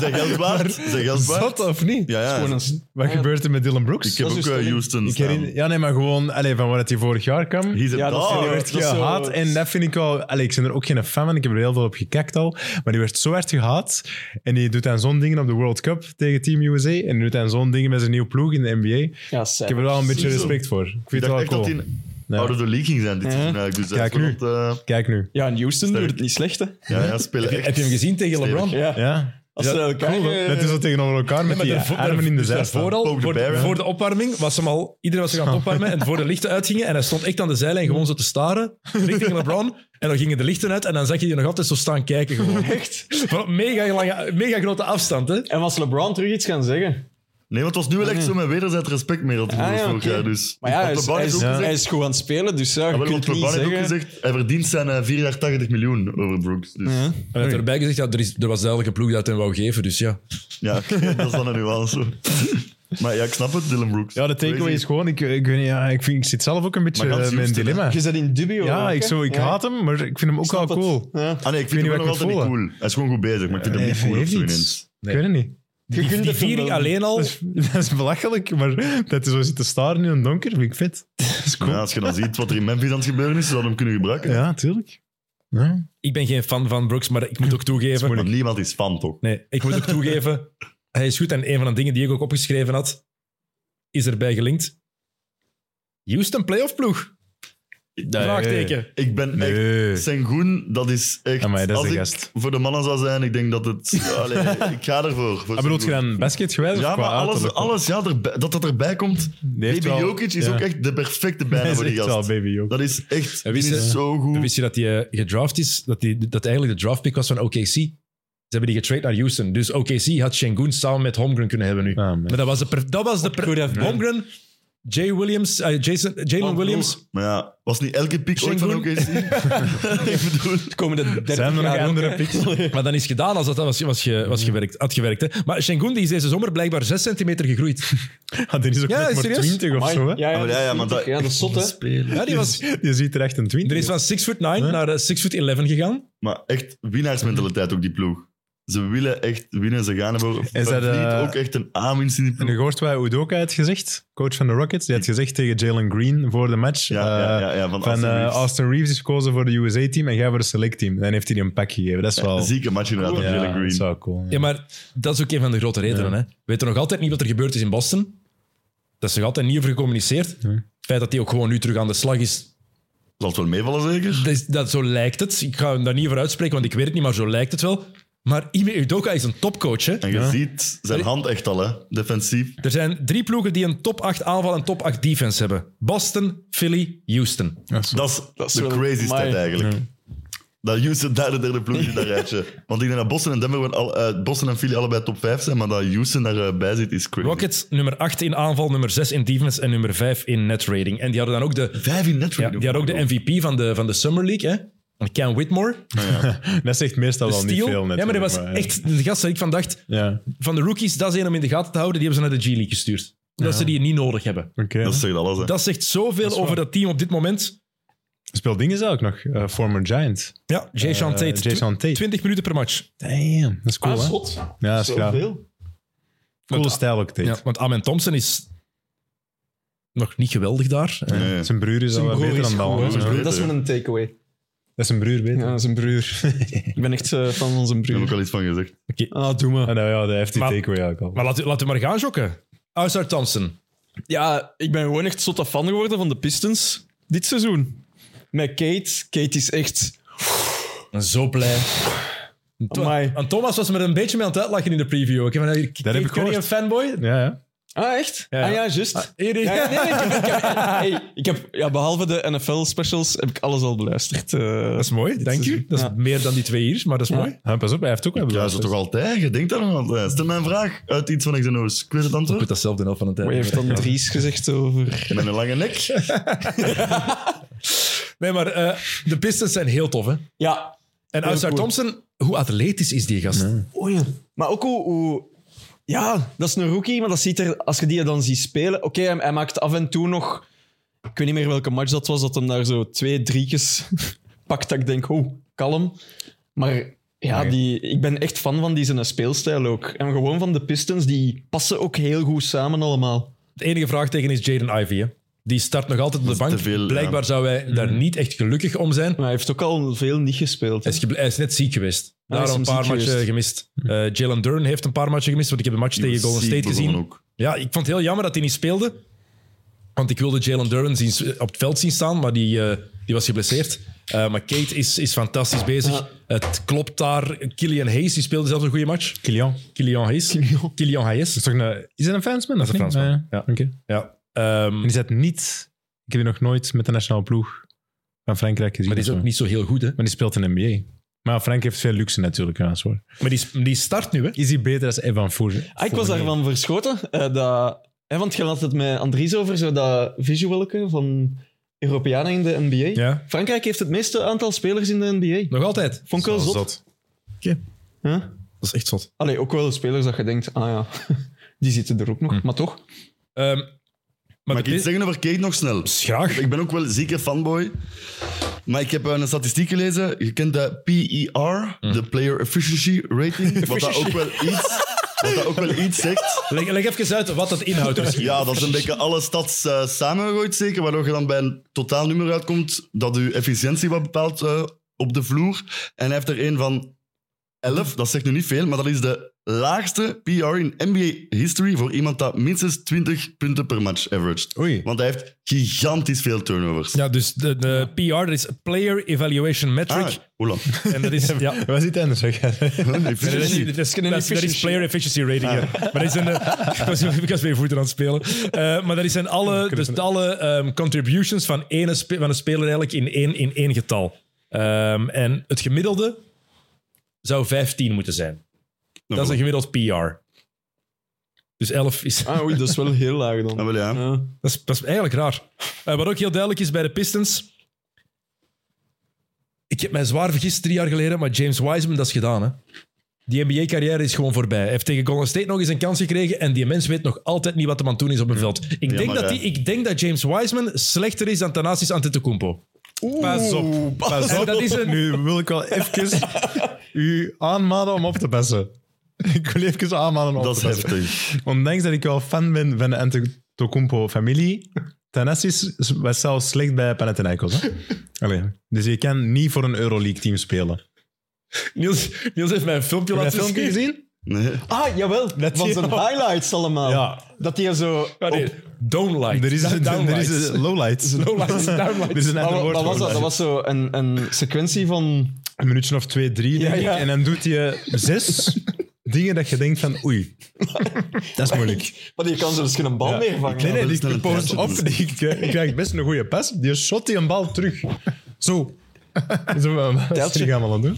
C: Zijn geld waard? Zijn geld waard?
A: of niet?
C: Ja, ja.
D: Gewoon een-
B: Wat
D: Ah, ja.
B: gebeurt er met Dylan
C: Ik
B: Brooks?
C: heb ook
D: Dat is uw
C: eh,
D: stelling.
C: Houston
B: Ik herinner- ja, nee, maar gewoon allee, van waar dat hij vorig jaar kwam.
C: He's a
D: Ja, dat is-
C: dog.
B: Die werd
D: dat is zo-
B: gehaat en dat vind ik wel... Allee, ik ben er ook geen fan van, ik heb er heel veel op gekeken al. Maar die werd zo hard gehaat en die doet dan zo'n dingen op de World Cup tegen Team USA en die doet dan zo'n dingen met zijn nieuwe ploeg in de NBA.
D: Ja,
B: Ik
D: saai.
B: heb er wel een beetje
C: Ziezo.
B: respect voor. Ik
C: Ik
B: vind het
C: dacht
B: wel
C: echt
B: cool.
C: dat die
B: Ja.
C: out of the league ging zijn dit
D: Ja.
C: seizoen eigenlijk. Dus
B: Kijk
C: dat is
B: nu.
C: wel wat, eh,
B: Kijk nu.
D: Ja, in Houston
C: Sterk.
D: doet het niet slecht, hè?
C: ja, ja, spelen echt.
A: Heb je hem gezien tegen LeBron?
D: Ja.
B: Ja.
D: Als ze elkaar...
A: cool,
D: eh,
B: Net is dat tegenover elkaar met die armen in de zij
A: Daarvoor
B: staan.
A: al,
C: Poke the
A: voor, de-
C: bear, hè?
A: voor de opwarming, was hem al, iedereen was zich aan het opwarmen en voor de lichten uitgingen. En hij stond echt aan de zijlijn gewoon zo te staren, richting LeBron. En dan gingen de lichten uit en dan zag je die nog altijd zo staan kijken gewoon.
D: Echt?
A: Van op mega, lange, mega grote afstand, hè.
D: En was LeBron terug iets gaan zeggen?
C: Nee, want het was nu wel echt zo met wederzijds respect meer dan
D: Ah, ja,
C: vorig
D: oké.
C: jaar. Dus.
D: Maar ja, hij
C: Want
D: is,
C: LeBron
D: hij,
C: heeft
D: is,
C: ook
D: hij
C: gezegd-
D: is goed aan het spelen, dus ja,
C: Ja,
D: je
C: wel, want
D: kunt niet
C: LeBron heeft ook
D: zeggen...
C: gezegd, hij verdient zijn eh, vier jaar 80 miljoen over Brooks. Dus, ja,
A: En hij had erbij gezegd, ja, er, is, er was duidelijk een ploeg dat hem wou geven, dus ja.
C: oké, dat is dan een nuance. maar ja, ik snap het, Dylan Brooks.
B: Ja, de takeaway
C: Crazy.
B: is gewoon... Ik, ik, weet niet, ja, ik, vind, ik zit zelf ook een beetje
C: Maar
B: eh,
C: gans
B: met een
C: Houston, hè?
B: dilemma.
D: Je zit in dubio.
B: Ja,
D: hè?
B: ik, zo, ik
D: Ja.
B: haat hem, maar ik vind hem ook wel
D: Snap het.
B: cool.
D: Ja.
C: Ah nee, ik
B: Ik
C: vind hem
B: weet
C: nog
B: niet
C: altijd
B: wat ik
C: niet
B: het
C: cool. Hij is gewoon goed bezig, maar ik vind hem
B: Nee,
C: niet cool op
B: heeft
C: zo
B: iets.
C: ineens.
A: Nee.
B: Ik weet het niet.
D: Je
A: Die,
D: kunt
A: die
D: het
A: viering
D: wel. Dus-
A: alleen al...
B: Dat is, dat is belachelijk, maar dat hij zo zit te staren in het donker vind ik vet. Dat is cool. Eh,
C: Ja,
B: Ja,
C: als je dan ziet wat er in Memphis aan het gebeuren is, zou je hem kunnen gebruiken.
B: tuurlijk. Ja.
A: Ik ben geen fan van Brooks, maar ik moet ook toegeven...
C: Want niemand is fan, toch?
A: Nee, ik moet ook toegeven, hij is goed. En een van de dingen die ik ook opgeschreven had, is erbij gelinkt. Houston playoff ploeg? Vraagteken.
C: Ik ben echt...
B: Nee.
C: Sengun, dat is echt...
B: Amai, dat is
C: als
B: de
C: ik
B: gast.
C: voor de mannen zou zijn, ik denk dat het... Allee, ik ga ervoor. voor
B: Ah, bedoelt je
C: Sengun.
B: dan basketgewijs
C: Ja,
B: of qua
C: maar alles,
B: uiterlijk?
C: alles ja, erbij- dat dat erbij komt.
B: Die heeft
C: Baby
B: wel-
C: Jokic is
B: ja.
C: ook echt de perfecte bijna
B: Hij is
C: voor die
B: echt wel
C: gast.
B: baby Jokic.
C: Dat is echt...
A: Ja,
C: Die
A: wist je-
C: is zo goed.
A: Wist je dat die eh, gedraft is? Dat, die, dat eigenlijk de draftpick was van OKC? Ze hebben die getrade naar Houston. Dus OKC had Shengun samen met Holmgren kunnen hebben nu.
B: Ah, man.
A: maar dat was de... per- Dat was de per-
D: Goed afgemaakt.
A: Holmgren, Jay Williams, eh, Jason, Jalen
D: Wat
A: Williams...
C: Maar ja, was niet elke pick ooit van
A: Sengun?
C: OKC? ik bedoel...
D: De komende 30
B: Zijn er nog
D: jaar ook,
B: andere
D: hè?
B: picks?
A: Maar dan is het gedaan als dat was, was, ge- was gewerkt, had gewerkt. Hè. Maar Shengun die is deze zomer blijkbaar 6 centimeter gegroeid.
B: Ah, die is ook
A: Ja,
B: net maar
A: serieus?
B: 20 of
D: Amai.
B: zo. Hè?
D: Ja, ja,
C: Ah, maar ja, ja, maar
D: dat,
C: dat-
D: ja, dat is zot, hè.
A: Ja, die was,
B: Je ziet er echt een 20.
A: er is van 6 foot 9 naar eh, 6 foot 11 gegaan.
C: Maar echt winnaarsmentaliteit ook, die ploeg. Ze willen echt winnen, ze gaan ervoor. Is
B: dat, eh,
C: ook echt een aanwinst in die
B: En
C: ploeg?
B: nu hoort wij Udoka het gezegd, coach van de Rockets. Die had gezegd tegen Jalen Green voor de match.
C: Ja, ja,
B: eh,
C: ja, ja, van,
B: Van
C: Austin
B: eh,
C: Reeves.
B: Austin Reeves is gekozen voor de USA-team en jij voor de select-team. Dan heeft hij die een pak gegeven. Dat is wel...
C: Een zieke match inderdaad van
B: ja,
C: Jalen
B: dat is
C: Green.
B: wel cool.
A: Ja, maar dat is ook een van de grote redenen. Hè. We weten nog altijd niet wat er gebeurd is in Boston. Dat is nog altijd niet over gecommuniceerd. Het feit dat hij ook gewoon nu terug aan de slag is,
C: Zal het wel meevallen, zeker?
A: dat, is- dat- zo lijkt het. Ik ga hem daar niet over uitspreken, want ik weet het niet, maar zo lijkt het wel. Maar Ime Udoka is een topcoach. Hè.
C: En je ziet zijn hand echt al, hè? Defensief.
A: Er zijn drie ploegen die een top 8 aanval en top 8 defense hebben. Boston, Philly, Houston.
C: Dat is,
D: Dat is
C: de
D: wel-
C: crazy
D: Amai.
C: stat eigenlijk. Dat Houston daar de derde ploeg is in dat rijtje. Want ik denk dat Boston en Denver, wel al, eh, Boston en Philly allebei top 5 zijn, maar dat Houston daarbij zit is crazy.
A: Rockets, nummer 8 in aanval, nummer 6 in defense en nummer 5 in net rating. En die hadden dan ook de,
C: Vijf in net
A: ja, die hadden ook de MVP van de, van de Summer League, hè? Van Ken Whitmore.
B: Dat zegt meestal wel niet
A: Steal.
B: veel net.
A: ja, maar dat was echt de gast dat ik van dacht.
B: Ja,
A: Van de rookies, dat is één om in de gaten te houden. Die hebben ze naar de G-League gestuurd. Omdat ze die niet nodig hebben.
B: oké.
C: Dat zegt alles, hè.
A: Dat zegt zoveel
B: is waar.
A: over dat team op dit moment.
B: Speelt dingen zelf ook nog. eh, former Giant.
A: Ja, Jay Sean
B: Eh,
A: Tate.
B: Jay Sean Tate.
A: 20 minuten per match.
B: Damn, dat is cool,
D: Ah,
B: hè?
D: zot.
B: Ja, dat is graag.
D: Zoveel.
B: Coole stijl ook, Tate.
A: Ja, want Amen Thompson is nog niet geweldig daar. Eh,
C: Nee.
B: Zijn broer is
D: Zijn
B: al
D: broer
B: beter
D: is
B: dan
D: goed,
B: dat.
D: hè.
C: Zijn
B: Ja.
C: broer-
D: Dat is mijn takeaway.
B: Dat is zijn broer beter.
D: Ja, zijn broer. ik ben echt eh, fan van zijn
C: Daar heb ik
D: broer.
C: al iets van gezegd.
D: Ah, doe maar.
B: Ah, nou ja, dat heeft die
A: Maar-
B: takeaway eigenlijk al.
A: Maar laten we- laten we maar gaan jokken. Outside Thompson.
D: Ja, ik ben gewoon echt zotte fan geworden van de Pistons dit seizoen. Met Kate. Kate is echt...
A: Zo blij.
D: Amai.
A: En Thomas was me er een beetje mee aan het uitlachen in de preview. ook, hè, van, eh, Kate
B: heb ik
A: Cunningham fanboy.
B: Ja, ja.
D: Ah, echt?
A: Ja.
D: Ah ja, juist.
A: Hier, hier.
D: Ja, ja, nee, nee, ik heb, ik heb, hey, ik heb- ja, behalve de NFL-specials heb ik alles al beluisterd. eh.
A: Dat is mooi, dank
D: is-
A: u. Dat is
D: ja.
A: meer dan die twee hier, maar dat is
D: Ja.
A: mooi.
B: Ah, Pas op, hij heeft ook wel
C: Ja, is dat
A: dus.
C: toch altijd? Je denkt daar nog altijd. Stel mij een vraag uit iets van Xenos. Ik weet het
A: Ik moet
C: antwoord.
A: datzelfde helft van de tijd.
D: Maar je heeft dan Dries gezegd over...
C: Met een lange nek.
A: Nee, maar eh, de Pistons zijn heel tof, hè?
D: Ja.
A: En Outside
D: cool.
A: Thompson, hoe atletisch is die gast?
D: Oh ja. Maar ook hoe, hoe- Ja, dat is een rookie, maar dat ziet er... Als je die dan ziet spelen... Oké, hij, hij maakt af en toe nog... Ik weet niet meer welke match dat was, dat hem daar zo twee drietjes pakt. Dat ik denk, oh, kalm. Maar ja, die, ik ben echt fan van die zijn speelstijl ook. En gewoon van de Pistons, die passen ook heel goed samen allemaal.
A: Het enige vraagteken is Jaden Ivey, hè? Die start nog altijd op de
C: is
A: bank.
C: te veel, ja.
A: Blijkbaar zou wij daar
D: Mm.
A: niet echt gelukkig om zijn.
D: Maar hij heeft ook al veel niet gespeeld. hè.
A: Hij is, gebl- hij is net ziek geweest.
D: Hij
A: Daarom een
D: is
A: paar
D: ziek
A: matchen gemist. Eh, Jalen Duren heeft een paar matchen gemist, want ik heb de match tegen Golden
C: Ziek
A: State
C: begonnen
A: gezien.
C: Ook.
A: Ja, ik vond het heel jammer dat hij niet speelde. Want ik wilde Jalen Duran zien, op het veld zien staan, maar die, eh, die was geblesseerd. Eh, maar Kate is, is fantastisch bezig. Het klopt daar. Killian Hayes die speelde zelfs een goede match.
B: Kilian.
A: Killian Hayes. Killian, Hayes.
B: Is, toch een, is dat een Fransman?
A: Dat is een
B: of niet?
A: Fransman,
B: Ah,
A: ja.
B: Oké.
A: Ja. Ehm,
B: En die zat niet... Ik heb die nog nooit met de nationale ploeg van Frankrijk gezien.
A: maar die is
B: of
A: ook
B: zo.
A: niet zo heel goed, hè?
B: Maar die speelt in de NBA. Maar ja, Frank heeft veel luxe natuurlijk. Ja, dat is waar.
A: Maar die, die start nu, hè?
B: Is hij beter dan Evan Fournier?
D: Ah, ik was daarvan verschoten. eh, dat, hè, want je had het met Andries over, zo dat visualke van Europeanen in de NBA.
B: Ja.
D: Frankrijk heeft het meeste aantal spelers in de NBA.
A: Nog altijd.
D: Vond ik wel zot. Huh?
A: Dat is echt zot.
D: Allee, ook wel spelers dat je denkt, ah ja, die zitten er ook
B: Hm.
D: nog. Maar toch,
A: Ehm, maar
C: Mag ik
A: de
C: iets
A: pi-
C: zeggen over Kate nog snel?
A: Graag.
C: Ik ben ook wel zeker fanboy. Maar ik heb eh, een statistiek gelezen. Je kent de PER,
A: Hm.
C: de Player Efficiency Rating. Wat dat ook wel iets, wat dat ook wel iets zegt.
A: Leg, leg even uit wat dat inhoudt misschien.
C: Ja, dat is een beetje alle stads eh samengegooid zeker, waardoor je dan bij een totaal nummer uitkomt dat je efficiëntie wat bepaalt eh, op de vloer. En hij heeft er een van 11, dat zegt nu niet veel, maar dat is de laagste PR in NBA history voor iemand dat minstens 20 punten per match averaged.
B: Oei.
C: Want hij heeft gigantisch veel turnovers.
A: Ja, dus de, de PR, dat is Player Evaluation
C: Ah,
A: Metric.
C: oula.
A: En dat is... Ja.
B: Waar zit hij anders?
A: Dat is, dat is- dat is- dat is player efficiency rating. ja.
C: Ah.
A: Maar dat is een, eh, ik was ik was weer voeten aan het spelen. Eh, maar dat zijn alle, dus alle ehm, contributions van, ene spe- van een speler eigenlijk in één, in één getal. Ehm, en het gemiddelde zou 15 moeten
C: Nou,
A: zijn. Dat is een gemiddeld PR. Dus 11 is...
D: ah, oei, dat is wel heel laag dan.
C: Ah, wel ja.
D: Ja.
A: Dat is, dat is eigenlijk raar. Eh, wat ook heel duidelijk is bij de Pistons. Ik heb mij zwaar vergist drie jaar geleden, maar James Wiseman, dat is gedaan. Hè? Die NBA-carrière is gewoon voorbij. Hij heeft tegen Golden State nog eens een kans gekregen en die mens weet nog altijd niet wat hem aan het doen is op een veld. Ik, denk,
C: maar,
A: dat
C: eh.
A: die, ik denk dat James Wiseman slechter is dan Thanasis Antetokounmpo.
B: Pas op. Pas
A: En
B: op.
A: dat is een-
B: Nu wil ik wel even u aanmanen om op te passen. Ik wil even aanmanen om
C: Dat
B: op
C: is
B: te passen.
C: heftig.
B: Ondanks dat ik wel fan ben van de Antetokounmpo-familie, Thanassis was zelfs slecht bij Panathinaikos. Hè? Allee. Dus je kan niet voor een Euroleague-team spelen.
A: Niels, Niels heeft mij een filmpje
B: Heb je
A: laten
B: dat filmpje
A: zien.
B: gezien?
C: Nee.
D: Ah, jawel, van
B: die-
D: zijn highlights allemaal.
B: Ja.
D: Dat hij zo...
A: Ah, nee, Don't like.
B: Er is een, er
A: downlights.
B: is een lowlights.
A: Lowlights, downlights.
B: Er is een
D: Maar
B: ander
D: wat-
B: woord
D: wat was
B: voor
D: dat? Dat was zo een, een sequentie van...
B: een minuutje of twee, drie, denk
D: Ja, ja.
B: ik. En dan doet je zes dingen dat je denkt van oei, dat is moeilijk.
D: Maar die kan zelfs geen bal meer vangen.
B: Nee, nee,
C: dat is
B: die
C: een
B: post
C: test.
B: op,
D: dus.
B: die krijg- die krijgt best een goede pas. Die shot die een bal terug. Zo. Zo, wat is
D: Teltje.
B: die allemaal aan het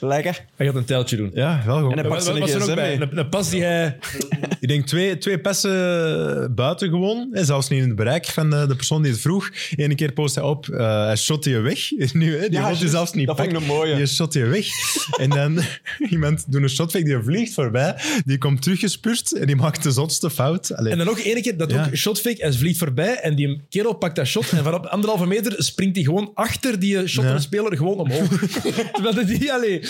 B: doen?
D: Lekker.
A: Hij gaat een teltje doen.
B: Ja, wel gewoon.
D: En hij
A: Wat
D: pakt zijn
A: was er ook
D: gsm
A: bij?
D: mee.
A: Een, een pas die hij...
B: Ik denk twee, twee passen buiten gewoon. En zelfs niet in het bereik van de, de persoon die het vroeg. Eén keer post hij op, eh, hij shot je weg. Nu, hè, die
D: Ja,
B: wilt je
D: juist.
B: zelfs niet
D: Dat vond ik
B: pakken.
D: een mooie.
B: Je shot je weg. en dan iemand doet een shot weg, die vliegt voorbij. Die komt teruggespurt en die maakt de zotste fout. Allee,
A: En dan nog één keer, dat
B: Ja.
A: ook shotfake, hij vliegt voorbij en die kerel pakt dat shot en van op anderhalve meter springt hij gewoon achter die shotter speler gewoon omhoog. Terwijl dat die, allee.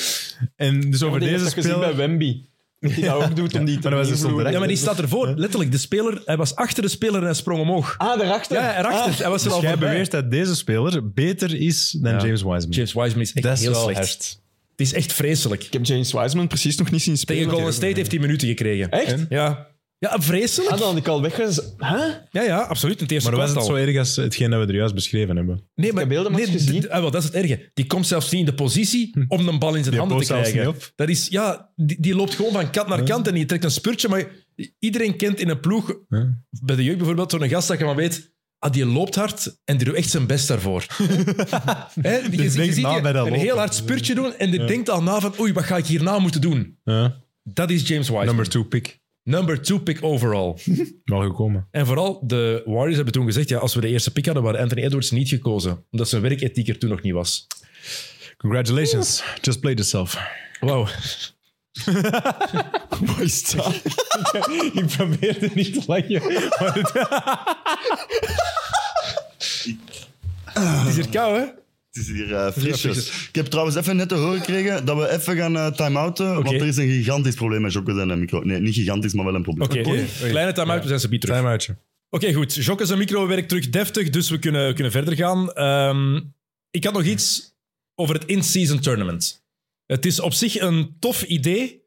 B: en dus over
D: Die
B: deze
D: heeft dat gezien
B: speler...
D: bij Wemby. Dat hij dat ook doet om die te
B: Maar dat was dus
D: beïnvloeden.
B: onterecht.
A: Ja, maar die staat ervoor. Letterlijk, de speler, hij was achter de speler en hij sprong omhoog.
D: Ah, daarachter?
A: Ja, erachter. Hij was er
B: Dus
A: al
B: jij
A: voorbij.
B: beweert dat deze speler beter is dan James Wiseman.
A: James Wiseman is echt
B: dat is
A: heel
B: wel
A: slecht.
B: echt.
A: Het is echt vreselijk.
D: Ik heb James Wiseman precies nog niet zien spelen.
A: Tegen Golden State heeft hij minuten gekregen.
D: Echt?
B: En?
A: Ja. Ja, vreselijk.
D: Ah, dan had ik al weggezet. Huh?
A: Ja, ja, absoluut. In het eerste
B: Maar was
A: kwart
B: het
A: al.
B: zo erg als hetgeen dat we er juist beschreven hebben?
A: Nee, maar
D: heb heel de match
A: nee, d-
D: gezien.
A: d- ah, wel, dat is het erge. Die komt zelfs niet in de positie om een bal in zijn
B: Hm. Die
A: handen te
B: post zelfs
A: krijgen.
B: niet op.
A: Dat is, ja, die, die loopt gewoon van kant naar kant en die trekt een spurtje. Maar iedereen kent in een ploeg,
B: Ja.
A: bij de jeugd bijvoorbeeld, zo'n gast dat je maar weet, ah, die loopt hard en die doet echt zijn best daarvoor. Hè, je, je
B: denkt
A: ziet
B: Dus na
A: die
B: bij dat
A: een
B: lopen.
A: heel hard spurtje doen en die denkt al na van, oei, wat ga ik hierna moeten doen?
B: Ja.
A: Dat is James Wiseman.
B: Number two pick.
A: Number two pick overall.
B: Wel gekomen.
A: En vooral, de Warriors hebben toen gezegd, ja, als we de eerste pick hadden, waren Anthony Edwards niet gekozen. Omdat zijn werkethiek er toen nog niet was.
B: Congratulations. Just played yourself.
A: Wauw.
D: Waar is dat?
B: Ik probeerde niet te lachen.
A: Het is hier kou, hè?
C: Het is hier eh frisjes. Ik heb trouwens even net te horen gekregen dat we even gaan eh, time-outen, want er is een gigantisch probleem met Jokke en micro. Nee, niet gigantisch, maar wel een probleem.
A: Oké, kleine time-out, we zijn ze biet terug. Oké,
B: Timeoutje.
A: goed. Jocke zijn micro werkt terug deftig, dus we kunnen, kunnen verder gaan. Ehm, ik had nog iets over het in-season tournament. Het is op zich een tof idee,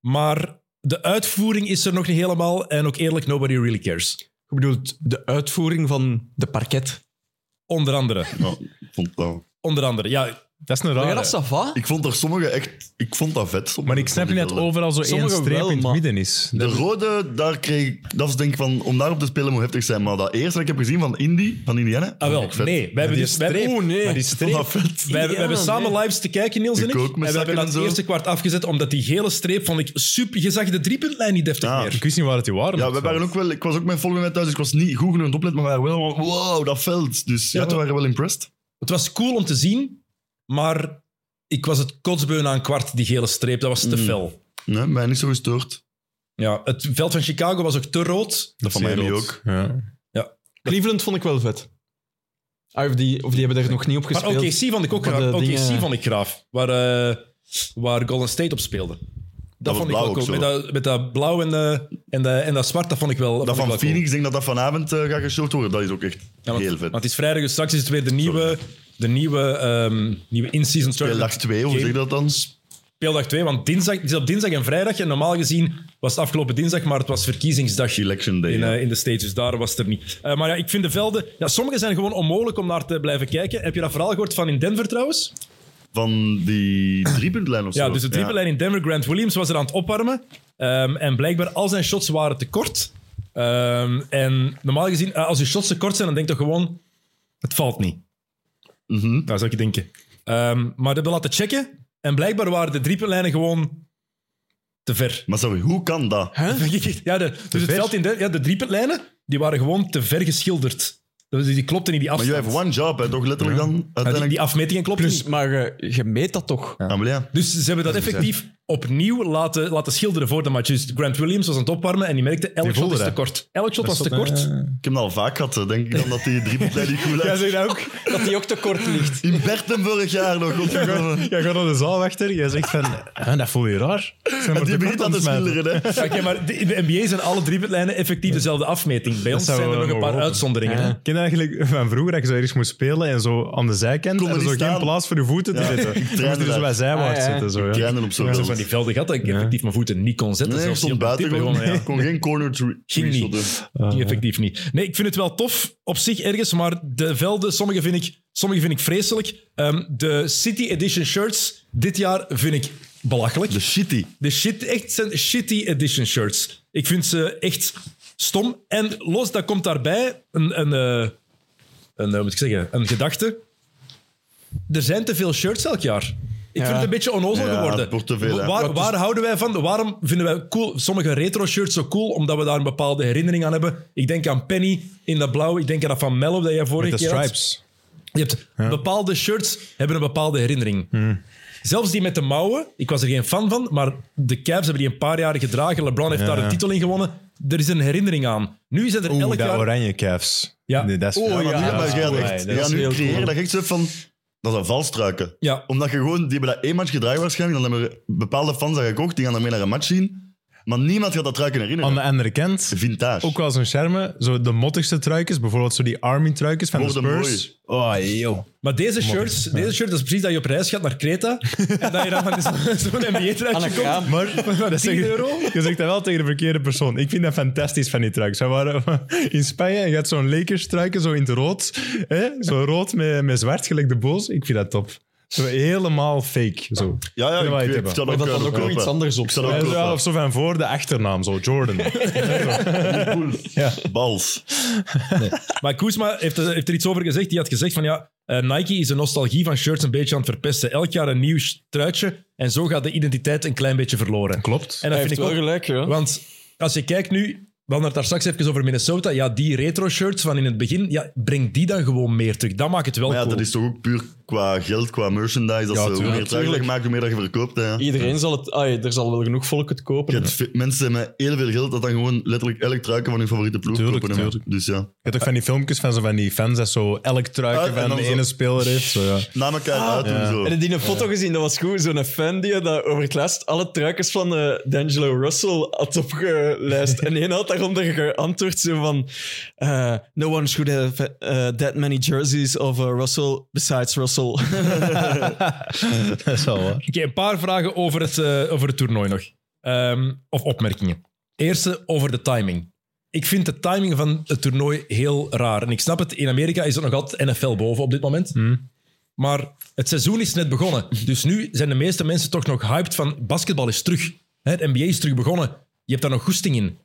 A: maar de uitvoering is er nog niet helemaal. En ook eerlijk, nobody really cares.
D: Ik bedoel, de uitvoering van de parket.
A: Onder andere.
C: Ja, ik vond, oh.
A: Onder andere, ja.
B: Dat is een
D: Maar Ah, ja,
B: rare.
D: dat Sava?
C: Ik vond er sommige echt... Ik vond dat vet. sommige
B: Maar ik snap niet
C: vond
B: dat
C: wel leuk.
B: overal zo één
D: Sommige
B: streep
D: wel,
B: in het
D: maar-
B: midden is.
C: De rode, daar kreeg ik... Dat was denk ik van... Om daarop te spelen moet heftig zijn. Maar dat eerste dat ik heb gezien van Indy, van Indiana...
A: Ah wel,
C: vond ik vet.
A: nee. We hebben
B: die
A: dus, wij-
B: streep.
D: Oh,
A: Oeh, nee.
B: Maar die
A: Ik
C: Ik
A: vond
C: vond
A: dat
C: dat vet.
A: Wij, hebben-
D: Ja,
A: wij hebben samen lives te kijken, Niels en
C: Ik
A: ik.
C: ook, met
A: en we hebben
C: zakken
A: dat
C: en zo.
A: eerste kwart afgezet, omdat die gele streep vond ik super... Je zag de driepuntlijn niet deftig
C: Ah.
A: meer.
B: Ik wist niet waar het die waren.
C: Ja, we waren ook wel, ik was ook met volgende met thuis, dus ik was niet goed genoeg opletten, maar we waren wel allemaal, wow, dat veld. Dus ja,
A: Ja,
C: toen waren we wel impressed.
A: Het was cool om te zien, maar ik was het kotsbeu na een kwart, die gele streep. Dat was te
C: Mm.
A: fel.
C: Nee, mij niet zo gestoord.
A: Ja, het veld van Chicago was ook te rood.
C: Dat van
B: Zeer
C: Miami
B: rood.
C: ook.
B: Ja.
D: Cleveland vond ik wel vet. Ah, of, die, of die hebben er nog niet op
A: Maar
D: gespeeld.
A: OKC vond ik ook
D: Maar de
A: graaf. OKC
D: dingen-
A: vond ik graaf, waar, eh, waar Golden State op speelde. Dat,
C: was
A: vond ik
C: blauw
A: wel
C: ook
A: cool.
C: zo.
A: Met dat, met dat blauw en, de, en, de, en dat zwart, dat vond ik wel
C: Dat
A: vond ik
C: van
A: wel cool.
C: Phoenix, ik denk dat dat vanavond eh, gaat geshort worden. Dat is ook echt
A: Ja, want,
C: heel vet.
A: want het is vrijdag, dus straks is het weer de nieuwe, de nieuwe, ehm, nieuwe in-season tournament.
C: Speeldag 2, hoe zeg je dat dan?
A: Speeldag 2, want dinsdag, het is op dinsdag en vrijdag. En normaal gezien was het afgelopen dinsdag, maar het was verkiezingsdag in,
C: Election Day. ja.
A: eh, in de States. Dus daar was het er niet. Eh, maar ja, ik vind de velden... Ja, sommige zijn gewoon onmogelijk om naar te blijven kijken. Heb je dat verhaal gehoord van in Denver trouwens?
C: Van die driepuntlijn of zo.
A: Ja, dus de driepuntlijn in Denver. Grant Williams was er aan het opwarmen. Ehm, en blijkbaar al zijn shots waren te kort. Ehm, en normaal gezien, eh, als je shots te kort zijn, dan denk je toch gewoon... Het valt niet.
C: Ja. Mhm.
A: Dat zou ik denken. Ehm, maar dat hebben we laten checken. En blijkbaar waren de driepunlijnen gewoon te ver.
C: Maar sorry, hoe kan dat?
D: Hè?
A: Ja, de, dus het
B: ver?
A: veld in de, ja, de driepunlijnen die waren gewoon te ver geschilderd. Dus die klopten niet die
C: Maar je
A: afstand.
C: hebt one job, hè, toch letterlijk dan?
A: Ja, die,
C: Uiteindelijk.
A: die afmetingen klopten
D: Plus,
A: niet.
D: maar eh, je meet dat toch?
C: Ja, maar ja.
A: Dus ze hebben dat effectief opnieuw laten, laten schilderen voor de match. Dus Grant Williams was aan het opwarmen en die merkte elk shot
B: voelde
A: is te
B: dat.
A: kort. Elk shot was te
B: Dat
A: kort.
B: is, eh,
C: Ik heb dat al vaak gehad, hè, denk ik, dan dat die driepuntlijn niet cool
B: Ja,
C: uit.
B: zeg dat ook.
D: Dat die ook te kort ligt.
C: In Berten vorig jaar nog. godverdomme.
B: Jij gaat naar de zaal achter. Jij zegt van, "Hè, dat voel je raar.
C: En die begint aan te schilderen, hè.
A: Oké, maar de- in de NBA zijn alle driepunlijnen effectief dezelfde afmeting. Bij ons
B: zou
A: zijn er
B: wel
A: nog een paar
B: mogen hopen.
A: uitzonderingen. hè.
B: Ken je eigenlijk van vroeger dat je zo ergens moest spelen en zo aan de zijkant
C: Kon er
B: en zo
C: niet
B: geen
C: staan.
B: plaats voor je voeten te
C: Ja,
B: zetten.
C: ik
B: Je moest
C: trainde
B: er zo
C: daar.
B: bij zijwaarts
D: Ah, ja.
B: zitten. Zo, ja.
C: Trainen op zo'n
A: Ja, zo
C: veld.
A: van die velden gehad dat ik effectief mijn voeten niet kon zetten.
C: Nee, ik
A: zelfs
C: stond
A: niet op de
C: buiten
A: tippen,
C: gewoon.
A: gewoon, ja.
C: Ik kon geen corner three.
A: Ging
C: three
A: niet.
C: shotten.
A: Ging effectief niet. Nee, ik vind het wel tof op zich ergens, maar de velden, sommige vind ik, sommige vind ik vreselijk. Ehm, de City Edition shirts dit jaar vind ik belachelijk.
C: De shitty.
A: De shit, echt zijn shitty edition shirts. Ik vind ze echt stom. En los, dat komt daarbij een, een, eh, een, eh, hoe moet ik zeggen, een gedachte. Er zijn te veel shirts elk jaar. Ik
D: Ja.
A: vind het een beetje onnozel
C: Ja,
A: geworden.
C: het wordt te veel, hè.
A: Waar,
C: Wat is-
A: waar houden wij van? Waarom vinden wij cool, sommige retro shirts zo cool? Omdat we daar een bepaalde herinnering aan hebben. Ik denk aan Penny in dat blauw. Ik denk aan dat van Mello dat jij vorige
B: Met de
A: keer had.
B: stripes.
A: Je hebt bepaalde shirts hebben een bepaalde herinnering.
B: Hmm.
A: Zelfs die met de mouwen, ik was er geen fan van, maar de Cavs hebben die een paar jaren gedragen. LeBron heeft daar
B: ja.
A: een titel in gewonnen. Er is een herinnering aan. Nu is het er elk
B: Oeh, dat
A: jaar.
B: oranje calves.
A: Ja.
B: Nee, dat is-
C: Oh, Ja, maar nu
B: dat
C: hebben
B: is
C: we
B: cool,
C: echt.
B: hè.
C: Die
B: Dat
C: gaan
B: is
C: nu
B: heel
C: creëren
B: cool.
C: dat je echt zegt van... Dat zijn valstruiken.
A: Ja.
C: Omdat je gewoon... Die hebben dat één match gedraaid waarschijnlijk. Dan hebben we bepaalde fans dat gekocht. Die gaan ermee naar een match zien. Maar niemand gaat dat truiken herinneren.
B: Aan de andere kant,
C: Vintage.
B: ook wel zo'n charme. Zo de mottigste truikjes, bijvoorbeeld zo die army truikjes van de
C: Worden
B: Spurs. Oh, joh.
A: Maar deze shirts, deze shirt dat is precies dat je op reis gaat naar Kreta en dat je dan van zo'n- zo'n
D: Aan
A: NBA-truitje
D: een
A: komt.
D: kraam.
B: Maar dat
A: 10
B: zeg,
A: euro?
B: je zegt dat wel tegen de verkeerde persoon. Ik vind dat fantastisch van die truik. Ze waren in Spanje en je had zo'n Lakers truiken, zo in het rood. Hè? Zo rood met, met zwart, gelijk de boos. Ik vind dat top. Zo helemaal fake. Zo.
C: Ja, ja.
B: Kunnen wij het
C: Ik, ik,
B: hebben?
C: zal
D: Maar dat
C: eh,
D: dan ook nog
C: kopen.
D: iets anders op.
C: Ik zal
D: Ja,
C: ook
B: Ja, zo-
C: kopen.
B: of zo van voor de achternaam, zo Jordan. Ja.
C: Bals.
D: Ah,
A: Maar Koesma heeft, er- heeft er iets over gezegd. Die had gezegd van ja, eh, Nike is de nostalgie van shirts een beetje aan het verpesten. Elk jaar een nieuw truitje en zo gaat de identiteit een klein beetje verloren.
B: Klopt.
A: En dat
D: Hij
A: vind
D: heeft
A: ik
D: wel
A: ook
D: gelijk, ja.
A: Want als je kijkt nu, we hadden het daar straks even over Minnesota. Ja, die retro-shirts van in het begin, ja, breng die dan gewoon meer terug. Dat maakt het wel
C: Maar ja,
A: cool.
C: dat is toch ook puur qua geld, qua merchandise. Dat
B: Ja,
C: ze, hoe
B: tuurlijk.
C: meer truiken dat je maakt, hoe meer dat je verkoopt. Hè.
D: Iedereen zal het... Ah, ja, er zal wel genoeg volk het kopen.
C: Je hebt ve- mensen met heel veel geld dat dan gewoon letterlijk elk truiken van hun favoriete ploeg
B: Tuurlijk,
C: kopen. hè.
B: tuurlijk.
C: Dus ja.
B: Je hebt ook van die filmpjes van, zo van die fans dat zo elk truikje
C: Ah, en
B: van
C: dan
B: de
C: zo-
B: ene speler heeft. Zo, ja.
C: Na elkaar
B: Ah.
C: uit en zo.
D: En die een foto gezien, dat was goed. Zo'n fan die dat over het laatst alle truikers van eh, D'Angelo Russell had opgelijst. en één had daaronder geantwoord zo van... eh, no one should have eh, that many jerseys of eh, Russell besides Russell.
B: dat is wel waar.
A: Oké, een paar vragen over het, eh, over het toernooi nog. Ehm, of opmerkingen. Eerste over de timing. Ik vind de timing
B: Mm.
A: van het toernooi heel raar. En ik snap het, in Amerika is het nog altijd NFL boven op dit moment. Maar het seizoen is net begonnen. Dus nu zijn de meeste mensen toch nog hyped van basketbal is terug. Hè, Het NBA is terug begonnen. Je hebt daar nog goesting in.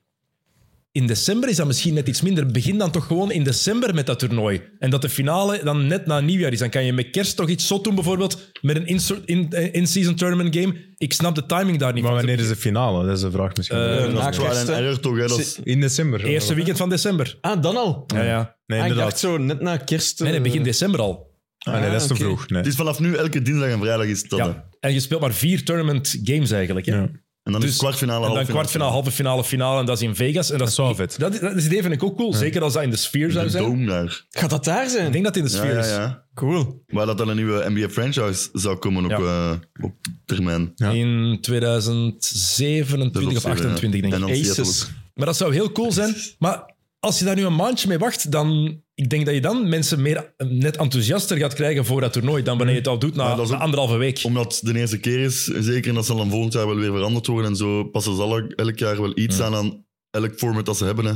A: In december is dat misschien net iets minder. Begin dan toch gewoon in december met dat toernooi. En dat de finale dan net na nieuwjaar is. Dan kan je met kerst toch iets zot doen, bijvoorbeeld. Met een inso- in- eh, in-season tournament game. Ik snap de timing daar niet
B: Maar
A: van.
B: wanneer is de finale? Dat is de vraag misschien.
D: Eh,
C: Dat is
D: na
C: trial and
D: kerst, hè.
C: error toch, hè? Dat is-
B: in december.
A: Eerste weekend van december.
D: Ah, dan al?
A: Ja, ja.
B: Nee,
D: Ah, ik
B: inderdaad.
D: dacht zo net na kerst.
A: Nee, nee,
D: eh,
A: begin december al.
B: Ah, nee, dat is te
D: Ah, oké.
B: vroeg. Nee.
C: Het is vanaf nu elke dinsdag en vrijdag is dat. hè.
A: Ja. En je speelt maar vier tournament games eigenlijk. Hè?
B: Ja.
C: En dan
A: Dus-
C: is kwartfinale,
A: En dan
C: halffinale.
A: kwartfinale, halve finale, finale. En dat is in Vegas. En dat, is
B: wel vet.
A: Dat, is- dat is idee vind ik ook cool. Zeker als dat in de sfeer zou
C: De
A: zijn.
C: dome daar.
D: Gaat dat daar zijn?
A: Ik denk dat het in de
C: Ja,
A: sfeer
C: ja,
A: is.
C: ja.
D: Cool.
C: Waar dat dan een nieuwe NBA-franchise zou komen op, eh, op termijn.
B: Ja.
A: In 2027 of 28, denk ik.
D: Aces.
A: Maar dat zou heel cool zijn. Maar als je daar nu een maandje mee wacht, dan... Ik denk dat je dan mensen meer eh, net enthousiaster gaat krijgen voor dat toernooi dan wanneer je het al doet na
C: Maar dat is ook-
A: na anderhalve week.
C: Omdat het de eerste keer is, zeker, en dat zal dan volgend jaar wel weer veranderd worden en zo, passen ze alle- elk jaar wel iets aan aan elk format dat ze hebben. Hè.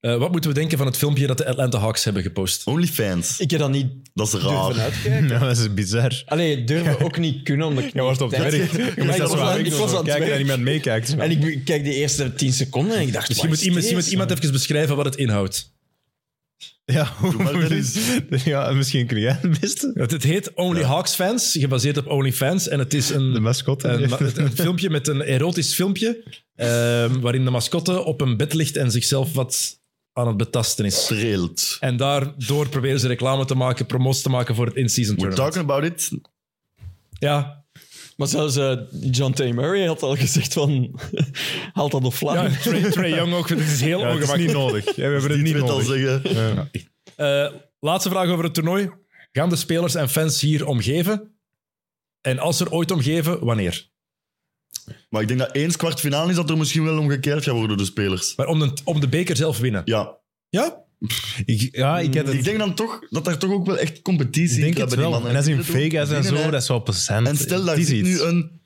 A: Eh, wat moeten we denken van het filmpje dat de Atlanta Hawks hebben gepost?
C: Onlyfans,
D: Ik heb dat niet
C: dat is
A: Ah.
C: raar.
D: durven uitkijken.
B: Ja, dat is bizar.
D: Allee, durven ook niet kunnen, omdat ik
B: Je wordt op
D: niet
B: het
D: tijd-
B: werk. Je
D: Ja,
B: moet
D: ik
B: dat
D: was
B: zo
D: aan-
B: aan
D: ik was aan het
B: kijken dat
D: werk.
B: niemand meekijkt.
D: En ik be- kijk die eerste 10 seconden en ik dacht,
A: Misschien moet,
D: wat is
A: iemand, misschien moet iemand
D: dit?
A: even beschrijven wat het inhoudt.
B: Ja,
C: maar
B: hoe
C: dat
B: is... ja, misschien kun jij het beste.
A: Het, het heet Only Hawks Fans, gebaseerd op Only Fans. En het is
B: De
A: een,
B: mascotte.
A: een, ma- een filmpje met een erotisch filmpje, ehm, waarin de mascotte op een bed ligt en zichzelf wat aan het betasten is.
C: Streelt.
A: En daardoor proberen ze reclame te maken, promotie te maken voor het in-season
C: We're
A: tournament.
C: talking about it.
A: Ja,
D: Maar zelfs eh, John T. Murray had al gezegd van, haal dat offline.
A: ja Trey, Trey Young ook, dit is heel
D: Oh,
B: Ja, het is
A: ongemakkelijk.
B: niet nodig. Ja, we hebben het
C: Die
B: niet
C: tweet al
B: nodig.
C: zeggen.
B: Ja.
A: Eh, laatste vraag over het toernooi. Gaan de spelers en fans hier omgeven? En als ze er ooit omgeven, wanneer?
C: Maar ik denk dat eens kwartfinale is dat er misschien wel omgekeerd gaat worden door de spelers.
A: Maar om de, om de beker zelf winnen.
C: Ja.
A: Ja?
B: Ik, ja, ik heb
C: Ik
B: het...
C: denk dan toch dat daar toch ook wel echt competitie
B: Ik denk
C: gaat
B: het
C: bij
B: wel.
C: die mannen.
B: En dat is in
C: Die doen
B: Vegas en
C: dingen, hè.
B: zo, dat is wel procent.
C: En stel daar
B: Het is
C: zit
B: iets.
C: nu een,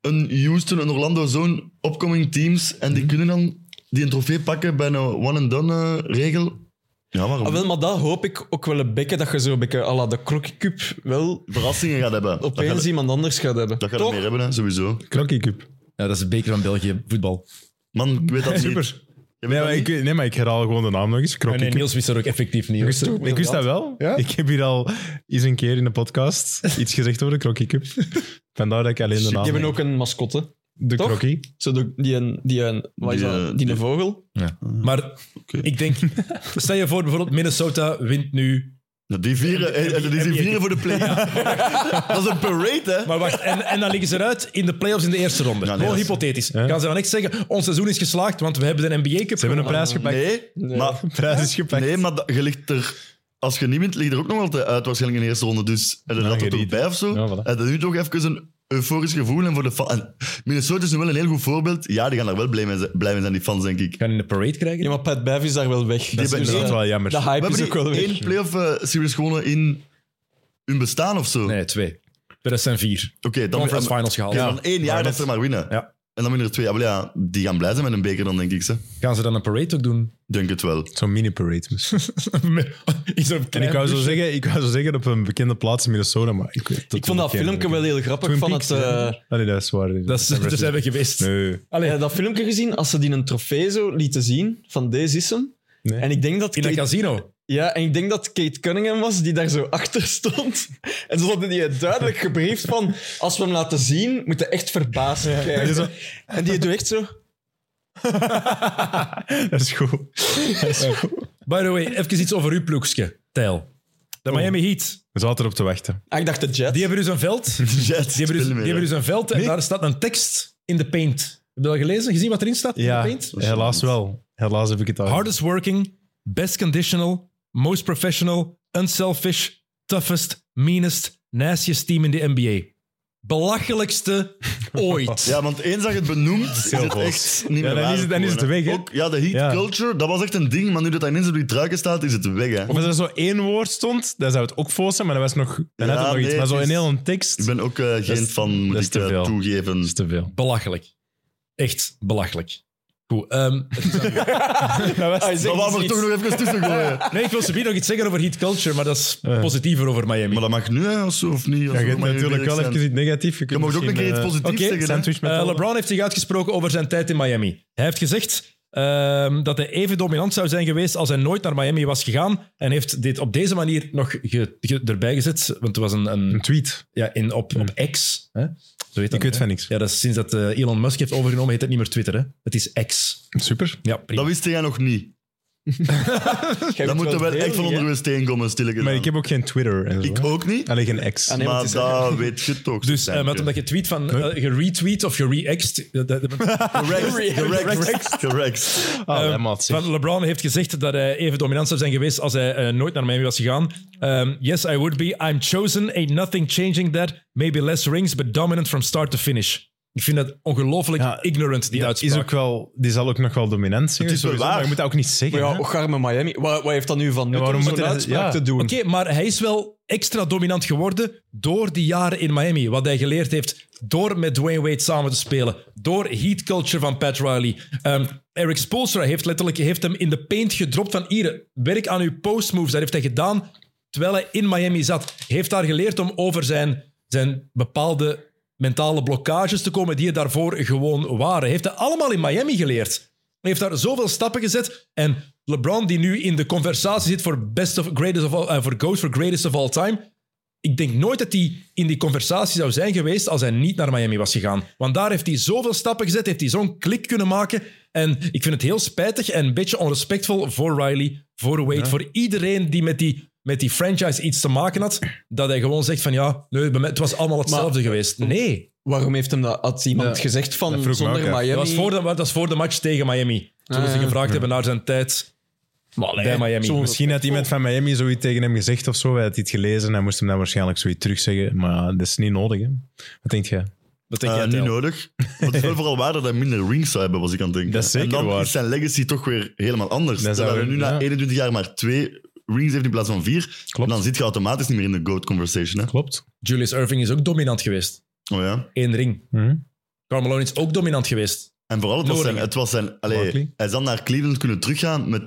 C: een Houston, een Orlando, zo'n opkoming teams. En die
B: Mhm.
C: kunnen dan die een trofee pakken bij een one-and-done eh, regel. Ja, waarom?
D: Ah, wel, maar dat hoop ik ook wel een beetje, dat je zo een beetje à la de Crocky Cup wel
C: Verrassingen gaat hebben. Dat gaat-
D: opeens iemand anders gaat hebben.
C: dat gaat er
D: Toch?
C: meer hebben, hè, sowieso.
B: Klokkie Cup.
A: ja dat is de beker van België, voetbal.
C: Man, ik weet dat niet.
B: Super.
C: Je weet
B: Nee
C: dat
B: maar,
C: niet?
B: ik, nee, maar ik herhaal gewoon de naam nog eens.
A: Nee,
B: Klokkie
A: nee,
B: Cup.
A: Niels wist dat ook effectief niet.
B: Ik
A: hoor.
B: wist, ik wist dat wel.
A: Ja?
B: Ik heb hier al eens een keer in de podcast iets gezegd over de Krokkie Cup. Vandaar dat ik alleen de
D: Die
B: naam
D: hebben
B: heb.
D: ook een mascotte.
B: De
D: toch?
B: Krokkie.
D: Zo de- die een, die een, wat is
C: Die,
D: dat?
C: eh,
D: Die,
C: die-
D: een vogel.
A: Maar ik denk, stel je voor bijvoorbeeld Minnesota wint nu.
C: Nou, Die vieren, eh, eh, die zijn vieren voor de play. dat is een parade, hè?
A: Maar wacht, en, en dan liggen ze eruit in de playoffs in de eerste ronde.
C: nee,
A: Gewoon
C: dat is-
A: hypothetisch. Gaan ze dan echt zeggen, ons seizoen is geslaagd, want we hebben de NBA Cup
B: Ze hebben een
A: gewonnen.
B: prijs gepakt.
C: nee, maar,
B: Prijs is gepakt.
C: nee, maar dat, je ligt er... Als je niet wint, ligt er ook nog altijd uit waarschijnlijk in de eerste ronde. Dus en dat
B: Nou,
C: had er
B: je
C: toch
B: niet.
C: bij of zo.
B: Ja,
C: En
B: voilà.
C: dat nu toch even een euforisch gevoel. En voor de fan- en Minnesota is nu wel een heel goed voorbeeld. Ja, die gaan daar wel blij mee zijn, blij mee zijn die fans, denk ik.
A: Gaan in de parade krijgen?
D: Ja, maar Pat Bev is daar wel weg.
C: Die
D: Dus
C: hebben-
B: Dat is
D: één-
B: wel jammer.
D: de
C: We
D: hype is ook
C: hebben
D: wel
C: die
D: weg.
C: één playoff eh, series gewonnen in hun bestaan of zo.
A: Nee, twee. 2004.
C: Oké, dan,
A: Conference
C: dan,
A: Finals gehaald.
C: oké, dan één jaar dat ze maar winnen.
A: Ja.
C: En dan winnen er twee. Ja, wel ja, die gaan blij zijn met een beker dan, denk ik. Ze.
A: Gaan ze dan een parade ook doen?
C: Denk het wel.
B: Zo'n mini-parade. misschien.
A: is Dus er
B: En ik wou, zo zeggen, ik wou zo zeggen op een bekende plaats in Minnesota, maar ik weet
D: Ik vond dat filmpje wel heel grappig. Van het, eh,
B: Nee, dat is waar.
A: Dat is, daar zijn we geweest.
B: Nee.
A: Allee.
D: Ja, dat filmpje gezien, als ze die een trofee zo lieten zien, van deze is hem.
B: Nee.
D: En ik denk dat
A: In een
D: Kate,
A: casino.
D: ja, en ik denk dat Kate Cunningham was die daar zo achter stond. En ze hadden die duidelijk gebriefd van, als we hem laten zien, moeten we echt verbaasd kijken. En die doet echt zo...
B: Dat is goed.
A: By the way, even iets over uw ploegske, Tijl. De Miami Heat.
B: We zaten erop te wachten.
D: Ah, ik dacht de Jets.
A: Die hebben dus een veld. Die
C: Jets,
A: hebben dus,
C: spelen
A: die
C: mee.
A: hebben dus een veld en daar staat een tekst in de paint. Heb je dat gelezen? Gezien wat erin staat
B: Ja,
A: in de paint?
B: helaas wel. Helaas heb ik het al.
A: Hardest working, best conditional, most professional, unselfish, toughest, meanest, nastiest team in de NBA. Belachelijkste ooit.
C: Ja, want eens dat je het benoemt, is het
B: Zelfs.
C: echt niet
B: Ja,
C: meer
B: dan
C: waar
B: is het- dan is het
C: geworden.
B: weg, hè?
C: Ook, ja, de heat
B: Ja.
C: culture, dat was echt een ding. Maar nu dat dat ineens op die truiken staat, is het weg, hè.
B: Of als er zo één woord stond, dan zou het ook vol zijn, maar dat was nog, dan had het nog
C: nee,
B: iets. Maar zo
C: het
B: een
C: is-
B: heel een tekst,
C: Ik ben ook eh, geen
B: is-
C: fan, moet
B: dat is
C: ik
B: te
C: eh,
B: veel.
C: toegeven.
B: is te veel.
A: Belachelijk. Echt belachelijk. Goed. ehm, het is aan u.
C: Maar
D: Maar
C: waar we
D: waarom
C: er toch nog even tussen gooien.
A: nee, ik wil ze nog iets zeggen over heat culture, maar dat is
B: Eh.
A: positiever over Miami.
C: Maar dat mag nu, hè, of zo, of niet.
B: Ja, je hebt natuurlijk wel even iets negatiefs.
C: Je mag ook een keer iets positiefs
A: Oké,
C: zeggen. hè.
B: eh, Sandwich met
A: Eh,
B: alle-
A: LeBron heeft zich uitgesproken over zijn tijd in Miami. Hij heeft gezegd ehm, dat hij even dominant zou zijn geweest als hij nooit naar Miami was gegaan. En heeft dit op deze manier nog ge- ge- erbij gezet. Want er was een,
B: Een
A: een
B: tweet.
A: ja, in, op, op X. Hè? Zo heet dat,
B: Ik weet
A: hè?
B: van niks.
A: Ja, dat is sinds dat eh, Elon Musk heeft overgenomen, heet het niet meer Twitter. Hè? Het is X.
B: Super.
A: Ja, prima.
C: Dat wist jij nog niet.
D: Jij
C: Dat
D: moet
C: moet er wel
D: delen,
C: echt van
D: hè?
C: onder uw steen komen, stilletjes.
B: Maar ik heb ook geen Twitter en zo.
C: Ik
B: hè.
C: ook niet,
B: Alleen geen ex.
D: Ah, nee. want
C: maar
D: het is-
C: dat weet je toch.
A: Dus eh, maar
C: Sandwich.
A: omdat je tweet van, eh, je retweet of je re-ext... dat- dat-
C: Correct, correct, correct.
B: Ah,
A: Ehm,
B: ja, maat, zeg.
A: Van LeBron heeft gezegd dat hij even dominant zou zijn geweest als hij eh, nooit naar Miami was gegaan. Ehm, yes, I would be. I'm chosen. Ain't nothing changing that. Maybe less rings, but dominant from start to finish. Ik vind dat ongelooflijk
B: Ja,
A: ignorant, die
B: Dat
A: uitspraak.
B: is ook wel, die zal ook nog wel dominant zijn.
C: Het is wel
B: sowieso,
C: waar. oh,
B: Maar je moet dat ook niet zeggen.
D: Maar ja,
B: hè.
D: ook Garme Miami. Wat, wat heeft dat nu van nut
B: Ja, waarom
D: om zo'n
B: moet hij dat-
D: uitspraak
B: ja.
D: te doen?
A: Oké, maar hij is wel extra dominant geworden door die jaren in Miami. Wat hij geleerd heeft door met Dwayne Wade samen te spelen. Door heat culture van Pat Riley. Ehm, Eric Spoelstra heeft letterlijk heeft hem in de paint gedropt van Ieren. Werk aan uw postmoves. Dat heeft hij gedaan terwijl hij in Miami zat. Heeft daar geleerd om over zijn, zijn bepaalde mentale blokkages te komen die er daarvoor gewoon waren. Heeft hij allemaal in Miami geleerd. Hij heeft daar zoveel stappen gezet. En LeBron, die nu in de conversatie zit voor best of greatest of all, eh, voor Ghost for Greatest of All Time. Ik denk nooit dat hij in die conversatie zou zijn geweest als hij niet naar Miami was gegaan. Want daar heeft hij zoveel stappen gezet, heeft hij zo'n klik kunnen maken. En ik vind het heel spijtig en een beetje onrespectvol voor Riley, voor Wade, voor iedereen die met, die met die franchise iets te maken had, dat hij gewoon zegt van ja, nee, bij mij- het was allemaal hetzelfde geweest. Nee,
D: Waarom heeft hem dat, had iemand
B: Ja.
D: gezegd
B: Dat
D: van
B: vroeg me
D: zonder
B: ook af.
D: Miami?
A: dat was voor de, dat was voor de match tegen Miami. Toen
D: Ah,
A: ze
D: ja.
A: gevraagd hebben naar zijn tijd bij Miami.
D: zo'n-
B: Misschien had iemand van Miami zoiets tegen hem gezegd of zo. Hij had iets gelezen en hij moest hem dan waarschijnlijk zoiets terugzeggen. Maar dat is niet nodig. Hè. Wat denk jij?
A: Dat denk
C: Eh,
A: jij,
C: niet
A: Tel?
C: nodig. Maar het is wel vooral waar dat hij minder rings zou hebben, was ik aan het denken.
B: Dat is zeker
C: en dan
B: waar.
C: is zijn legacy toch weer helemaal anders.
B: Dan
C: Dat
B: zou
C: hij nu
B: je- ja.
C: na 21 jaar maar twee rings heeft in plaats van vier.
B: Klopt.
C: En dan zit je automatisch niet meer in de GOAT conversation. Hè?
B: Klopt.
A: Julius Irving is ook dominant geweest.
C: Oh ja.
A: Eén ring.
B: Mhm.
A: Carmelo is ook dominant geweest.
C: En vooral, het was zijn...
A: Noringen.
C: Het was zijn allee,
B: Barkley.
C: hij zal naar Cleveland kunnen teruggaan met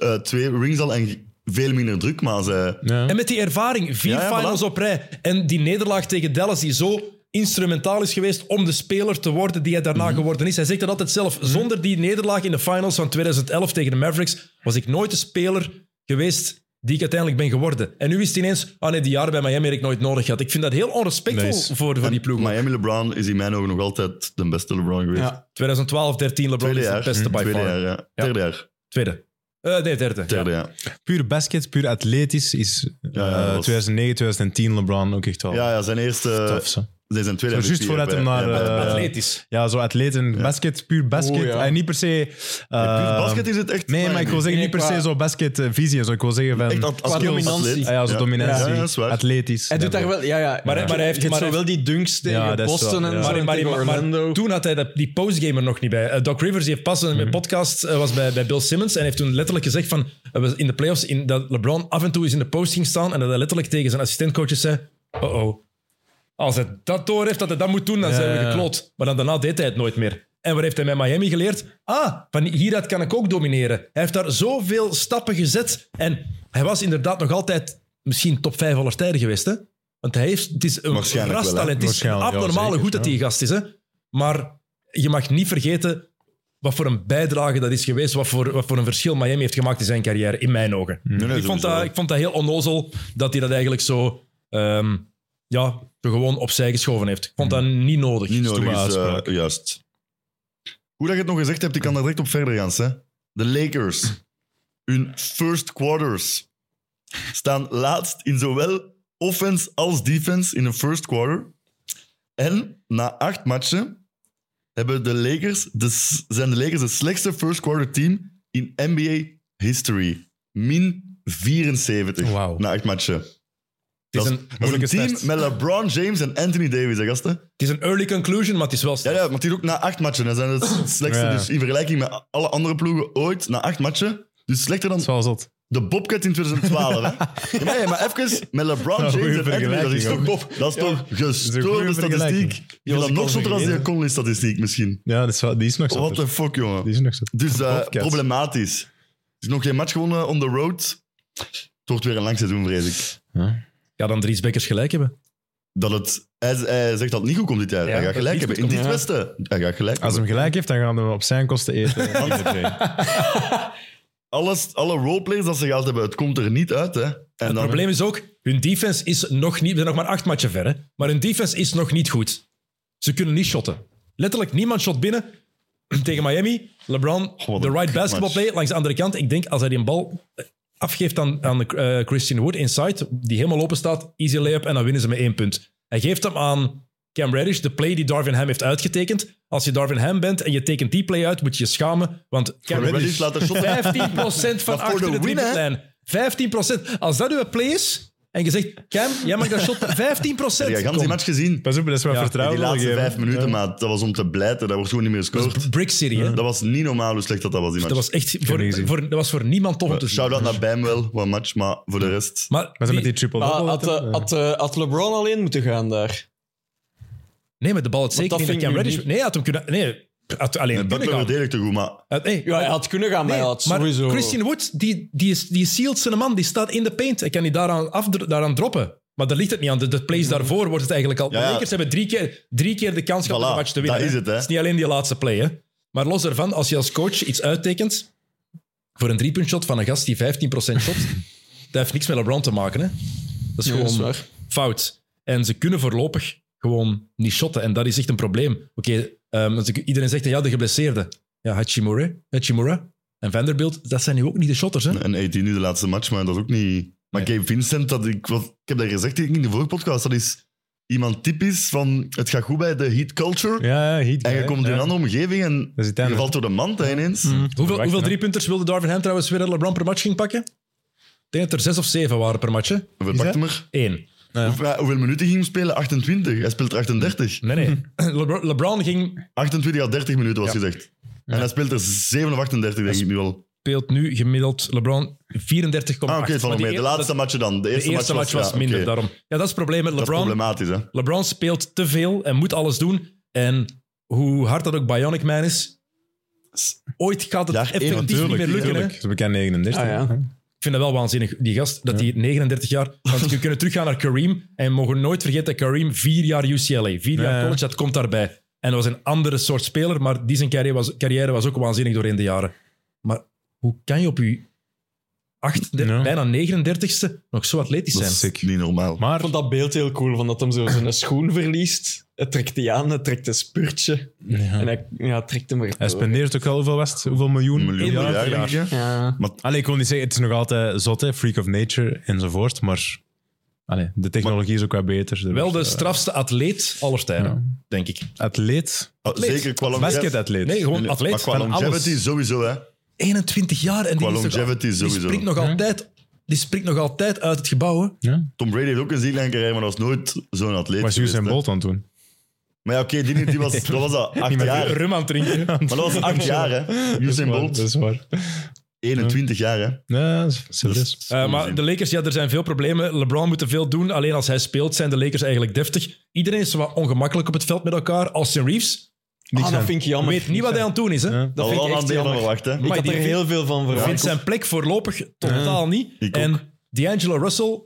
C: eh, twee rings al en veel minder druk. Maar als hij-
B: Ja.
A: En met die ervaring, vier
C: Ja, ja,
A: finals
C: voilà.
A: op rij. En die nederlaag tegen Dallas, die zo instrumentaal is geweest om de speler te worden die hij daarna
C: Mhm.
A: geworden is. Hij zegt dat altijd zelf. Zonder die nederlaag in de finals van 2011 tegen de Mavericks was ik nooit de speler geweest die ik uiteindelijk ben geworden. En nu is het ineens, ah nee, die jaren bij Miami heb ik nooit nodig gehad. Ik vind dat heel onrespectvol
B: Nice.
A: voor, voor die ploeg.
C: Miami LeBron is in mijn ogen nog altijd de beste LeBron geweest.
D: Ja.
A: 2012, 13, LeBron
C: Tweede
A: is
C: jaar. Mhm,
A: de beste by
C: Tweede
A: far.
C: jaar, ja. Derde jaar.
A: Tweede. Eh, nee, derde.
C: Derde jaar.
B: Puur basket, puur atletisch is eh,
C: Ja, ja, dat was-
B: 2009, 2010 LeBron ook echt wel
C: Ja, ja, zijn eerste...
B: tof. Zo.
C: Dit zijn tweede
B: Zo, juist
C: MVP
B: voordat
C: bij-
B: hem naar,
C: ja, bij-
B: eh,
A: Ja. Atletisch.
B: Ja, zo atleten, basket, puur basket.
D: Oeh, ja.
B: En niet per se...
C: bij-
B: eh,
C: puur basket is het echt...
B: Nee, maar ik wil zeggen,
D: Nee,
B: niet per se
D: qua-
B: zo basketvisie. en zo. ik wil zeggen van...
C: Echt at-
D: qua
C: atleet.
D: dominantie.
B: Ah ja, zo dominantie.
C: Ja, ja, dat is waar.
B: Atletisch.
D: Hij doet daar wel... Ja, ja.
A: Maar- maar hij heeft-
D: Je hebt
A: maar
D: zo wel die dunks tegen
B: Ja, dat is
D: Boston
B: wel-
D: en
B: ja.
D: zo
A: Maar,
D: en
A: maar,
D: tegen
A: maar- maar
D: Orlando.
A: toen had hij dat- die postgame er nog niet bij. Eh, Doc Rivers die heeft pas een podcast eh, was bij, bij Bill Simmons en heeft toen letterlijk gezegd van eh, we- in de playoffs in, dat LeBron af en toe eens in de post ging staan en dat hij letterlijk tegen zijn assistentcoaches zei: oh oh, als hij dat door heeft dat hij dat moet doen, dan zijn we
B: ja.
A: gekloot. Maar dan daarna deed hij het nooit meer. En wat heeft hij met Miami geleerd? Ah, van hieruit kan ik ook domineren. Hij heeft daar zoveel stappen gezet en hij was inderdaad nog altijd misschien top 5 aller tijden geweest, hè? Want hij heeft, het is een
C: Waarschijnlijk wel, hè?
A: rastalent. Het is
B: Waarschijnlijk, ja,
A: abnormaal
B: zeker,
A: goed dat
B: ja.
A: die gast is. Hè? Maar je mag niet vergeten wat voor een bijdrage dat is geweest, wat voor, wat voor een verschil Miami heeft gemaakt in zijn carrière, in mijn ogen.
C: Mm. Nee, nee,
A: ik, vond
C: sowieso.
A: dat, ik vond dat heel onnozel dat hij dat eigenlijk zo ehm, ja, zo gewoon opzij geschoven heeft. Ik vond dat niet nodig.
C: Mm. Niet nodig
B: Stomme
C: is, eh,
B: uitspraak.
C: juist. Hoe dat je het nog gezegd hebt, ik kan daar direct op verder gaan. Hè. De Lakers, hun first quarters, staan laatst in zowel offense als defense in een first quarter. En na acht matchen hebben de Lakers de, s- zijn de Lakers het slechtste first quarter team in NBA history. Min 74
B: Wauw.
C: na acht matchen.
A: Het is,
C: Dat
A: een,
C: dat is
B: moeilijke
C: een team
B: start.
C: met LeBron James en Anthony Davis, hè, gasten.
A: het is een early conclusion, maar het is wel
C: Ja, ja, maar het is ook na acht matchen. Dat zijn het slechtste.
B: Ja.
C: Dus in vergelijking met alle andere ploegen ooit, na acht matchen. Dus slechter dan
B: Zoals dat.
C: de Bobcat in 2012. Hè? Ja, maar- ja, maar even met LeBron
B: een
C: James
B: goeie
C: en Anthony, dat is
B: vergelijking,
C: toch,
B: hoor.
C: Bob, dat is toch
B: een goeie
C: gestoorde
B: vergelijking.
C: statistiek. Ik vind dat
D: ik
C: nog
D: al
C: zotter als die
D: vergeten.
C: Conley-statistiek misschien.
B: Ja, dat is wel- die is nog zo.
C: What the fuck,
B: Die
C: jongen.
B: is nog zo.
C: Dus eh,
B: Bobcats.
C: problematisch. Er is nog geen match gewonnen on the road. Het wordt weer een lang seizoen, vrees ik.
A: Ja, dan Dries Bekkers gelijk hebben.
C: Dat het, hij, hij zegt dat het niet goed komt dit jaar.
A: Ja,
C: hij
A: dat
C: gaat gelijk
A: niet
C: hebben. In
A: goed
C: dit
D: komt,
C: westen. Hij gaat gelijk
B: Als
C: hebben.
B: hij hem gelijk heeft, dan gaan we hem op zijn kosten eten.
C: Alles, alle roleplayers dat ze gehaald hebben, het komt er niet uit. Hè. En
A: Het
C: dan,
A: probleem is ook, hun defense is nog niet... We zijn nog maar acht matchen ver, hè. Maar hun defense is nog niet goed. Ze kunnen niet shotten. Letterlijk, niemand shot binnen. Tegen Miami, LeBron,
C: wat
A: de
C: een
A: right
C: kutmatch.
A: basketball play langs de andere kant. Ik denk, als hij die bal eh, afgeeft aan, aan eh, Christian Wood inside, die helemaal open staat, easy layup, en dan winnen ze met één punt. Hij geeft hem aan Cam Reddish, de play die Darvin Ham heeft uitgetekend. Als je Darvin Ham bent en je tekent die play uit, moet je je schamen, want Cam
C: Reddish
A: Reddish
C: laat de shot
A: 15% van
C: Maar voor
A: achter
C: de
A: de
C: win, hè?
A: driepuntlijn. 15%. Als dat uw play is, en je zegt, Cam, jij mag dat shot 15%.
C: Heb jij gans die
A: Kom.
C: match gezien?
B: Pas op, dat is wat
A: Ja,
B: vertrouwen.
C: Die laatste
B: wil geven.
C: vijf minuten, maat, dat was om te blijten. Dat wordt gewoon niet meer gescoord.
A: Brick City, hè.
C: Dat was niet normaal hoe slecht dat, dat was, die match.
A: Dat was echt voor,
B: niet gezien.
A: voor, dat was voor niemand tof om te zien.
C: Shout-out naar Bamwell, wat match, maar voor de rest...
A: Maar
B: Maar ze
A: die-
B: met die triple
D: Ah,
B: double.
D: had, eh, had, eh, had LeBron alleen moeten gaan daar?
A: nee, maar de bal had zeker
D: dat
A: niet naar
D: vind
A: Cam
D: ik nu
A: Reddish. Nee, hij had hem kunnen... Nee, had alleen
C: Nee,
A: kunnen
C: Butler
A: gaan.
C: verdedigde goed, maar
A: Hij had- nee,
D: Ja, hij had kunnen gaan, maar hij
A: nee,
D: had
A: maar
D: sowieso...
A: Christian Wood, die, die, is, die sealed zijn man. Die staat in de paint. Hij kan die daaraan, af, daaraan droppen. Maar daar ligt het niet aan. De, de plays daarvoor wordt het eigenlijk al...
C: Mhm. Ja, ja.
A: De Lakers hebben drie keer, drie keer de kans gehad om
C: Voilà,
A: de match te winnen.
C: dat is het, hè.
A: is niet alleen die laatste play. Hè. Maar los daarvan, als je als coach iets uittekent voor een driepuntshot van een gast die 15% shot, dat heeft niks met LeBron te maken. Hè. Dat is
D: Ja, dat is
A: gewoon
D: waar.
A: fout. En ze kunnen voorlopig gewoon niet shotten. En dat is echt een probleem. Oké, ehm, als ik- iedereen zegt, ja, de geblesseerden. Ja, Hachimura, Hachimura en Vanderbilt, dat zijn nu ook niet de shotters. Hè?
C: En 18 nu de laatste match, maar dat is ook niet... Maar Gabe Vincent, dat ik, wat, ik heb dat gezegd denk ik, in de vorige podcast, dat is iemand typisch van het gaat goed bij de heat culture.
B: Ja, ja, heat
C: En je
B: guy,
C: komt in
B: ja.
C: een andere omgeving en
B: Dat is het
C: je
B: einde.
C: valt door de mand hè, ineens.
A: Hoeveel,
B: Verwacht,
A: hoeveel
B: hè?
A: driepunters wilde Darvin Ham trouwens weer dat LeBron per match ging pakken? Ik denk dat er zes of zeven waren per match. hè?
C: Verpakt
B: dat-
C: hem er.
A: Eén.
C: Hoeveel, hoeveel minuten ging hem spelen? 28. Hij speelt er 38.
A: Nee, nee. Lebron, LeBron ging,
C: 28 à 30 minuten was gezegd. En hij speelt er 7 of 38, denk ik nu al.
A: speelt nu gemiddeld LeBron 34,8.
C: Ah, oké,
A: Maar
C: het valt nog
A: die
C: mee. De
A: eer-
C: laatste match dan. De
A: de
C: eerste,
A: eerste match was,
C: ja,
A: minder,
C: oké.
A: daarom. Ja, dat is het probleem met
C: Dat is
A: LeBron.
C: problematisch, hè.
A: LeBron speelt te veel en moet alles doen. En hoe hard dat ook Bionic Man is, ooit gaat het
C: Ja,
A: effectief
C: natuurlijk,
A: niet meer lukken.
B: Tuurlijk,
A: hè.
B: Ze is bekend 39.
D: Ah, ja.
B: hè.
A: Ik vind dat wel waanzinnig, die gast, dat die 39 jaar... Want we kunnen teruggaan naar Kareem en we mogen nooit vergeten dat Kareem vier jaar UCLA, vier jaar
B: Ja, ja.
A: college, dat komt daarbij. En dat was een andere soort speler, maar die zijn carrière was, carrière was ook waanzinnig doorheen de jaren. Maar hoe kan je op je 38,
B: Ja.
A: bijna 39ste nog zo atletisch
C: Dat
A: zijn?
C: is niet normaal.
D: Ik
B: Maar
D: vond dat beeld heel cool, van dat hem zo zijn schoen verliest. Het trekt die aan, het trekt een spurtje. En hij ja, het trekt hem weer
B: hij
D: door.
B: spendeert ook al hoeveel, was het? hoeveel miljoen?
C: Een miljoen
A: Ja,
C: per jaar, denk ik. hè.
D: Ja.
B: Allee, ik wil niet zeggen, het is nog altijd zot, hè? freak of nature enzovoort, maar allee, de technologie is ook wat beter. Er
A: Wel de
B: wordt, eh,
A: strafste atleet aller tijden,
B: Ja.
A: denk ik.
B: Atleet,
C: Ah, Zeker qua longevity.
B: basketatleet.
A: Nee, gewoon
C: Maar
A: atleet.
C: qua
A: van alles.
C: longevity sowieso, hè.
A: 21 jaar en die,
C: Qua
A: is nog-
C: longevity
A: die
C: sowieso.
A: springt nog altijd, die springt nog altijd uit het gebouw. hè.
C: Tom Brady heeft ook een zieklange carrière, maar dat was nooit zo'n atleet.
B: was
C: geweest,
B: Usain
C: hè.
B: Bolt aan het doen.
C: Maar ja, oké, die niet, die was, dat was dat acht jaar.
A: Rum aan het drinken.
C: Maar dat was acht jaar, hè. Usain
B: Dat is waar,
C: Bolt,
B: Dat is waar.
C: 21 jaar, hè.
B: Ja, dat is- dat is-
A: Eh, maar de Lakers, ja, er zijn veel problemen. LeBron moet te veel doen. Alleen als hij speelt, zijn de Lakers eigenlijk deftig. Iedereen is wat ongemakkelijk op het veld met elkaar. Austin Reeves
D: Ah, dat
B: aan.
D: vind ik jammer.
A: weet niet wat hij aan het doen is. Hè?
D: dat vind ik echt
C: meer
D: jammer.
C: verwacht, hè.
D: Ik
A: Maar
D: had
A: die
D: er
A: vind-
D: heel veel van
A: Vindt
D: verwacht.
A: zijn plek voorlopig totaal niet.
C: Ik ook.
A: En D'Angelo Russell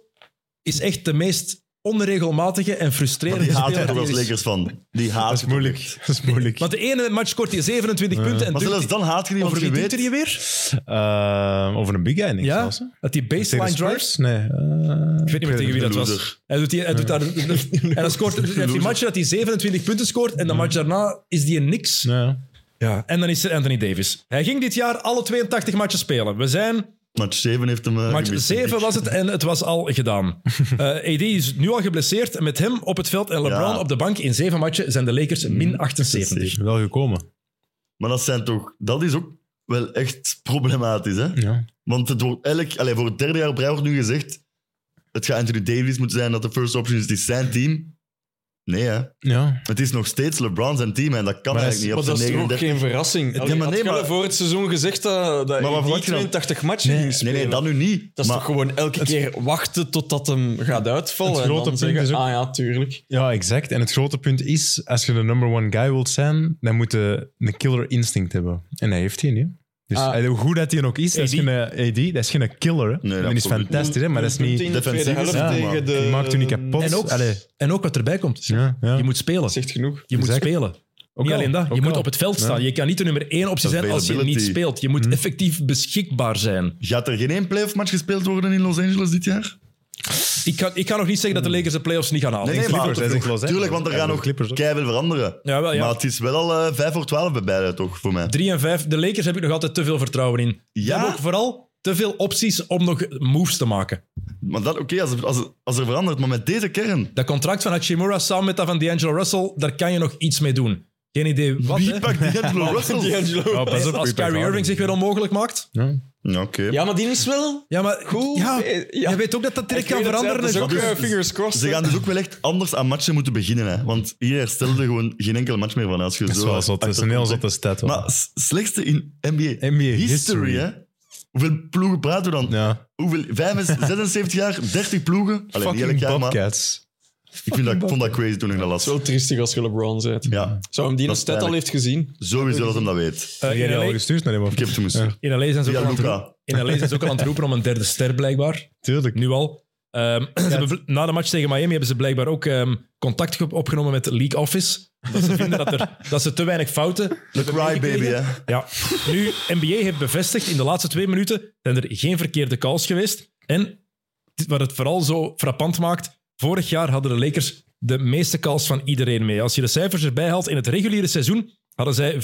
A: is echt de meest onregelmatige en frustrerende
C: Die haat
A: speler
C: er toch
A: die
C: als
A: er is.
C: Lakers van. Die haat
B: Dat is
C: je toch
B: moeilijk.
C: echt.
B: Dat is moeilijk.
A: Want de ene match scoort hij 27 punten. En
C: Maar
A: duwt
C: zelfs
A: hij-
C: dan haat je die, want
A: over
C: je
A: wie doet
C: weet...
A: hij die weer?
B: Eh, over een big guy, denk ik
A: Ja,
B: zelfs, hè?
A: dat die
B: Tegen de
A: baseline
B: Spurs?
A: drives.
B: Nee. eh,
A: Ik weet niet meer tegen wie dat was.
C: Loser.
A: Hij doet, die, hij doet daar, en dan scoort, hij heeft die match dat hij 27 punten scoort en de match daarna is die niks.
B: nee.
A: Ja. En dan is er Anthony Davis. Hij ging dit jaar alle 82 matchen spelen. We zijn...
C: Match 7 heeft hem... eh,
A: Match
C: gemist,
A: 7
C: denk ik.
A: was het en het was al gedaan. Eh AD is nu al geblesseerd. en Met hem op het veld en LeBron
C: Ja.
A: op de bank in 7 matchen zijn de Lakers min 78.
B: Wel gekomen.
C: Maar dat zijn toch... Dat is ook wel echt problematisch, hè.
B: Ja.
C: Want het wordt elk, allez, voor het derde jaar op rij wordt nu gezegd: het gaat Anthony Davis moeten zijn dat de first option is, die zijn team. Nee, hè.
B: Ja.
C: Het is nog steeds LeBron zijn team en dat kan
B: Maar
C: eigenlijk
D: Maar
C: niet op
D: dat
C: zijn
D: is toch ook
C: 39.
D: geen verrassing?
C: Ja,
D: Allee,
C: maar
D: had
C: nee,
D: Kalle
C: maar-
D: voor het seizoen gezegd dat, dat
C: Maar wat
D: hij die
C: verwacht je dan?
D: 82 matchen ging
C: Nee,
D: spelen.
C: nee, dat nu niet.
D: Dat is
C: maar
D: toch gewoon elke keer wachten totdat hem gaat uitvallen
B: Het
D: en dan
B: grote punt
D: zeggen,
B: is ook-
D: ah ja, tuurlijk.
B: ja, exact. En het grote punt is, als je de number one guy wilt zijn, dan moet je een killer instinct hebben. En hij heeft die niet. Dus
D: Ah.
B: hij- hoe goed dat hij ook is, dat is
A: AD.
B: geen eh, AD, dat is geen killer. hè.
C: Nee,
B: dat is
C: absoluut niet.
B: fantastisch, hè, maar dat is niet...
D: In
B: Die
D: de tweede
C: defensief is
D: helft
B: het,
C: maar
D: tegen de...
B: maakt u niet kapot.
A: En ook,
B: Allee.
A: en ook wat erbij komt.
B: Ja, ja.
A: Je moet spelen.
D: Dat zegt genoeg.
A: Je moet
B: Exact.
A: spelen.
B: Ook
A: niet
B: al,
A: alleen dat.
B: ook
A: Je moet
B: al.
A: op het veld
B: Ja.
A: staan. Je kan niet de nummer één optie zijn als je niet
C: Availability.
A: speelt. Je moet effectief beschikbaar zijn.
C: Gaat er geen één playoff match gespeeld worden in Los Angeles dit jaar?
A: Ik kan, ik kan nog niet zeggen dat de Lakers de playoffs niet gaan halen.
C: Nee, nee, maar-
B: Clippers, hè, zijn Los Angeles.
C: Tuurlijk, want er
B: Ja,
C: gaan
B: de
C: nog
B: Clippers ook. Ah,
C: keihard veranderen.
A: Jawel, ja.
C: Maar het is wel al eh, 5 voor 12 bij beide, toch, voor mij.
A: 3 en 5. De Lakers heb ik nog altijd te veel vertrouwen in. Die
C: Ja?
A: hebben ook vooral te veel opties om nog moves te maken.
C: Maar dat, oké, als, als, als er verandert, maar met deze kern.
A: Dat contract van Hachimura samen met dat van D'Angelo Russell, daar kan je nog iets mee doen. Geen idee wat.
C: Wie
A: hè?
C: pakt D'Angelo Russell?
D: D'Angelo.
B: Ja, Oh, pas op,
A: Als
B: je bent
A: Kyrie
B: wel-
A: Irving zich weer onmogelijk maakt.
B: Ja.
C: Ja, oké.
D: Ja, maar die is wel...
A: Ja, maar
D: Goed.
A: Ja,
D: Eh, ja.
A: Je weet ook dat dat direct
D: Ik
A: kan
D: weet het,
A: veranderen.
D: ja, dat is ook,
C: Dus-
D: eh, fingers crossed.
C: Ze gaan dus ook wel echt anders aan matchen moeten beginnen. Hè? Want hier herstelde gewoon geen enkele match meer van. Als je
B: Dat is
C: zo
B: wel zot. Dat is een heel zotte stat. hoor.
C: Maar s- slechtste in NBA,
B: NBA
C: history,
B: history.
C: hè? Hoeveel ploegen praten we dan?
B: Ja.
C: Hoeveel, 75, 76 jaar, 30 ploegen? Alleen niet elk
B: Fucking
C: jaar, maar
B: Bobcats.
C: ik, vind dat, ik vond dat crazy toen ik dat
D: Het
C: las.
D: is wel triestig als je LeBron bent.
C: Ja,
D: Zou hem die
C: Dat
D: nog
C: is
D: stat al
C: pijnlijk.
D: heeft gezien?
C: sowieso dat hem dat weet.
A: Eh,
B: Heb jij
A: in
B: die al
A: LA
B: gestuurd naar hem? of
C: Ik heb het hem
B: Ja.
C: gestuurd.
A: In LA zijn ze dus ook
C: Via
A: aan het roepen-
C: Luca.
A: in LA zijn ze dus ook al aan het roepen om een derde ster, blijkbaar.
B: Tuurlijk.
A: Nu al. Ehm, ze hebben vl- na de match tegen Miami hebben ze blijkbaar ook ehm, contact ge- opgenomen met de League Office. Dat ze vinden dat, er, dat ze te weinig fouten
C: De crybaby, hè?
A: Ja. Nu, NBA heeft bevestigd, in de laatste twee minuten zijn er geen verkeerde calls geweest. En dit- wat het vooral zo frappant maakt, vorig jaar hadden de Lakers de meeste calls van iedereen mee. Als je de cijfers erbij haalt, in het reguliere seizoen hadden zij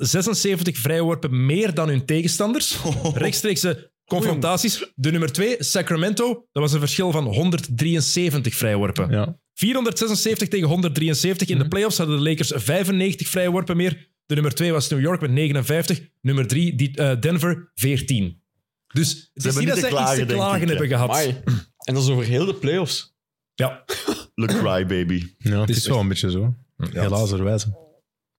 A: 476 vrijworpen meer dan hun tegenstanders. Rechtstreekse confrontaties. De nummer 2, Sacramento, dat was een verschil van 173 vrijworpen.
B: Ja.
A: 476 tegen 173.
B: Mhm.
A: In de playoffs hadden de Lakers 95 vrijworpen meer. De nummer 2 was New York met 59. Nummer 3 Denver 14. Dus het is
C: hebben
A: niet
C: niet
A: dat
C: te
A: zij iets te
C: klagen, denk
A: klagen
C: ik,
A: hebben gehad.
D: Amai. En dat is over heel de playoffs.
A: Ja.
C: Le crybaby.
B: Ja, het
A: is
B: is wel een beetje zo. Helaas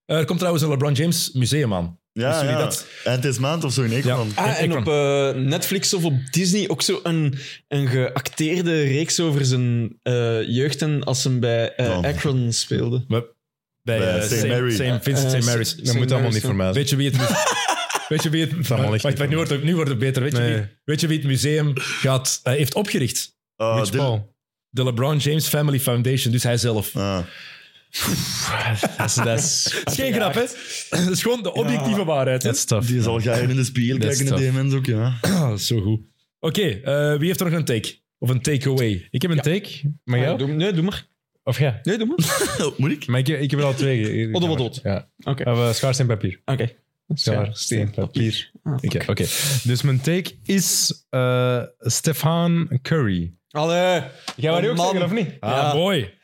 A: Eh, Er komt trouwens een LeBron James museum aan.
C: Ja,
A: jullie
C: ja.
A: dat-
C: Eind deze maand of zo in Eekland.
A: Ja,
D: Ah,
A: ik
D: en op eh, Netflix of op Disney ook zo een, een geacteerde reeks over zijn eh, jeugd en als hem bij eh
C: Oh.
D: Akron speelde.
A: Bij,
C: Bij
A: eh,
C: St.
A: St.
C: Mary.
A: St. Vincent
D: Eh,
A: St. Mary's.
D: St.
B: Dat moet allemaal
D: Mary's
B: niet voor mij zijn.
A: Weet je wie het... Weet je wie het...
B: allemaal echt
A: Wacht, wacht,
B: niet
A: nu wordt het, nu wordt het beter. Weet, je
B: Nee.
A: wie, weet je wie het museum gaat, eh, heeft opgericht?
C: Ah,
B: Rich
C: dit-
B: Paul.
A: De LeBron James Family Foundation, dus hij zelf.
C: ah.
B: Dat is- dat is-
A: Dat is geen grap, hè? Dat is gewoon de objectieve waarheid. Hè?
B: dat is tof.
C: Die zal gaan in de spiegel
B: Dat is
C: kijken, de demons ook, ja.
A: Ah, zo goed. Oké, eh, wie heeft er nog een take? Of een takeaway?
B: Ik heb een take. Maar
D: Ja,
B: jou?
D: doe, nee, doe maar.
B: Of jij?
D: Nee, doe maar.
C: Moet ik?
B: Maar ik, ik heb er al twee.
D: Odde, odde, odde.
B: Ja.
D: Oké.
B: We hebben schaar, steen, eh, papier.
D: Oké.
B: Schaar, steen, papier. Oké, oké. Dus mijn take is eh Stefan Curry.
D: Allee.
B: Jij
D: wou die ook zeggen, of
B: niet?
A: Ah,
D: Ja.
A: mooi.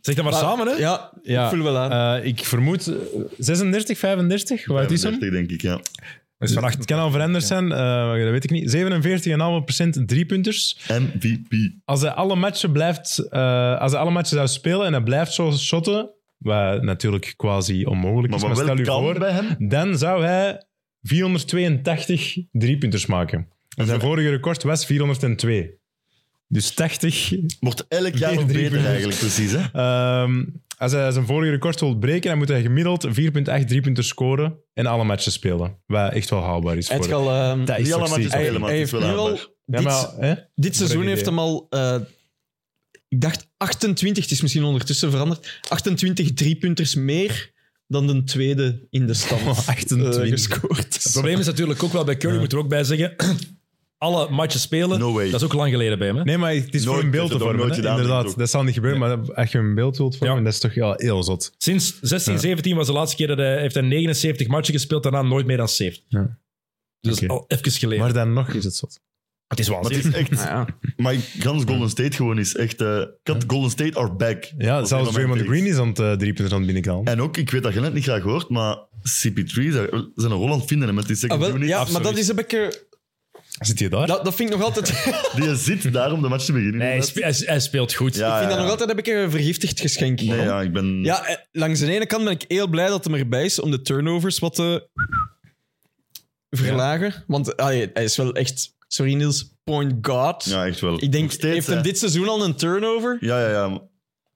A: Zeg dat maar, samen, hè?
D: Ja,
B: Ja.
D: ik voel wel aan.
B: Eh, ik vermoed eh, 36, 35. Waar is hem? Dus
C: 35, denk ik, ja.
A: Dat is van
B: Het kan al veranderd zijn, eh, dat weet ik niet. 47,5% driepunters.
C: MVP.
B: als hij alle matchen blijft, eh, als hij alle matchen zou spelen en hij blijft zo shotten, wat natuurlijk quasi onmogelijk
C: Maar
B: is, Dus maar,
C: wat
B: stel u
C: wel kan
B: voor,
C: bij hem?
B: dan zou hij 482 driepunters maken. En zijn vorige record was 402. Dus 80.
C: Wordt elk jaar nog
B: Drie
C: beter
B: punten.
C: eigenlijk, precies, hè?
B: Ehm, als hij zijn vorige record wil breken, dan moet hij gemiddeld 4,8 driepunters scoren en alle matchen spelen. Wat echt wel haalbaar is
D: Hij heeft
B: voor hem.
D: al, ehm,
B: Dat is
C: Niet
B: toch
C: alle matches
B: ziek.
D: hij-
C: helemaal,
D: hij
C: het is
D: heeft nu
C: wel
D: al...
C: haalbaar.
B: Ja,
D: dit-
B: maar, hè?
D: Dit seizoen
B: Voor een
D: heeft
B: idee.
D: hem al. eh, ik dacht 28, het is misschien ondertussen veranderd. 28 driepunters meer dan de tweede in de stand.
B: Oh, 28.
D: eh, gescoord.
A: Het probleem is natuurlijk ook wel bij Curry, moet er ook bij zeggen. Alle matchen spelen,
C: No way.
A: dat is ook lang geleden bij hem. Hè?
B: Nee, maar het is
C: Nooit,
B: voor een
C: ik
B: beeld
C: heb
B: te
C: het
B: vormen.
C: ook nooit
B: hè.
C: gedaan, denk
B: Inderdaad,
C: ik
B: dat zal niet gebeuren, maar als je een beeld wilt vormen,
A: Ja.
B: dat is toch wel heel zot.
A: Sinds 16, 17 was de laatste keer dat hij, heeft hij 79 matchen gespeeld, daarna nooit meer dan 70.
B: Ja.
A: Dus dat
B: Oké.
A: is al even geleden.
B: Maar dan nog is het zot.
A: het is
C: Maar
A: waanzinnig.
C: het is echt...
D: Nou ja.
C: Maar ik- gans Golden State gewoon is echt... eh, ik had Golden State are back.
B: Ja, zelfs
C: Dat is helemaal
B: Draymond
C: mijn
B: Green is aan het eh, drie punten aan het binnenkant.
C: En ook, ik weet dat je het niet graag hoort, maar CP3 zijn zijn een rol aan het vinden hè, met die
D: Ah,
C: second
D: wel,
C: unit.
D: ja maar dat is een beetje.
B: Zit je daar?
D: Dat, dat vind ik nog altijd...
C: Die zit daar om de match te beginnen.
A: Nee, hij,
C: inderdaad.
A: spe- hij- hij speelt goed.
C: Ja,
A: Ja.
D: ik vind
C: Ah, ja,
D: dat nog
C: ja.
D: altijd heb ik een vergiftigd geschenk.
C: Nee, ja, ik ben...
D: Ja, eh, langs de ene kant ben ik heel blij dat hem erbij is om de turnovers wat te verlagen. Want allee, hij is wel echt, sorry Niels, point guard.
C: Ja, echt wel.
D: ik denk,
C: Nog steeds,
D: heeft
C: hè.
D: hem dit seizoen al een turnover?
C: Ja, ja, ja.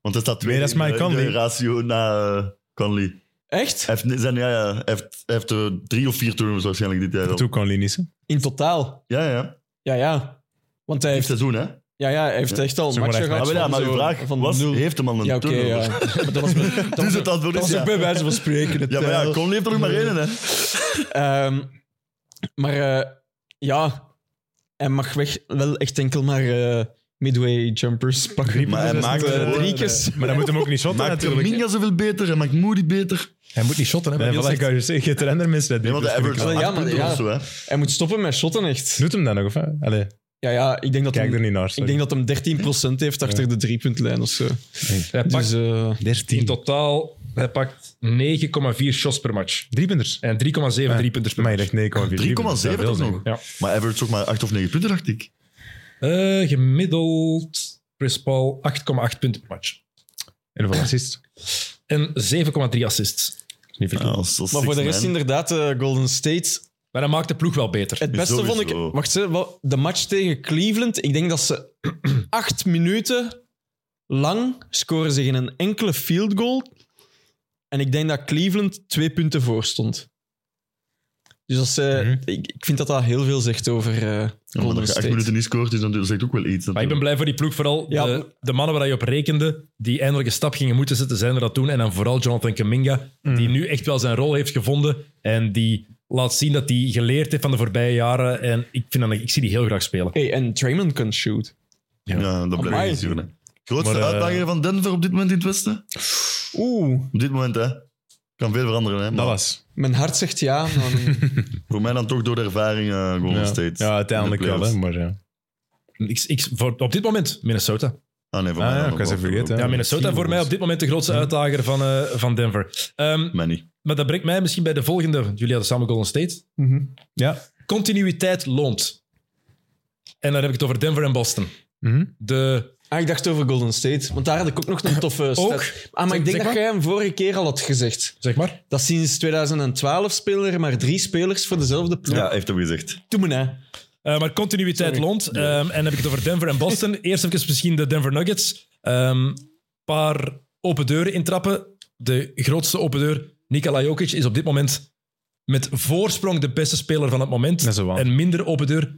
C: Want hij staat twee
B: Nee, dat is
C: in de-
B: Mike Conley.
C: in de ratio na eh, Conley.
D: Echt?
C: Hij heeft, ni- zijn, ja, ja, hij heeft, hij heeft eh, drie of vier turnovers waarschijnlijk dit jaar al.
B: Toe kan Linissen.
D: In totaal?
C: Ja, ja, ja.
D: Ja, ja. Want hij
C: Dit
D: heeft,
C: seizoen, hè. Ah,
D: ja, ja, hij heeft
C: Ja.
D: echt al
B: Zeg maar
D: matchen
B: echt
D: gehad
C: maar, Ah, ja,
D: van
C: maar
D: zo-
C: uw vraag
D: van
C: was,
D: nul.
C: heeft de man een
D: Ja, oké,
C: turnover?
D: ja. Maar dat was, dat
C: Dus
D: was-
C: het antwoord
D: dat
C: is
D: was
C: ja.
D: ook bij wijze van spreken. het,
C: Ja, maar ja,
D: eh,
C: Conley heeft er nog maar één, hè.
D: Ehm, maar eh, ja, hij mag weg, wel echt enkel maar eh, midway jumpers pakken.
C: Maar hij
B: Dus
C: maakt
B: dat, eh,
C: gewoon,
D: drie keer.
B: Maar dan moet hem ook niet shotten
C: Maakt
B: natuurlijk.
C: Minga zoveel beter en maakt Moody beter.
A: Hij moet niet shotten, hè?
B: Nee,
A: maar
B: voilà, ik
A: Niels
B: kan je zeggen, je hebt er andere mensen dat
C: Nee,
B: doen,
C: want de
B: dus vind ik
C: average is
D: wel-
C: acht
D: Ja, maar
C: punten
D: ja.
C: of zo, hè.
D: Hij moet stoppen met shotten, echt.
B: wel- Doet hem dat nog, of hè? Allee,
D: Ja, ja ik denk dat
B: kijk er
D: hem,
B: niet naar.
D: ik denk dat hem 13% heeft achter de driepuntlijn of zo.
A: zegt- Hij pakt
D: Dus, eh,
A: in
B: 13.
A: totaal hij pakt 9,4 shots per match.
B: Drie punters.
A: En 3,7 driepunters per
B: Ah, Maar je
A: match.
B: dacht 9,4.
C: 3,7 toch nog?
A: Ja.
C: Maar average toch maar 8 of 9 punten, dacht ik.
A: Eh, gemiddeld Chris Paul 8,8 punten per match.
B: En hoeveel assists?
A: En 7,3 assists. Ah,
B: Niet verkeerd.
C: Ja, als- als
D: maar voor de
C: six
D: rest
C: man.
D: inderdaad, eh, Golden State.
A: Maar dat maakt de ploeg wel beter.
D: Het beste
C: Sowieso.
D: vond ik... Wacht, hè, wat- de match tegen Cleveland. Ik denk dat ze acht minuten lang scoren ze geen een enkele field goal. En ik denk dat Cleveland twee punten voor stond. Dus dat ze,
B: Mhm.
D: ik, ik vind dat dat heel veel zegt over eh,
C: Ja, maar dat
D: Golden
C: je 8
D: State.
C: minuten niet scoort, is natuurlijk, zegt ook wel iets.
A: Maar ik ben blij voor die ploeg. Vooral
D: Ja.
A: de, de mannen waar je op rekende, die eindelijk een stap gingen moeten zetten, zijn er dat toen. En dan vooral Jonathan Kaminga,
B: Mm.
A: die nu echt wel zijn rol heeft gevonden. En die laat zien dat hij geleerd heeft van de voorbije jaren. En ik, vind dat, ik zie die heel graag spelen.
D: Hey, en Draymond kan shoot.
C: Ja, dat blijf
D: Amai.
C: ik niet zien, hè. Grootste
B: Maar, eh,
C: uitdager van Denver op dit moment in het Westen?
D: Oeh.
C: Op dit moment, hè. Kan veel veranderen, hè. Maar
B: Dat was.
D: Mijn hart zegt ja, maar
C: voor mij dan toch door de ervaring eh, Golden
B: Ja.
C: State.
B: Ja, uiteindelijk
C: In de
B: wel,
C: playoffs.
B: hè. Maar ja.
A: Ik, ik, voor, op dit moment Minnesota.
C: Ah, nee, voor
B: Ah,
C: mij
B: ja,
C: dan
B: ik
C: nog
B: was
C: wel.
B: even vergeten, hè.
A: Ja, Minnesota voor mij op dit moment de grootste uitdager van, eh, van Denver. Ehm,
C: Mij niet.
A: maar dat brengt mij misschien bij de volgende. Jullie hadden samen Golden State.
B: Ja.
A: Continuïteit loont. En dan heb ik het over Denver en Boston.
B: Mhm.
A: De,
D: Ah, ik dacht over Golden State, want daar had ik ook nog een toffe stat.
A: Ook?
D: Ah, maar ik denk
A: Zeg
D: dat
A: maar.
D: jij hem vorige keer al had gezegd.
A: zeg maar.
D: Dat sinds 2012 spelen er maar drie spelers voor dezelfde ploeg.
C: Ja, heeft hem gezegd.
D: Doe me na.
A: Eh, maar continuïteit
D: Sorry.
A: loont. Ehm, en dan heb ik het over Denver en Boston. Eerst even misschien de Denver Nuggets. Een paar open deuren intrappen. De grootste open deur, Nikola Jokic, is op dit moment met voorsprong de beste speler van het moment.
B: Dat is wel.
A: En minder open deur,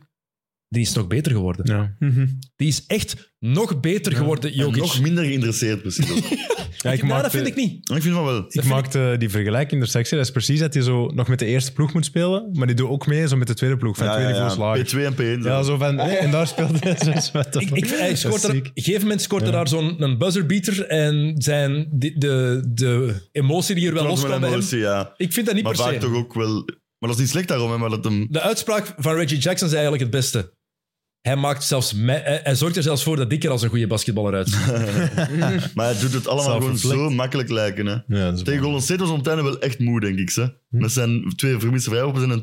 A: die is nog beter geworden.
B: Ja.
C: Mhm.
A: Die is echt nog beter geworden,
C: En
A: Jokic.
C: nog minder geïnteresseerd, precies. ook.
B: Ja, ik
A: Nee,
B: maakte-
A: dat vind ik niet.
C: Maar ik vind van wel.
B: Ik maakte die vergelijking in de sectie. Dat is precies dat hij zo nog met de eerste ploeg moet spelen, maar die doet ook mee zo met de tweede ploeg. Van
C: Ja,
B: twee
C: ja,
B: niveaus
C: ja.
B: lager.
C: P2 en P1.
B: Ja, zo van, hè, en daar speelt hij zo met de-
A: Ik, ik, hij
B: Dat
A: scoort
B: is
A: er, op
B: ziek.
A: een gegeven moment scoort er daar zo'n een buzzerbeater en zijn, de, de, de emotie die er wel
C: Trouwens,
A: loskwam
C: wel
A: bij hem,
C: emotie, ja.
A: ik vind dat niet
C: Maar
A: per se.
C: vaak toch ook wel. Maar dat is niet slecht daarom, hè, maar dat hem.
A: De uitspraak van Reggie Jackson is eigenlijk het beste. Hij, maakt zelfs me- hij hij zorgt er zelfs voor dat ik er als een goede basketballer uitzie.
C: Maar hij doet het allemaal gewoon
B: Zelfverplicht.
C: zo makkelijk lijken. Hè.
B: Ja, dat is
C: Tegen Golden State was hij op het einde wel echt moe, denk ik. Ze. Met zijn twee vermiste vrijworpen en een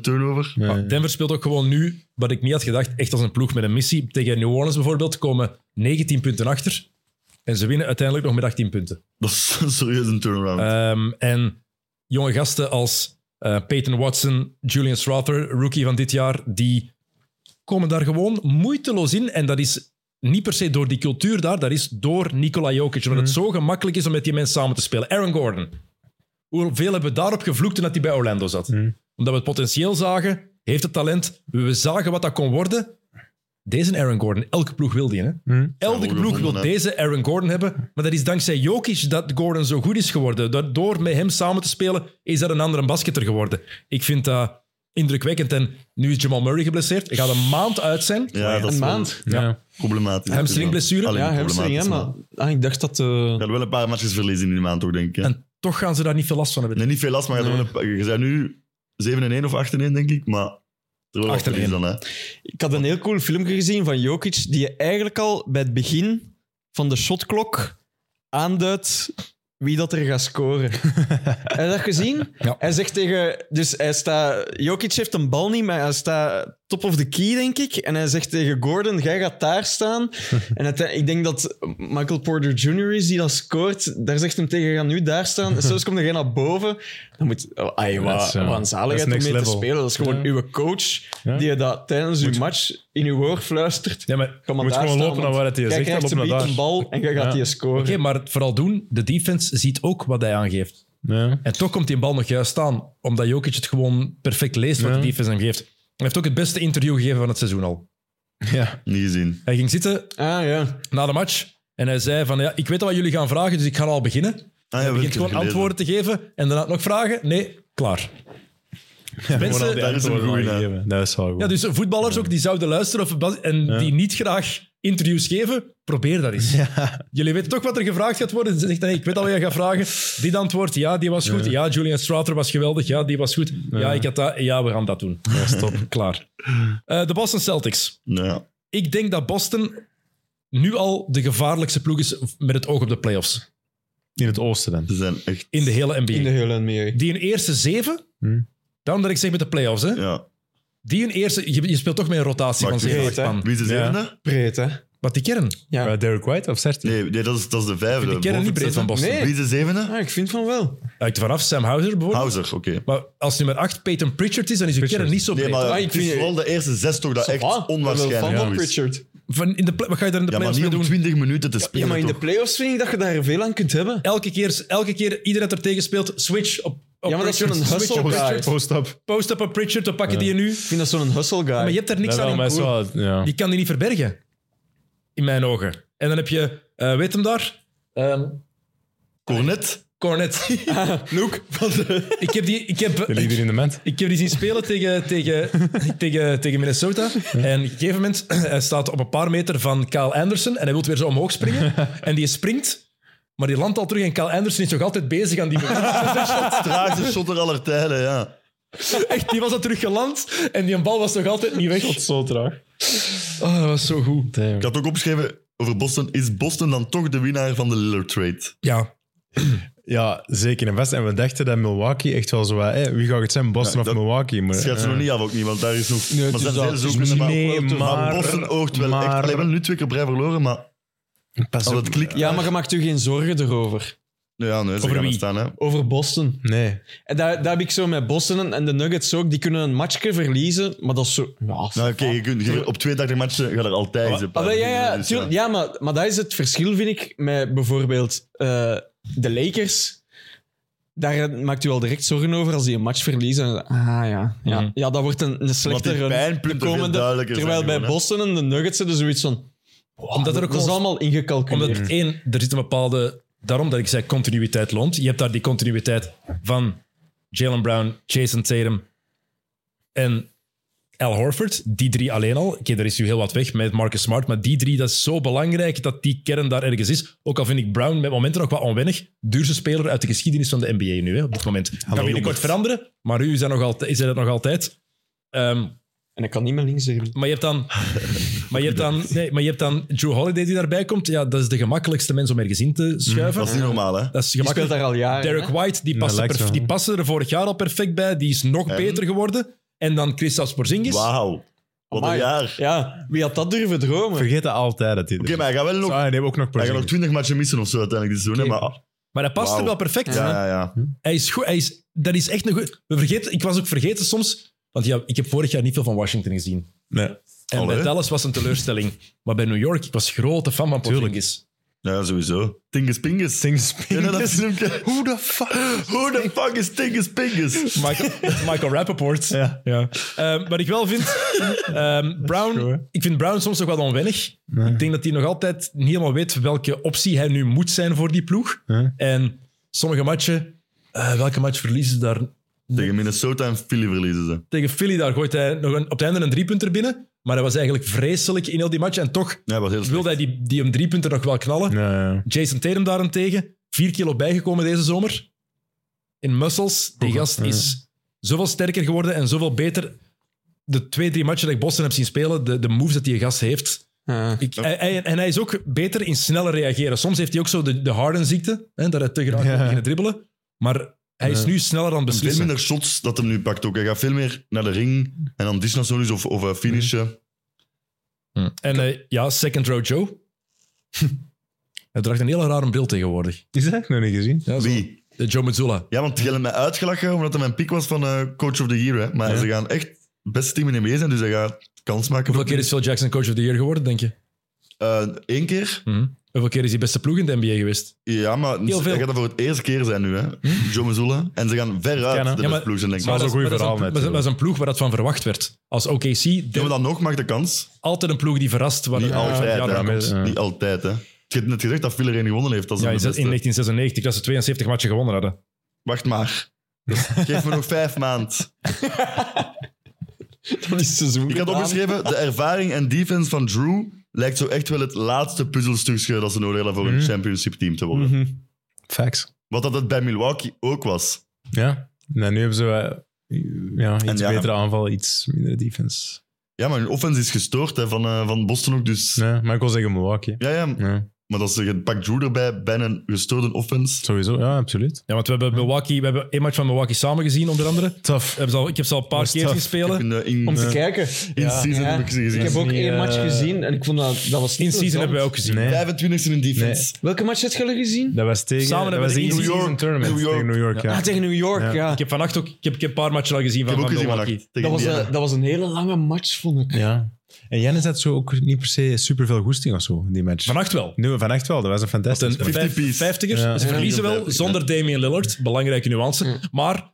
C: turnover.
B: Ja, ja.
A: Maar Denver speelt ook gewoon nu, wat ik niet had gedacht, echt als een ploeg met een missie. Tegen New Orleans bijvoorbeeld komen 19 punten achter. En ze winnen uiteindelijk nog met 18 punten.
C: Dat is een serieus een turnaround.
A: Ehm, en jonge gasten als eh, Peyton Watson, Julian Strother, rookie van dit jaar, die komen daar gewoon moeiteloos in. En dat is niet per se door die cultuur daar, dat is door Nikola Jokic. Omdat het zo gemakkelijk is om met die mensen samen te spelen. Aaron Gordon. Hoeveel hebben we daarop gevloekt toen dat hij bij Orlando zat? Omdat we het potentieel zagen, heeft het talent, we zagen wat dat kon worden. Deze Aaron Gordon, elke ploeg wil die, hè? Elke
C: Ja,
A: ploeg wil
C: gevonden, hè.
A: deze Aaron Gordon hebben. Maar dat is dankzij Jokic dat Gordon zo goed is geworden. Dat Door met hem samen te spelen, is dat een andere basketter geworden. Ik vind dat indrukwekkend. En nu is Jamal Murray geblesseerd. Hij gaat een maand uit zijn.
C: ja, dat
D: Een
C: is wel
D: maand.
B: Ja.
C: problematisch.
A: Hamstringblessure?
C: Alleen
D: Ja, hamstring,
C: problematisch,
D: hè, maar... Ah, ik dacht dat... eh,
C: Je gaat wel een paar matches verliezen in die maand, toch, denk ik. hè.
A: En toch gaan ze daar niet veel last van hebben.
C: Nee, niet veel last, maar je, gaat er wel een paar- je bent nu 7 en 1 of 8 en 1, denk ik. Maar er wel
A: 8 en
C: achter is
A: 1.
C: dan, hè.
D: Ik had een heel cool filmpje gezien van Jokic, die je eigenlijk al bij het begin van de shotklok aanduidt wie dat er gaat scoren. Heb je dat gezien?
A: Ja.
D: Hij zegt tegen... Dus hij staat... Jokic heeft een bal niet, maar hij staat top of the key, denk ik. En hij zegt tegen Gordon, jij gaat daar staan. en het- ik denk dat Michael Porter Jr. is die dat scoort. Daar zegt hem tegen, ga nu daar staan. En soms komt er geen naar boven. Dan moet... Oh, ai,
B: Dat
D: wat
B: is, eh,
D: wat een zaligheid om
B: dat
D: mee
B: is next
D: te
B: level.
D: spelen. Dat is gewoon uw coach
B: Ja.
D: die je dat tijdens uw match in uw oor fluistert.
B: Ja, maar
D: Ga
B: je
D: maar
B: moet
D: daar
B: gewoon
D: staan,
B: lopen naar
D: want
B: waar het je
D: jij
B: zegt. en
D: krijgt
B: lopen
D: zometeen
B: naar
D: een
B: daar.
D: bal en jij gaat
B: Ja.
D: die scoren.
A: Oké, maar het vooral doen. De defense ziet ook wat hij aangeeft.
B: Ja.
A: En toch komt die bal nog juist staan. Omdat Jokic het gewoon perfect leest wat
B: Ja.
A: de defense hem geeft. Hij heeft ook het beste interview gegeven van het seizoen al.
B: Ja.
C: Niet gezien.
A: Hij ging zitten
D: Ah ja.
A: na de match en hij zei van... Ja, ik weet al wat jullie gaan vragen, dus ik ga al beginnen. Hij
C: Ah, ja,
A: begint gewoon antwoorden te geven en daarna nog vragen. Nee, klaar.
B: Gewoon al die
C: daar is een
B: antwoorden
C: goeie,
B: al gegeven. Dat is al goed.
A: Ja, dus voetballers ook die zouden luisteren of bas- en die niet graag interviews geven, probeer dat eens. Jullie weten toch wat er gevraagd gaat worden. Ze zegt, nee, ik weet al wat je gaat vragen. Dit antwoord, ja, die was goed. Ja, Julian Strouter was geweldig. Ja, die was goed. Ja, ik had dat. Ja, we gaan dat doen. Ja, stop. Klaar. Eh, de Boston Celtics.
C: Nou ja.
A: Ik denk dat Boston nu al de gevaarlijkste ploeg is met het oog op de playoffs.
B: In het oosten dan.
C: Ze zijn echt...
A: In de hele NBA.
D: In de hele NBA.
A: Die hun eerste zeven...
B: Hm.
A: Daarom dat ik zeg met de playoffs, hè.
C: Ja.
A: Die hun eerste... Je, je speelt toch met een rotatie
C: Maar
A: van
C: ik
A: zeven, acht
D: weet het, hè.
A: man.
C: Wie is de
B: Ja.
C: zevende?
D: Breed, hè?
A: Wat die kern.
D: Ja.
B: Eh, Derek White of Sertan?
C: Nee, nee dat, is, dat is de vijfde.
A: Die kennen
C: Boven
A: niet
C: het
A: breed van
C: zesde.
A: Boston.
D: Nee.
C: Wie is de zevende?
D: Ah, ik vind van wel.
A: Hangt vanaf Sam Houser bijvoorbeeld.
C: Houser, oké.
A: Maar als nummer 8 Peyton Pritchard is, dan is uw
B: Pritchard.
A: kern niet zo breed.
C: Nee, maar
D: Ah, ik
C: het is
D: vind-
C: vooral de eerste zes toch dat
D: Ça va.
C: echt
D: Van
C: onwaarschijnlijk
D: Bob
C: goed is.
D: Richard.
A: Van in de pla- wat ga je daar in de
C: Ja, maar
A: playoffs
C: niet
A: mee doen?
C: om 20 minuten te
D: Ja,
C: spelen,
D: maar in de
C: toch?
D: playoffs vind ik dat je daar veel aan kunt hebben.
A: Elke keer, elke keer iedereen dat er tegen speelt, switch op, op
D: Ja, maar dat is
A: Pritchard.
D: zo'n
A: switch op
D: hustle
A: Pritchard.
D: guy.
B: Post-up.
A: Post op een Pritchard, dan pakken die je nu.
D: Ik vind dat zo'n hustle guy.
A: Maar je hebt er niks
B: Dat wel,
A: aan.
B: maar
A: in
B: is
A: koer.
B: wel... Ja.
A: Je kan die niet verbergen. In mijn ogen. En dan heb je, eh, weet hem daar? Ehm
C: Cornet?
A: Cornet.
D: Nook van de...
A: ik, heb die, ik, heb,
B: De leader in de ment.
A: Ik heb die zien spelen tegen, tegen, tegen, tegen Minnesota. En op een gegeven moment hij staat op een paar meter van Kyle Anderson en hij wil weer zo omhoog springen. En die springt, maar die landt al terug. En Kyle Anderson is nog altijd bezig aan die beweging.
C: Traagste shotter aller tijden, ja.
A: Echt, die was al terug geland en die bal was nog altijd niet weg.
B: Zo traag.
A: Oh, dat was zo goed.
C: Ik had ook opgeschreven over Boston. Is Boston dan toch de winnaar van de Lillard trade?
A: Ja,
B: Ja, zeker en vast. En we dachten dat Milwaukee echt wel zo... wat, Hè, wie gaat het zijn? Boston
C: Ja,
B: of
C: dat-
B: Milwaukee? Maar,
C: Schrijf ze
B: ja.
C: nog niet af, ook niet, want daar is nog...
B: het
C: maar
B: is dat-
C: zijn zeiden ze ook
B: het is
C: kunnen, maar...
B: nee,
C: maar
B: maar-
C: Boston oogt wel echt.
B: maar-
C: Alleen wel nu twee keer op rij verloren, maar...
B: Pas op.
C: Als het klikt...
D: Ja, maar je maakt u geen zorgen erover.
C: Ja, nee, ze
A: Over
C: gaan er
A: wie?
C: staan, hè.
D: Over Boston.
B: Nee.
D: En daar, daar heb ik zo met Boston en- en de Nuggets ook. Die kunnen een matchje verliezen, maar dat is zo... Ja,
C: Nou, oké, je kunt je- op 82 matchen gaat er altijd eens een paar
D: Ah, wel, ja, ja,
C: Dus,
D: tuurlijk. ja maar, maar dat is het verschil, vind ik, met bijvoorbeeld eh, de Lakers. Daar maakt u al direct zorgen over als die een match verliezen. Ah ja, ja.
A: Mhm.
D: ja dat wordt een, een slechte
C: die
D: run.
C: pijnpunten
D: De
C: veel
D: komende,
C: duidelijker zijn
D: terwijl bij
C: gewoon, hè.
D: Boston en de Nuggets er zoiets van... wow,
A: Omdat er ook
D: dat is
A: wel-
D: allemaal ingecalculeerd.
A: omdat één, er zit een bepaalde... Daarom dat ik zei continuïteit loont. Je hebt daar die continuïteit van Jalen Brown, Jason Tatum en Al Horford. Die drie alleen al. Oké, er is nu heel wat weg met Marcus Smart, maar die drie, dat is zo belangrijk dat die kern daar ergens is. Ook al vind ik Brown met momenten nog wat onwennig. Duurste speler uit de geschiedenis van de NBA nu, hè, op dit moment. Kan binnenkort
C: jongens.
A: veranderen, maar u is dat nog altijd. Is hij dat nog altijd. Ehm,
D: En ik kan niet meer links zeggen.
A: maar je hebt dan... Maar je, hebt dan, nee, maar je hebt dan Joe Holiday die daarbij komt. Ja, dat is de gemakkelijkste mens om ergens in te schuiven.
C: Dat is niet normaal, hè.
A: Dat is
D: Die speelt
A: gemakkelijk.
D: daar al jaren.
A: Derek
D: hè?
A: White, die
B: Dat
A: paste,
B: lijkt
A: perf-
B: wel.
A: die paste er vorig jaar al perfect bij. Die is nog
C: En?
A: beter geworden. En dan Christophe Porzingis.
C: Wauw. Wat een
D: Amai.
C: jaar. Oké,
D: Ja, wie had dat durven dromen?
B: Vergeet dat altijd. Dat die
C: maar hij gaat wel nog...
B: Ah, die hebben ook nog
C: Hij gaat nog
B: Porzingis.
C: 20 matchen missen of zo uiteindelijk dit seizoen, hè, maar...
A: Maar hij past er
C: Wauw.
A: wel perfect.
C: Ja, ja, ja.
A: Hij is goed. Hij is, dat is echt een goed... We vergeten, ik was ook vergeten soms... Want ja, ik heb vorig jaar niet veel van Washington gezien.
B: Nee.
A: En
C: Allee.
A: bij Dallas was een teleurstelling. Maar bij New York, ik was grote fan van Porzingis.
C: Ja, sowieso. Tingus Pingus.
B: Sings
C: Ken je dat
B: Pingus.
C: filmpje?
B: Hoe de fuck?
C: Who the fuck is Tingus Pingus?
A: Michael, Michael Rappaport.
B: Ja.
A: Ja. Ehm, wat ik wel vind, ehm, Brown,
B: goed, hè?
A: ik vind Brown soms nog wel onwennig.
B: Nee.
A: Ik denk dat hij nog altijd niet helemaal weet welke optie hij nu moet zijn voor die ploeg.
B: Ja.
A: En sommige matchen, eh, welke match verliezen ze daar?
C: Tegen Minnesota en Philly verliezen ze.
A: Tegen Philly, daar gooit hij nog een, op het einde een driepunter binnen. Maar hij was eigenlijk vreselijk in heel die match. En toch
C: Ja, was heel slecht.
A: wilde hij die, die hem driepunter nog wel knallen.
B: Ja, ja.
A: Jason Tatum daarentegen, vier kilo bijgekomen deze zomer. In muscles. Die
B: Goed,
A: gast
B: ja.
A: is zoveel sterker geworden en zoveel beter. De twee, drie matchen dat ik Boston heb zien spelen, de, de moves dat die gast heeft.
D: Ja.
A: Ik, hij- hij- en hij is ook beter in sneller reageren. Soms heeft hij ook zo de, de Harden-ziekte, hè, dat hij te graag
B: Ja.
A: kan beginnen dribbelen. Maar Hij is nu sneller aan het
C: Veel
A: beslissen.
C: minder shots dat hem nu pakt ook. Hij gaat veel meer naar de ring en dan disnationalis of, of eh, finishen.
A: Hm. En eh, ja, second row Joe. Hij draagt een heel raar beeld tegenwoordig.
B: Is dat? Nog niet gezien.
A: Ja, zo.
C: Wie?
A: De Joe Mazzulla.
C: Ja, want die hebben mij uitgelachen omdat hij mijn pick was van eh, Coach of the Year. Hè. Maar
A: Ja.
C: ze gaan echt het beste team in de NBA zijn, dus hij gaat kans maken.
A: Hoeveel keer is Phil Jackson coach of the year geworden, denk je?
C: Eén Eh, keer?
A: Hm. Hoeveel keer is hij beste ploeg in de NBA geweest?
C: Ja, maar
A: Heel veel. Hm?
C: hij gaat dat voor het eerste keer zijn nu, hè. Joe Mazzulla. En ze gaan
B: Kan,
C: veruit
B: hè.
C: de
A: Ja,
C: ja,
A: maar-
C: ploeg zijn, denk ik.
B: Maar
C: Maar
B: dat is een
A: Maar
B: goeie verhaal
A: dat is een-
B: net.
A: maar dat is een ploeg waar dat van verwacht werd. Als OKC, de-
C: dan nog mag de kans.
A: altijd een ploeg die verrast. Waar
C: Niet
A: ja,
C: altijd,
A: ja,
C: hè.
A: dat komt.
B: Ja.
C: Niet altijd, hè. Je hebt net gezegd dat Filler één gewonnen heeft. Dat is
A: Ja,
C: dan
A: in
C: de beste.
A: 1996, dat ze 72 matchen gewonnen hadden.
C: Wacht maar. Dus Geef me nog vijf maand.
D: Dan is het seizoen
C: Ik had
D: gedaan.
C: opgeschreven, de ervaring en defense van Drew lijkt zo echt wel het laatste puzzelstukje dat ze nodig hebben voor
A: Hm.
C: een championship team te worden.
D: Mhm.
B: Facts.
C: Wat dat het bij Milwaukee ook was.
B: Ja. En nu hebben ze eh, ja,
C: En
B: iets
C: ja.
B: betere aanval, iets minder defense.
C: Ja, maar hun offense is gestoord hè, van, eh, van Boston ook, dus...
B: Nee, maar ik wil zeggen Milwaukee.
C: Ja, ja,
B: Ja,
C: maar dat ze je pakt Drew erbij bij een gestoorde offense.
B: sowieso. Ja, absoluut.
A: Ja, want we hebben, Milwaukee, we hebben één match van Milwaukee samen gezien, onder andere.
B: Tof.
A: Hebben ze al- Ik heb ze al een paar
B: Was
A: keer
B: tough.
A: gespeeld.
C: In, de- in,
D: Om te
C: eh,
D: kijken.
C: in season
D: Ja.
C: heb ik ze gezien.
D: Ik heb
B: is
D: ook
B: niet,
D: één
B: eh,
D: match gezien en ik vond dat, dat was
A: In season hebben wij ook gezien.
B: Nee,
C: 25 in defense.
D: Welke match had je al gezien?
B: dat was tegen...
A: Samen
B: dat
A: hebben
B: was
A: we de
B: tegen
A: New
B: in-season
C: York-
B: tournament
C: New York.
B: tegen New York, ja.
D: Ah, tegen New York,
B: Ja.
D: ja.
A: Ik heb vannacht ook ik heb, ik heb een paar matchen al gezien
C: Ik
A: van,
C: heb ook
A: van
C: gezien
A: Milwaukee.
C: vannacht. tegen
D: Dat, was eh,
C: Indiana.
D: een, dat was een hele lange match, vond ik.
B: Ja. En Jennis had zo ook niet per se superveel goesting of zo, in die match.
A: Vannacht wel.
B: Nee, van echt wel. Dat was een fantastisch
A: Een
B: match.
C: 50 piece.
A: 50ers.
B: Ja.
A: Ze
C: Ja.
A: verliezen wel zonder Damian Lillard. Belangrijke nuance. Maar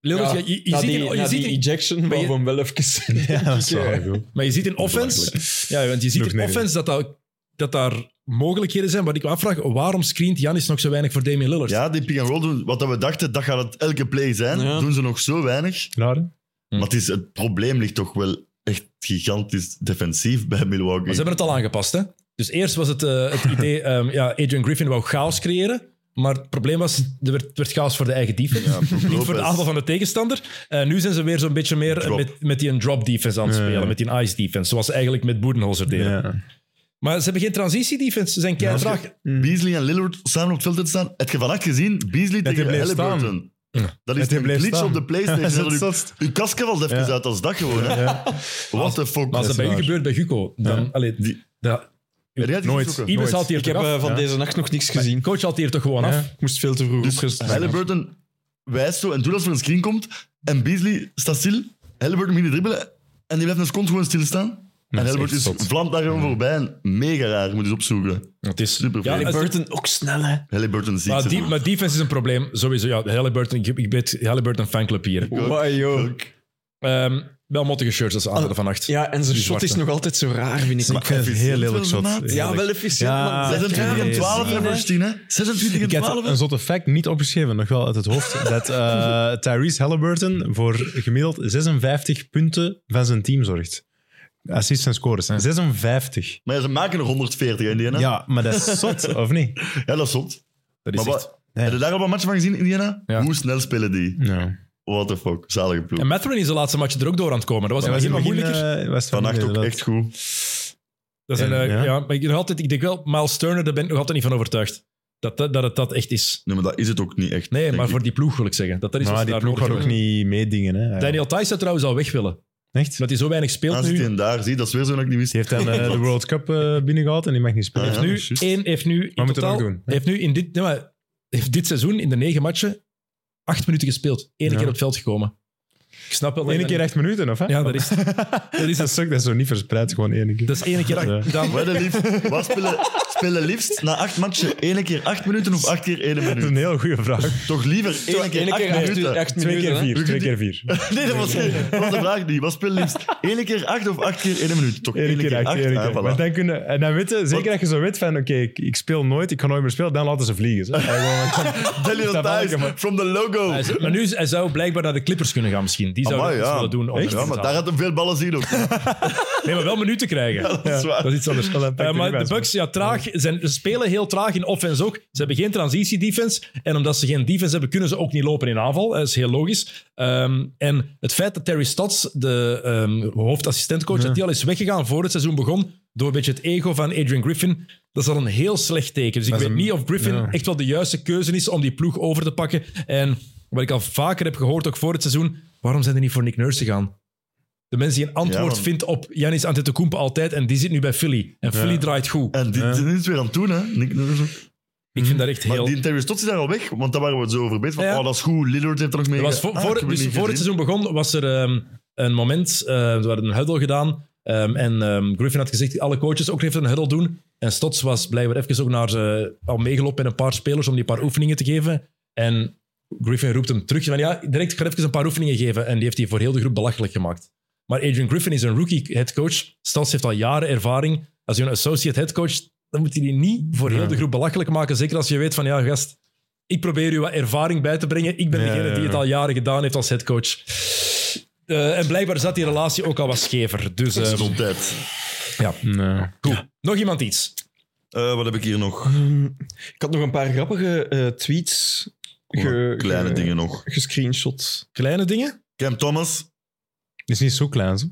A: Lillard,
D: Ja,
A: ja, je, je
D: na
A: ziet
D: die,
A: in-
D: na
A: je ziet
D: die
A: in-
D: ejection, maar
A: je-
D: van wel even... eh,
B: Ja, dat is wel goed.
A: maar je ziet in offense, ja, want je ziet
B: Nog
A: in
B: nee.
A: offense dat, dat, dat daar mogelijkheden zijn. Wat ik me afvraag, waarom screent Janis nog zo weinig voor Damian Lillard?
C: Ja, die pick-and-roll doen. Wat dat we dachten, dat gaat het elke play zijn.
D: Ja.
C: Doen ze nog zo weinig.
B: Raar, hè?
A: Hm.
C: Maar het, is, het probleem ligt toch wel echt gigantisch defensief bij Milwaukee.
A: Maar ze hebben het al aangepast. Hè? Dus eerst was het, eh, het idee, ehm, ja, Adrian Griffin wou chaos creëren. Maar het probleem was, er werd, werd chaos voor de eigen defense.
C: Ja, Brook
A: Niet voor
C: Lopez.
A: de aanval van de tegenstander. En nu zijn ze weer zo'n beetje meer
C: Drop.
A: met, met die een drop defense aan het
B: Ja,
A: spelen.
B: ja.
A: Met die een ice defense. Zoals ze eigenlijk met Boedenholzer deden.
B: Ja.
A: Maar ze hebben geen transitie defense. Ze zijn keihard
C: Ja, als
A: traag.
C: Beasley en Lillard samen op het veld te staan. Heb je vannacht gezien? Beasley
B: hij
C: tegen
B: bleef
C: Halliburton. Dat
B: Dat
C: is
B: hij
C: een
B: bleef
C: glitch
B: staan.
C: op de
B: Dat is
C: Playstation.
B: het
C: Dat
B: zotst.
C: uw kastje valt even
B: Ja.
C: uit als dat gewoon. Hè.
B: Ja.
C: What the fuck.
A: Maar als
C: Dat
A: dat
C: is
A: bij u
C: waar.
A: gebeurt bij Hugo, dan...
B: Ja.
A: Allee,
C: Die-
A: dat,
C: Heb jij het
B: Nooit.
C: gezien, Jokke?
A: Ibis
B: nooit.
A: haalt hier
D: Ik
A: toch
D: heb eh,
A: af?
D: van
B: Ja.
D: deze nacht nog niks gezien.
A: Coach haalt hier toch gewoon
B: Ja.
A: af?
D: Ik moest veel te vroeg
C: Dus
D: opgestaan.
C: Halliburton wijst zo en doet als er een screen komt. En Beasley staat stil. Halliburton begint te dribbelen. En die blijft een seconde gewoon stilstaan. En
B: is
C: Halliburton
B: echt
C: is
B: zot.
C: vlamt daar gewoon voorbij. En mega raar. Moet je eens opzoeken.
A: Het is...
C: Super
A: Ja,
C: vreemd.
A: het-
D: Burton ook snel, hè.
C: Halliburton ziet
A: maar, die, maar defense is een probleem. Sowieso, ja. Halliburton, ik, ik weet Halliburton fanclub hier.
D: Wai, joh.
A: Ehm, wel mottige shirts als ze aan hadden vannacht.
D: Ja, en zijn
A: Die
D: shot is
A: zwarte.
D: nog altijd zo raar, vind ik.
B: Ik vind het een heel lelijk shot.
D: Ja,
B: Heerlijk.
D: wel efficiënt,
B: Ja,
D: man.
A: Ah,
C: 26 en
B: Jezus.
C: 12 en 16, hè? 26 en
B: Ik heb
C: 12. hè?
B: een zotte fact niet opgeschreven, nog wel uit het hoofd. Dat eh, Tyrese Halliburton voor gemiddeld 56 punten van zijn team zorgt. Assists en scores. 56.
C: Maar ze maken nog 140 in Indiana. Ja,
B: Ja, maar dat is zot, of niet?
C: dat is zot.
A: Dat is
C: Maar
A: echt...
C: wat, heb je daar al een match van gezien, Indiana?
A: Ja.
C: Hoe snel spelen die?
B: Ja.
C: What the fuck, zalige ploeg.
A: En Mathurin is de laatste match er ook door aan het komen. Dat was
B: Dat was in
A: helemaal
B: het
A: moeilijker.
B: begin, eh, was het
C: Vannacht ook
B: inderdaad.
C: echt goed.
A: dat is een,
B: en-
A: eh, ja.
B: ja.
A: maar ik, nog altijd, ik denk wel, Miles Turner, daar ben ik nog altijd niet van overtuigd. Dat dat, dat, het dat echt is.
C: Nee, maar dat is het ook niet echt.
A: Nee,
C: denk
A: maar
C: ik.
A: voor die ploeg wil ik zeggen. Dat, dat is wat
B: Maar
A: ze
B: die
A: daar
B: ploeg gaat
A: nodig
B: ook
A: hebben.
B: niet meedingen. Hè.
A: Daniel Thijs zou trouwens al weg willen.
B: Echt?
A: Omdat hij zo weinig speelt
C: Ah,
A: nu.
C: zit hij daar, zie, dat is weer zo dat ik niet wist.
B: Die heeft dan eh, de World Cup eh, binnengehaald en die mag niet spelen.
C: Ah, ja.
A: nu,
C: dat is juist.
A: één, heeft nu in
B: Wat moet hij
A: totaal,
B: nog doen?
A: Heeft nu in dit, nee, maar, heeft dit seizoen in de negen matchen acht minuten gespeeld. Eén
B: Ja.
A: keer op het veld gekomen. Ik snap wel.
B: Eén
A: dat-
B: keer acht minuten, of hè?
A: Oh, Ja, dat is, dat is,
B: dat is ook dat is zo niet verspreid, gewoon één keer.
A: dat is één keer.
B: Ja.
A: Dan,
C: Wat een lief. Wat spelen, spelen liefst na acht matchen één keer acht minuten of acht keer één
B: Dat is
C: minuut?
B: een heel goede vraag.
C: Toch liever één keer
D: Eén
C: acht
D: keer acht
C: minuten?
D: uur- acht
B: Twee keer
D: minuten, hè.
B: vier. Twee keer vier.
C: Nee, dat was, geen- dat was de vraag niet. Wat spelen liefst één keer acht of acht keer één minuut? Toch
B: Eén keer acht, één
C: ah,
B: keer.
C: voilà.
B: Maar dan kunnen, en dan weten, zeker
C: Wat?
B: dat je zo weet van, oké, ik, ik speel nooit, ik kan nooit meer spelen, dan laten ze vliegen. Zo.
C: Daniel
B: Dat
C: Thijs,
B: welke, maar-
C: from the logo.
A: Hij zou- maar nu, hij zou blijkbaar naar de Clippers kunnen gaan misschien. Die zouden
C: Amai,
A: dat
C: ja.
A: eens willen doen. om
C: Echt?
A: te
C: Ja, maar daar
A: betalen.
C: had hem veel ballen zien ook.
A: Nee, maar wel minuten krijgen.
C: Dat is waar.
A: Dat is iets anders.
B: Dan pakt
A: Eh,
B: hij
A: maar
B: niet
A: de
B: bij,
A: Bucks, ja, traag. Zijn, ze spelen heel traag in offense ook. Ze hebben geen transitie-defense. En omdat ze geen defense hebben, kunnen ze ook niet lopen in aanval. Dat is heel logisch. Ehm, en het feit dat Terry Stotts, de ehm, hoofdassistentcoach, dat die al is weggegaan voor het seizoen begon, door een beetje het ego van Adrian Griffin, dat is al een heel slecht teken. Dus ik
B: Dat
A: weet
B: is een-
A: niet of Griffin
B: ja.
A: echt wel de juiste keuze is om die ploeg over te pakken. En wat ik al vaker heb gehoord, ook voor het seizoen, waarom zijn er niet voor Nick Nurse gegaan? De mensen die een antwoord
C: want-
A: vindt op Janis Antetokounmpo altijd, en die zit nu bij Philly. En Philly draait goed.
C: En dit,
B: Ja.
C: dit is weer aan het doen, hè. Nick Nurse.
A: ik vind dat echt
C: Maar
A: heel...
C: die Terry Stotts is daar al weg, want daar waren we het zo over bezig. Van,
A: Ja.
C: Oh, dat is goed, Lillard heeft er nog mee.
A: Er was voor,
C: Ah,
A: voor-
C: ik heb
A: dus
C: niet
A: voor het
C: gezien.
A: seizoen begon, was er ehm, een moment, eh er werd een huddle gedaan. ehm, en ehm, Griffin had gezegd, alle coaches ook even een huddle doen. En Stotts was blijkbaar even ook naar, ze- al meegelopen met een paar spelers om die een paar oefeningen te geven. En Griffin roept hem terug. Van, ja, direct, ik ga even een paar oefeningen geven. En die heeft hij voor heel de groep belachelijk gemaakt. Maar Adrian Griffin is een rookie headcoach. Stotts heeft al jaren ervaring. Als je een associate headcoach, dan moet je die niet voor heel de groep belachelijk maken. Zeker als je weet van, ja gast, ik probeer u wat ervaring bij te brengen. Ik ben
B: Ja,
A: degene
B: ja,
A: die het
B: ja.
A: al jaren gedaan heeft als headcoach. Eh en blijkbaar zat die relatie ook al wat schever. Dus eh,
C: Gezondheid.
B: Nee.
A: goed. Nog iemand iets?
C: Eh, wat heb ik hier nog?
D: Ehm, ik had nog een paar grappige eh, tweets ge-
C: Kleine
D: ge-
C: dingen nog.
D: gescreenshot.
A: Kleine dingen?
C: Cam Thomas.
B: Het is niet zo klein, zo.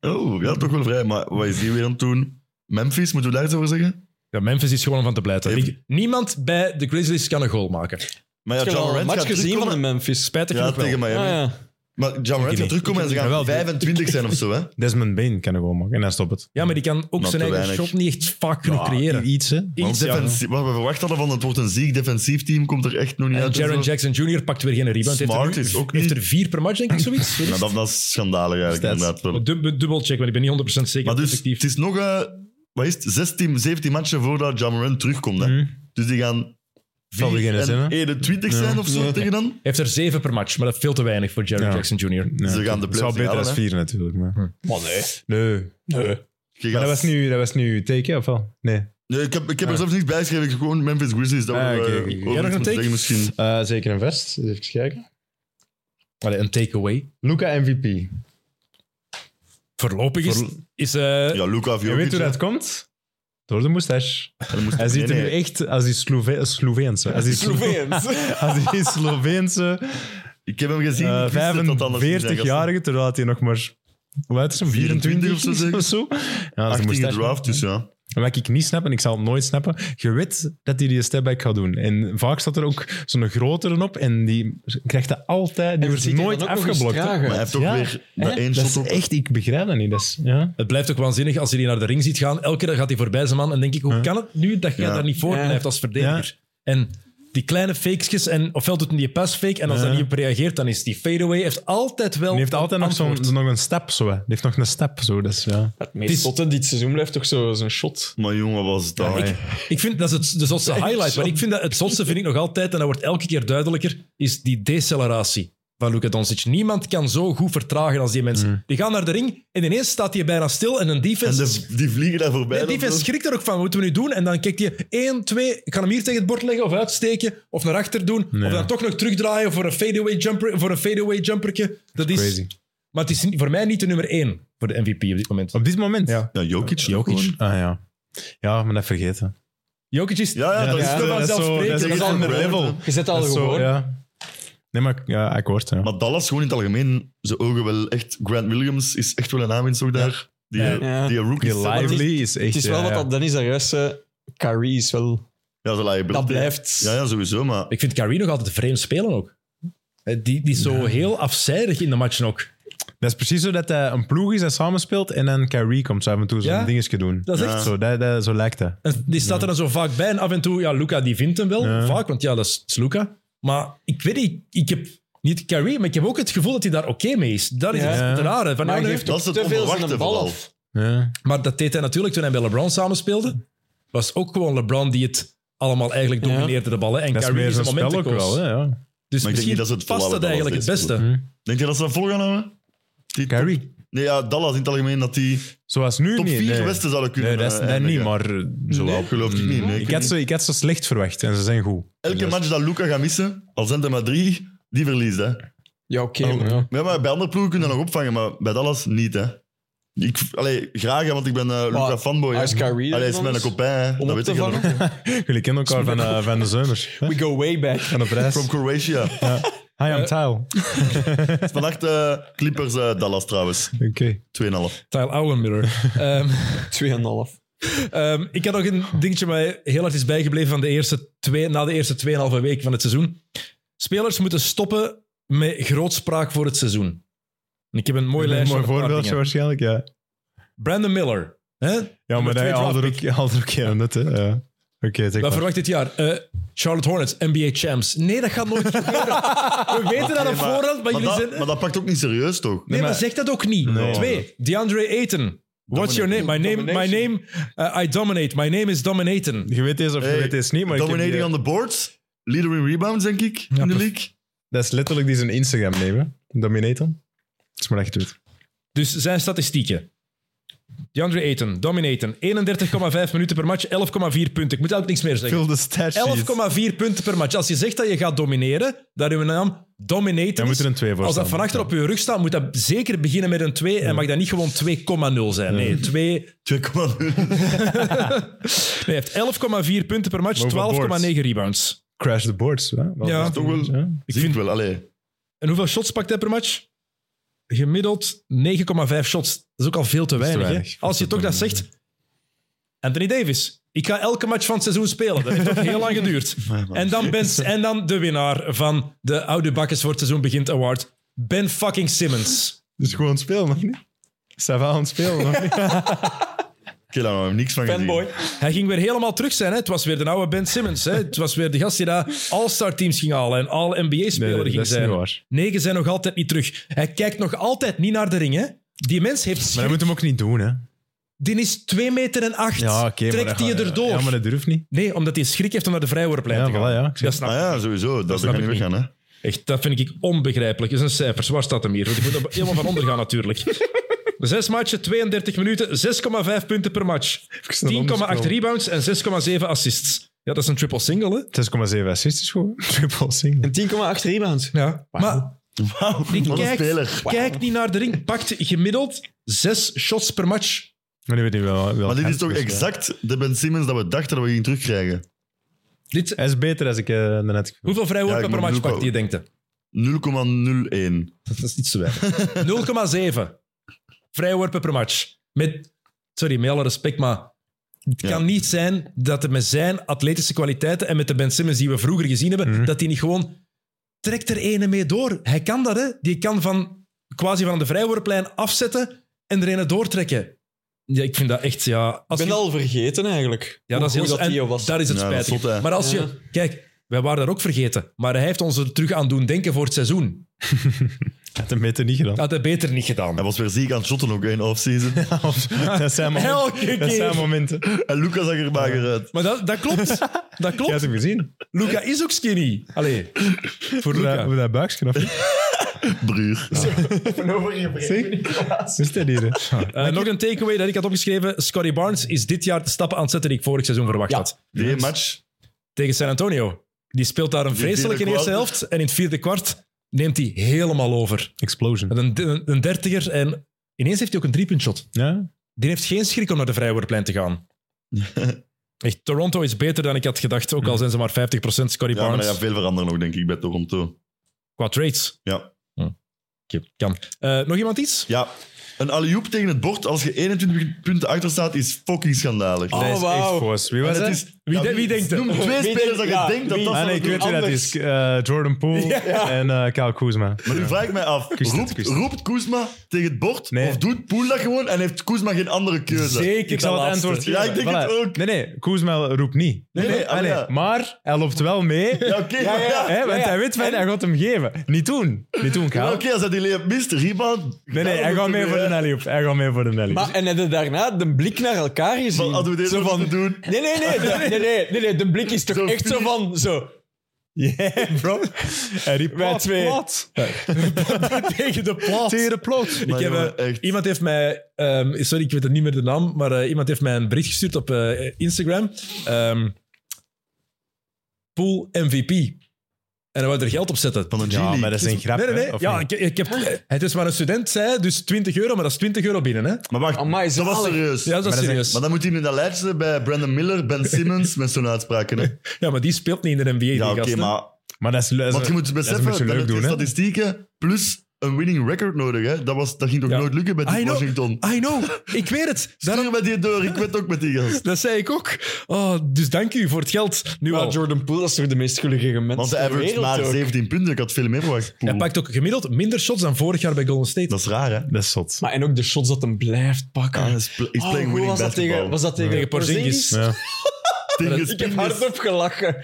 C: Oh, ja, toch wel vrij. Maar wat is die weer aan het doen? Memphis, moeten we daar iets over zeggen?
A: Ja, Memphis is gewoon om van te blijten.
C: Heeft-
A: Ik- Niemand bij de Grizzlies kan een goal maken.
C: Maar ja,
D: ik
C: John
D: heb al een
C: Morant
D: match
C: gaat
D: gezien van de
C: terugkomen.
D: Memphis.
A: Spijtig
C: Ja,
A: genoeg wel.
C: tegen
D: Ah,
C: Miami.
D: ja.
C: Maar John Morant gaat
A: niet.
C: terugkomen en ze gaan
B: Jawel, die-
C: 25 zijn of zo, hè?
B: Desmond Bain kan ik wel maken. En dan stop het.
A: Ja, maar die kan ook
C: Nog
A: zijn
C: te
A: eigen
C: weinig.
A: shot niet echt vaak genoeg creëren.
B: Iets, hè.
A: Iets,
C: Want
A: ja.
C: defensie- Wat we verwacht hadden van het wordt een ziek defensief team, komt er echt nog niet
A: En
C: uit. en
A: Jaron
C: zo.
A: Jackson Jr. pakt weer geen rebound.
C: Smart
A: heeft er, nu-
C: is ook
A: heeft
C: niet-
A: er vier per match, denk ik, zoiets.
C: Nou, dat, dat is schandalig eigenlijk,
B: Stats.
C: inderdaad. Wel.
A: Dub- Dubbelcheck, want ik ben niet 100% zeker.
C: Maar
A: of het
C: dus,
A: effectief
C: het is nog eh wat is het, 16, 17 matchen voordat John Morant terugkomt. Hè?
B: Hm.
C: Dus die gaan
B: Zal er geen
C: en
B: zin, hè?
C: 21 zijn of zo
D: Ja.
C: tegen dan.
A: Hij heeft er zeven per match, maar dat is veel te weinig voor Jaron
B: Ja.
A: Jackson Jr.
B: Nee,
C: Ze gaan de
B: Het zou
C: playoffs
B: beter
C: halen,
B: als
C: hè. Oh,
B: vier, natuurlijk. Maar...
A: Maar nee.
B: Nee.
C: Je
B: Maar
C: gaat-
B: dat was nu, dat was nu take, hè, of wel? Nee.
C: Nee, ik heb, ik heb er zelfs niks bij geschreven. Ik heb gewoon Memphis Grizzlies. Dat
B: Ah,
C: we,
B: oké,
C: eh,
B: oké, oké.
C: over
A: nog
B: Jij
C: iets
A: een
C: moeten
A: take?
C: zeggen misschien.
B: Eh, zeker een vest. Eens Even kijken.
A: Allee, een takeaway.
B: Luca MVP.
A: Voorlopig is, is eh,
C: Ja, Luca of
B: Je
C: Jokic,
B: weet hoe
C: hè.
B: dat komt? Door de moustache.
C: Dan moest-
B: Hij ziet er
C: nee,
B: nu
C: nee.
B: echt als die Slove Sloveense. Als die, Slo- als die Sloveense
C: Ik heb hem gezien.
B: eh,
C: ik wist dat dat anders ging zijn, gasten.
B: 45-jarige, terwijl hij nog maar... Hoe oud is hij? 24 of zo?
C: 24
B: Of zo? Ja, dat is een
C: 18
B: moustache.
C: gedraft, dus ja.
B: En Wat ik niet snap, en ik zal het nooit snappen, je weet dat hij die stepback gaat doen. En vaak staat er ook zo'n grotere op en die krijgt dat altijd... Die wordt nooit afgeblokt. hè.
C: Maar hij heeft ook
B: Ja.
C: weer
B: Hè?
C: dat één
B: Dat
C: shot
B: is
C: op.
B: echt... Ik begrijp dat niet. Dat is, ja.
A: het blijft ook waanzinnig als hij die naar de ring ziet gaan. Elke keer gaat hij voorbij zijn man en denk ik, hoe
B: Ja.
A: kan het nu dat jij
C: Ja.
A: daar niet voor
D: Ja.
A: blijft als verdediger? En die kleine fakesjes, en ofwel doet hij die fake en als
B: Ja.
A: hij niet op reageert, dan is die fadeaway. heeft altijd wel
B: Die heeft altijd nog, zo'n,
A: antwoord.
B: nog een stap. Zo, hè. Die heeft nog een stap. Zo, dat is, ja.
D: Het meest zotte dit seizoen blijft toch zo- zo'n shot.
C: Maar jongen, wat was het daar?
A: Ik, ik vind dat is het, de zotste highlight. Maar ik vind dat, het zotste vind ik nog altijd, en dat wordt elke keer duidelijker, is die deceleratie van Luka Doncic. Niemand kan zo goed vertragen als die mensen. Die gaan naar de ring en ineens staat hij bijna stil en een
C: Mm. En
A: defense...
C: de- die vliegen daar voorbij.
A: de
C: dan
A: defense
C: zo.
A: schrikt er ook van. Wat moeten we nu doen? En dan kijkt hij 1, 2, ik kan hem hier tegen het bord leggen of uitsteken of naar achter doen.
B: Nee.
A: Of dan toch nog terugdraaien voor een fadeaway jumper, voor een fadeaway jumpertje. Dat is,
B: Crazy.
A: Maar het is niet- voor mij niet de nummer 1 voor de MVP op dit moment.
B: Op dit moment?
A: Ja.
C: Ja, Jokic.
A: Jokic.
B: Ah ja. Ja, maar dat vergeten.
A: Jokic is
C: Ja, ja, dat is
D: ja.
C: toch wel-
B: dat is zo- dat is
A: vanzelfsprekend.
B: een
D: al
B: ander
C: een
B: level.
C: brand,
D: Je zet al
B: Dat is zo,
D: gewoon.
B: ja. Nee, maar ja, akkoord. Ja.
C: Maar Dallas gewoon in het algemeen, zijn ogen wel echt... Grant Williams is echt wel een aanwinst ook daar. Die,
A: Ja.
D: Ja.
C: die rookie.
B: Die lively is echt...
D: Het is wel
B: ja,
D: wat
B: ja.
D: dat Dennis daar juist zei. Carrie is wel...
C: Ja, zijn liability.
D: Dat blijft.
C: Ja, ja, sowieso, maar...
A: Ik vind Kyrie nog altijd vreemd spelen ook. Eh, Die, die is zo heel afzijdig in de matchen ook.
B: Dat is precies zo dat hij een ploeg is dat samenspeelt en dan Kyrie komt zo af en toe zo'n
A: Ja?
B: dingetje doen.
A: Dat is
C: Ja.
A: echt...
B: Zo, dat, dat, zo lijkt dat.
A: en Die staat er dan zo vaak bij en af en toe... Ja, Luca die vindt hem wel,
B: Ja.
A: vaak, want ja, dat is, dat is Luca. Maar ik weet niet, ik heb niet Kyrie, maar ik heb ook het gevoel dat hij daar oké mee is. Dat is
D: Ja.
A: het- het rare. Van,
D: Maar
A: ja,
D: hij
A: nee.
D: geeft
C: Dat
D: ook
C: is het
D: te veel van
C: onverwachte
D: een bal
C: vooral.
D: af.
B: Ja.
A: Maar dat deed hij natuurlijk toen hij bij LeBron samenspeelde. Was ook gewoon LeBron die het allemaal eigenlijk
D: Ja.
A: domineerde, de ballen. En
B: Dat is
A: Kyrie
B: meer
A: is een
B: zo'n spel ook
A: momentencoach.
B: wel. Hè, ja.
A: Dus
C: Maar ik denk
A: misschien
C: niet dat ze het
A: past dat
C: volhouden,
A: eigenlijk het
C: Dallas, deze
A: beste.
C: Denk je dat ze dat vol gaan houden? Die
B: Kyrie.
C: Nee, ja, Dallas in het algemeen dat die
B: Zoals nu
C: top
B: niet.
C: 4
B: nee.
C: Westen zouden kunnen
B: Nee, dat, is,
C: eh,
B: dat niet,
C: eindigen.
B: maar eh, zo wel.
C: Geloof ik
A: Mhm.
C: niet. Nee, ik
B: Ik
C: weet
B: had, ze, ik had ze slecht verwacht en ze zijn goed.
C: Elke
B: Dus-
C: match dat Luca gaat missen, al zijn er maar drie, die verliest. Hè.
D: Ja, oké.
B: Oh,
D: maar ja.
B: ja.
C: Maar, ja, maar bij andere ploegen kunnen dat nog opvangen, maar bij Dallas niet. Hè. Ik, allee, graag, hè, want ik ben eh, Luca
D: Maar
C: fanboy. hè.
D: als Kyrie
C: Allee,
D: er
C: is
D: dan
C: mijn
D: is,
C: copain, hè.
D: Om
C: dat
D: op
C: weet
D: te
C: ik ook.
D: vangen.
B: Jullie kennen elkaar van, eh, van de zomer.
D: We go way back.
B: Van de prijs.
C: From Croatia. Het
B: Hi,
C: Eh,
B: I'm Tyle.
C: is Vannacht eh, Clippers eh, Dallas trouwens. 2,5.
B: Oké.
A: Tyle Auenmiller. Ehm
D: 2,5.
A: Ehm, ik had nog een dingetje mij heel hard is bijgebleven van de eerste twee, na de eerste 2,5 weken van het seizoen. Spelers moeten stoppen met grootspraak voor het seizoen. En ik heb een mooi
B: een
A: lijstje.
B: mooi
A: met een paar
B: voorbeeldje
A: dingen.
B: waarschijnlijk, ja.
A: Brandon Miller. Hè?
B: Ja, maar
A: Nummer
B: hij
A: twee
B: haalde er
A: draftpick.
B: ook- haalde er ook geen net, hè. Ja. Oké, zeg
A: Wat
B: maar.
A: verwacht dit jaar? Eh, Charlotte Hornets, NBA champs. Nee, dat gaat nooit gebeuren. We weten dat op voorhand, maar,
C: maar,
A: jullie
C: dat,
A: zijn...
C: maar dat pakt ook niet serieus, toch?
A: nee, maar zeg dat ook niet.
B: Nee.
A: Twee, DeAndre Ayton. What's your name? My name, my name eh, I dominate. My name is Dominaton.
B: Je weet deze of je
C: Hey,
B: weet deze niet, maar ik heb
C: Dominating
B: die- eh,
C: on the boards. Leader in rebounds, denk ik, in de
A: per-
C: league.
B: dat is letterlijk die zijn Instagram nemen. Dominator. Dat is maar dat je het doet.
A: Dus zijn statistieken. DeAndre Ayton, Dominaton. 31,5 minuten per match, 11,4 punten. Ik moet daar ook niks meer zeggen.
B: Vul de statsheet.
A: 11,4 punten per match. Als je zegt dat je gaat domineren, daar je naam dominaten.
B: Dan moet er een twee voor
A: Als dat
B: staan.
A: van achter op je rug staat, moet dat zeker beginnen met een 2 en mag dat niet gewoon 2,0 zijn. Nee, 2.
C: 2,0.
A: Hij heeft 11,4 punten per match,
B: Maar hoeveel
A: 12,9 rebounds.
B: Crash the boards. Hè? Wel,
A: Ja.
B: dat is
C: Toch wel.
B: ja.
A: Ik
C: Zie ik
A: vind,
C: wel, allee.
A: en hoeveel shots pakt hij per match? Gemiddeld 9,5 shots. Dat is ook al veel te weinig.
B: weinig.
A: Hè? Als je toch dat zegt. Anthony Davis. Ik ga elke match van het seizoen spelen. Dat heeft toch heel lang geduurd. En dan, ben, en dan de winnaar van de Oude Bakkes voor het seizoen begint award. Ben fucking Simmons.
B: Dus gewoon spelen, nog niet? Sava aan het spelen, nog niet?
C: Oké, daar hebben we niks van gezien.
D: Fanboy.
A: Hij ging weer helemaal terug zijn. Hè? Het was weer de oude Ben Simmons. Hè? Het was weer de gast die daar All-Star teams ging halen en
B: Nee,
A: All-NBA-speler
B: nee,
A: ging
B: dat is
A: zijn.
B: niet waar.
A: Negen zijn nog altijd niet terug. Hij kijkt nog altijd niet naar de ring. Hè? Die mens heeft
B: Maar
A: schrik.
B: dat moet hem ook niet doen, hè?
A: Die is 2 meter en 8.
B: Ja, oké. maar
A: Trekt
B: dat
A: hij
B: gaat-
A: erdoor?
B: Ja, maar dat durft niet.
A: Nee, omdat hij schrik heeft om naar de vrijworplijn
B: Ja,
A: te gaan.
B: voilà, ja. Ik zeg-
A: Dat snap
C: Ah
A: ik.
C: ja, sowieso. Dat,
A: snap
C: kan niet
A: ik
C: weggaan, hè.
A: Echt, dat vind ik onbegrijpelijk. Dat is een cijfers. Waar staat hem hier? Want ik moet er helemaal van onder gaan natuurlijk. Zes matchen, 32 minuten, 6,5 punten per match. 10,8
B: snel onderscrollen.
A: rebounds en 6,7 assists. Ja, dat is een triple single, hè?
B: 6,7 assists is goed. hè? Triple single.
D: En 10,8 rebounds.
A: Ja, maar
C: Wauw,
A: die
C: wat een
A: kijkt,
C: speler.
A: kijkt niet naar de ring. Pakt gemiddeld zes shots per match.
B: Maar die weet niet wel. wel
C: Maar dit is
B: hands
C: toch
B: dus, ja.
C: exact de Ben Simmons dat we dachten dat we gingen terugkrijgen. 0,0
A: Dit,
B: Hij is beter als ik eh, daarnet... gevoel.
A: hoeveel
C: Ja,
A: vrijworpen
C: ik
A: per
C: moet
A: match
C: ook
A: pakt je, denkt hij? Dat is iets te weinig. 0,7 vrijworpen per match. Met, sorry, met alle respect, maar het
C: Ja.
A: kan niet zijn dat er met zijn atletische kwaliteiten en met de Ben Simmons die we vroeger gezien hebben, dat hij niet gewoon trekt er ene mee door. Hij kan dat, hè? Die kan van quasi van de vrijworplijn afzetten en er ene doortrekken. Ja, ik vind dat echt, ja.
D: Ik
A: Als
D: ben
A: je-
D: dat al vergeten eigenlijk.
A: ja, dat is heel
D: goed dat
A: en
D: die al was.
A: Daar is het
C: Ja, dat is
A: spijtig.
C: zot, hè.
A: maar als je,
D: Ja.
A: kijk, wij waren daar ook vergeten, maar hij heeft ons er terug aan doen denken voor het seizoen.
B: Hij had hem beter niet gedaan.
A: Dat had hij beter niet gedaan.
C: Hij was weer ziek aan het shotten ook hè, in offseason.
B: dat zijn momenten.
A: Elke keer.
B: Dat zijn momenten.
C: en Lucas zag er mager uit.
A: Maar dat, dat klopt. Dat
B: Je
A: klopt.
B: hebt hem gezien.
A: Luca is ook skinny. Allee, voor
B: Hoe dat,
A: Luca.
B: hoe dat buikje of niet?
C: Bruur.
B: Is dat hier? hè?
A: Eh, nog een takeaway dat ik had opgeschreven. Scotty Barnes is dit jaar de stappen aan het zetten die ik vorig seizoen verwacht
D: Ja.
A: had.
C: Die match.
A: Tegen San Antonio. Die speelt daar een
C: vierde
A: vreselijke eerste
C: kwart.
A: helft. En in het vierde kwart neemt hij helemaal over.
B: Explosion.
A: Met een, een, een dertiger en ineens heeft hij ook een driepuntshot.
C: Oh,
B: Ja?
A: Die heeft geen schrik om naar de vrijwoordplein te gaan. Echt, Toronto is beter dan ik had gedacht. Ook al zijn ze maar 50% Scotty
C: Ja, maar
A: Barnes.
C: dat gaat veel veranderen ook, denk ik, bij Toronto.
A: Qua trades. Hm.
C: Ja.
A: Oké, Kan. Eh, nog iemand iets?
C: ja. Een alley tegen het bord als je 21 punten achter staat, is fucking schandalig.
B: Ah.
D: Oh, wauw.
B: Foos. Wie
C: En
B: was
C: het
B: dat?
C: is,
A: Wie, de- wie denkt het?
C: noem twee
D: Wie
C: spelers dat
D: denkt-
C: je
D: ja,
C: denkt dat
D: wie-
C: dat
B: Ah
C: zal
B: nee, ik
C: doen.
B: weet wie dat
D: Anders.
B: is. Eh, Jordan Poole en eh Kyle Kuzma.
C: Maar nu vraag ik mij af,
B: Kus dit,
C: roept,
B: kus dit.
C: roept Koesma tegen het bord?
B: Nee.
C: Of doet Poel dat gewoon en heeft Koesma geen andere keuze?
A: Zeker
B: Ik zal
A: de
B: het
A: laatste.
B: antwoord geven.
C: Ja, ik denk het ook.
B: Nee, nee, Kuzma roept niet.
C: Nee, nee,
B: Ah, nee.
C: ah, ja.
B: Maar hij loopt wel mee,
C: Ja, oké, maar ja.
B: hè, want
D: Ja, ja.
B: hij weet van, hij gaat hem geven. Niet doen. Niet doen,
C: Ja,
B: Kyle.
C: Oké, als hij die layup mist, rebound.
B: Nee, nee,
C: Ja,
B: hij
C: dan
B: gaat
C: moeten
B: mee
C: we-
B: voor de alley op. Hij gaat mee voor de alley
D: Maar, en hebben daarna de blik naar elkaar gezien.
C: Maar Als we deze
D: Zo
C: van doen.
D: Nee, nee, nee, nee, nee, nee, nee, nee, de blik is toch
C: Zo
D: echt zo
C: vier-
D: van, zo,
B: Yeah, bro. Hij riep
D: Wij
B: plat,
D: twee.
B: plat.
A: Tegen de plaat.
B: Tegen de plot.
A: Ik heb,
C: jongen,
A: eh,
C: echt.
A: iemand heeft mij, ehm, sorry, ik weet het niet meer de naam, maar eh, iemand heeft mij een bericht gestuurd op eh, Instagram. Ehm Pool MVP. En hij wou er geld op zetten. Dus-
C: Van een
B: Ja,
C: G-League.
B: maar dat is een grap,
A: Nee, nee,
B: hè,
A: nee.
B: of
A: Ja,
B: niet?
A: ik, ik heb, het is maar een student, zei hij, dus 20 euro, maar dat is 20 euro binnen. Hè?
C: Maar wacht,
D: Amai,
C: dat was
D: zalig.
C: serieus.
A: Ja, dat
B: dat
A: is
B: is
A: serieus.
C: Maar dan moet hij nu dat lijstje bij Brandon Miller, Ben Simmons met zo'n uitspraken. hè.
A: Ja, maar die speelt niet in de NBA,
C: Ja,
A: die
C: oké,
A: gasten.
C: maar
B: Maar dat is...
C: want je moet
B: dat is een
C: beseffen
B: beetje
C: dat
B: leuk
C: het
B: doen,
C: de
B: hè.
C: statistieken plus een winning record nodig. Hè? Dat, was, dat ging toch
A: Ja.
C: nooit lukken met
A: I
C: die
A: know. Ah,
C: Washington.
A: I know, ik weet het. Daarom-
C: Daarom met die deur, ik weet ook met die gast.
A: dat zei ik ook. Oh, dus dank u voor het geld. Nu al.
D: Maar eh, Jordan Poole dat is toch de meest gelukkige mens
C: Want hij
D: ter
C: averaged
D: wereld
C: maar
D: ook.
C: 17 punten, ik had veel meer verwacht. Poel.
A: Hij pakt ook gemiddeld minder shots dan vorig jaar bij Golden State.
C: Dat is raar, hè?
B: Dat is zot.
D: Maar en ook de shots dat hem blijft pakken.
C: Ah, is pl- is
D: Oh,
C: playing
D: hoe
C: winning
D: was dat
C: basketball.
D: tegen, was dat tegen,
A: Tegen Porzingis?
B: Ja.
C: Tegen
D: Ik heb
C: Spinvis.
D: hardop gelachen.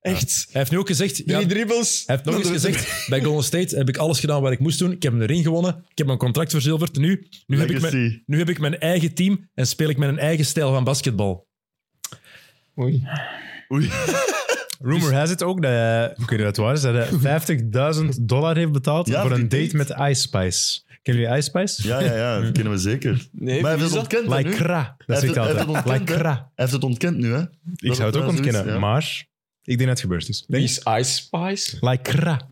D: Echt.
A: Hij heeft nu ook gezegd... ja,
D: Drie dribbles.
A: Hij heeft nog eens gezegd, bij Golden State heb ik alles gedaan wat ik moest doen. Ik heb een ring gewonnen, ik heb mijn contract verzilverd. Nu, nu, heb, ik
C: Legacy.
A: mijn, nu heb ik mijn eigen team en speel ik mijn eigen stijl van basketbal.
D: Oei.
C: Oei.
B: Rumor has it ook dat hij, ik weet niet of het waar is, dat hij 50.000 dollar heeft betaald
C: Ja,
B: voor
C: voor
B: een
C: die
B: date met Ice Spice. Kennen jullie Ice Spice?
C: Ja, ja, ja, dat kennen we zeker.
D: Nee,
C: maar hij
D: wie
C: heeft
D: is
C: het
D: dat?
C: ontkend. hè, nu? Hij
B: Lycra. Dat
C: heeft
B: zegt
C: het-
B: hij
C: hij
B: altijd.
C: heeft het ontkend, hè?
B: Lycra.
C: heeft het ontkend nu, hè?
B: Ik zou het ook
C: zoiets,
B: ontkennen,
C: ja.
B: maar ik denk dat het gebeurd is.
D: Wie is Ice Spice?
B: Lycra.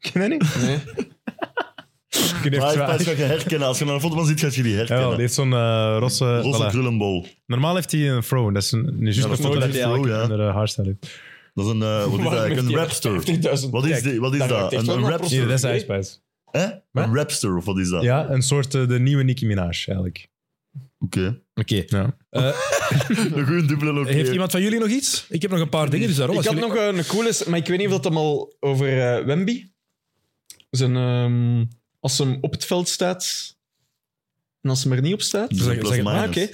B: Ken je dat niet?
D: Nee.
B: Ik
C: Maar
B: heb
C: hij
B: zwaar-
C: heeft- hij gaat je herkennen. Als je naar een foto van ziet, gaat je die
B: Ja, die
C: herkennen.
B: heeft zo'n eh, rosse...
C: Rosse
B: voilà.
C: krullenbol.
B: Normaal heeft hij een fro. Dat is een, nu juist
C: dat
B: een
C: is
B: foto
C: nooit
B: dat
C: een
B: hij
C: fro,
B: eigenlijk
C: ja.
B: een andere haarstijl heeft.
C: Dat is een, eh, wat is dat eigenlijk? Een rapster. Wat is, die, wat is
D: daar
C: dat?
D: werkt echt
C: Een,
D: wel
C: een
D: wat
C: rapster?
B: Hier, dat is
D: Nee.
B: Ice Spice.
C: Hè?
B: Wat?
C: Een rapster, of wat is dat?
B: Ja, een soort eh, de nieuwe Nicki Minaj eigenlijk.
C: Oké.
A: Oké.
B: Ja.
C: Een goede dubbele oké.
A: Heeft iemand van jullie nog iets? Ik heb nog een paar dingen, dus daarom...
D: Ik
A: als
D: had nog een coole, maar ik weet niet of dat hem al over eh, Wemby. Zijn, ehm, als hem op het veld staat en als hem er niet op staat.
C: Dus
A: Zeg-
C: plus
A: zeg-
C: minus.
D: Ah, oké. Eh,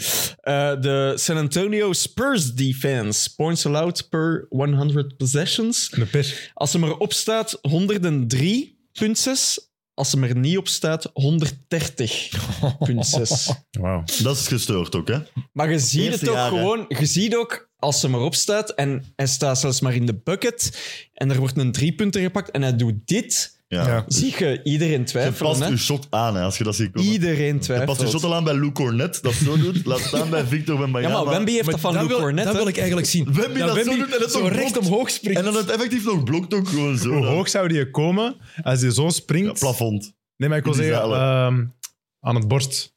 D: de San Antonio Spurs defense. Points allowed per 100 possessions.
B: De pers.
D: Als hem erop staat, 103,6. Als hem er niet op staat, 130,6.
B: Wauw.
C: Dat is gestoord ook, hè?
D: Maar je ziet
C: Eerste
D: het ook
C: jaar, hè?
D: gewoon. Je ziet ook als hem erop staat en hij staat zelfs maar in de bucket en er wordt een driepunter gepakt en hij doet dit.
C: Ja.
B: Ja.
D: Zie je iedereen
C: Je
D: twijfelen.
C: past
D: Hè?
C: je shot aan, hè, als je dat ziet komen.
D: Iedereen
C: Je past je shot
D: twijfelt.
C: al aan bij Lou Cornet, dat zo doet. Laat staan bij Victor van
D: Ja,
C: Bayama.
D: maar Wemby heeft
A: Maar
D: dat van
A: dat
D: Luke
A: wil-
D: Cornet.
A: Dat
D: hè?
A: wil ik eigenlijk zien.
C: Wemby dat zo doet en dat
A: zo
C: ook
A: recht
C: blokt.
A: omhoog springt.
C: En dan het effectief nog blokt ook gewoon zo.
B: Hoe
C: dan.
B: hoog zou die komen als die zo
C: Ja,
B: springt?
C: plafond.
B: nee, maar ik wil
C: Die
B: zeggen,
C: zeilen.
B: ehm, aan het borst.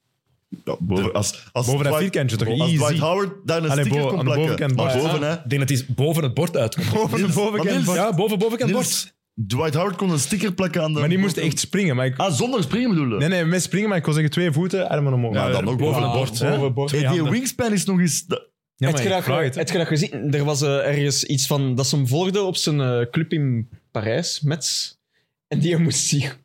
C: Ja, boven, als, als
B: Boven dat
C: Dwight-
B: vierkantje toch?
C: Als
B: Easy.
C: Dwight Howard daar een
B: Allee,
C: sticker
B: bo-
C: kon
B: aan de
C: plakken.
B: bovenkant
C: Maar
B: bord.
C: boven, hè.
A: Ik denk dat hij boven het bord uitkomt.
B: Boven de
C: Niels,
B: bovenkant
C: wat
B: borst.
C: Niels?
A: Ja, boven bovenkant
C: Niels-
A: bord.
C: Dwight Howard kon een sticker plakken aan de...
B: Maar die moest echt springen. Maar ik,
C: Ah, zonder springen bedoelen?
B: nee, nee, met springen, maar ik wil zeggen twee voeten, armen omhoog.
C: Ja, dan ook boven
A: boven
C: de
A: de
C: bord.
A: bord.
B: hè?
A: Boven bord.
B: Twee
C: Hey, Eh, die
B: handen.
C: wingspan is nog eens... dat-
B: Ja,
D: het
B: maar ik vraag
D: graag,
B: het.
D: het graag gezien. Er was eh, ergens iets van dat ze hem volgden op zijn eh, club in Parijs, Metz. En die moest zich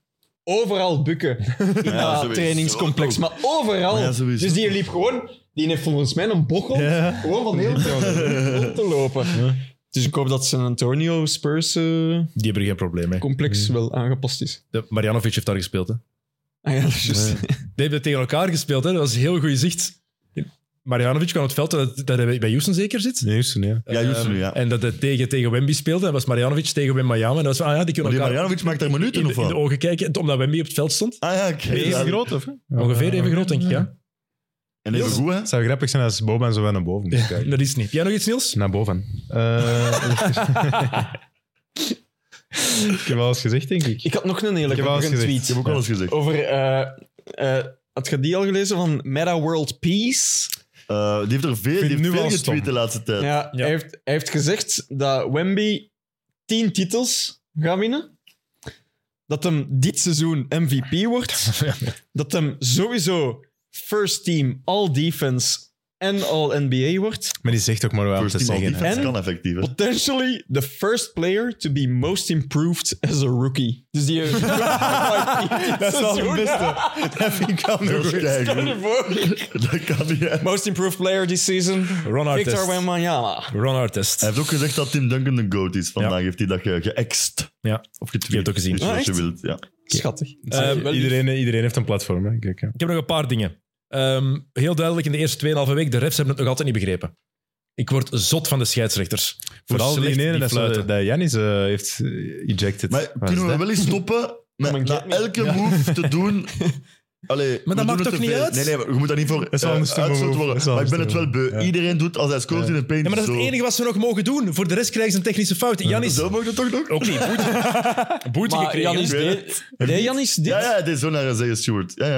D: overal bukken in
C: Ja,
D: dat
C: sowieso.
D: trainingscomplex. Maar overal.
C: Maar ja, sowieso.
D: dus die liep gewoon... Die heeft volgens mij een bochel
B: Ja.
D: gewoon van heel veel rond te lopen. Dus ik hoop dat San Antonio Spurs eh,
A: Die hebben er geen probleem mee.
D: complex wel aangepast is.
A: De- Marjanovic heeft daar gespeeld, hè.
D: Ah ja, dat is juist.
A: Die hebben tegen elkaar gespeeld, hè. Dat was een heel goede zicht. Marjanovic kwam op het veld dat, dat hij bij Houston zeker zit.
B: Nee, juist, nee.
C: Ja, Houston,
A: Ehm,
C: ja.
A: En dat hij tegen, tegen Wemby speelde. Dat was Marjanovic tegen Wim Miami. En dat was van, ah ja, die
C: Maar
A: kunnen
C: die
A: elkaar
C: Marjanovic maakt daar
A: in,
C: minuten
A: de-
C: of
A: in de
C: wat?
A: ogen kijken, omdat Wemby op het veld stond.
C: Ah ja, oké.
B: Even
C: Ja,
B: groot, of?
A: Ongeveer even groot, denk ik, ja.
C: En even goed, hè?
B: Het zou grappig zijn als Boban zo wel naar boven moest kijken. Dus
A: Dat is het niet. Heb jij nog iets, Niels?
B: Naar boven. Eh, ik heb alles gezegd, denk ik.
D: Ik had nog een hele
B: Ik heb wel eens
D: grappige
B: gezegd.
C: Ik
D: tweet.
C: heb ook al eens gezegd.
B: Oh.
D: Over... eh, eh, had je die al gelezen van Meta World Peace?
C: Eh, die heeft er veel, die
B: Vind
C: heeft
B: nu
C: veel
B: wel stom.
C: getweet de laatste tijd.
D: Ja,
A: Ja.
D: Hij, heeft, hij heeft gezegd dat Wemby tien titels gaat winnen. Dat hem dit seizoen MVP wordt. dat hem sowieso first team all defense en all NBA wordt.
B: Maar die zegt ook maar wel om
C: First
B: te
C: team all
B: zeggen. hè.
C: defense
D: En-
C: kan effectief, hè?
D: Potentially the first player to be most improved as a rookie. Dus die heeft Dat
B: Dat vind ik wel
C: Dat is
D: Stel je
C: keigoed.
D: voor.
C: Dat kan niet, hè?
D: Most improved player this season.
A: Ron
D: Victor
A: Artest.
D: Wembanyama.
A: Ron Artest.
C: Hij heeft ook gezegd dat Tim Duncan de GOAT is. Vandaag heeft hij dat ge- geëxt.
A: Ja.
C: Of getweet.
A: Je hebt het ook gezien.
C: Dus
D: Ah,
C: Als je
D: echt?
C: wilt, ja.
D: Schattig.
A: Eh,
D: Wel lief.
B: iedereen, iedereen heeft een platform. Hè. Kijk, hè.
A: Ik heb nog een paar dingen. Ehm, heel duidelijk in de eerste 2,5 week, de refs hebben het nog altijd niet begrepen. Ik word zot van de scheidsrechters.
B: Vooral die
A: slecht
B: ene dat,
A: fluiten.
B: ze- dat Janis eh, heeft eh, ejected.
C: Maar
B: Wat is
C: kunnen we
B: dat?
C: wel eens stoppen met
D: Kom en
C: na
D: get me.
C: elke move te doen... Allee, we
A: dat
C: doen
A: maakt
C: het
A: toch
C: te
A: niet
C: veel.
A: uit?
C: Nee, nee, maar je moet daar niet voor
B: is wel
C: eh,
B: een stomme
C: uitgestoten
B: move.
C: worden.
B: Dat is wel
C: Maar ik
B: een
C: ben het wel
B: stomme
C: beu.
B: move.
C: Iedereen doet als hij scoort in de paint
A: Ja, maar dat is
C: zo.
A: het enige wat ze nog mogen doen. Voor de rest krijgen ze een technische fout. Janis,
C: Zo mogen we toch nog?
A: ook niet. Boete, boete
D: Maar
A: gekregen.
D: Janis
A: hè?
D: deed... Nee, Janis dit.
C: Ja, ja, het is zo naar zeggen, Stuart. Ja, ja.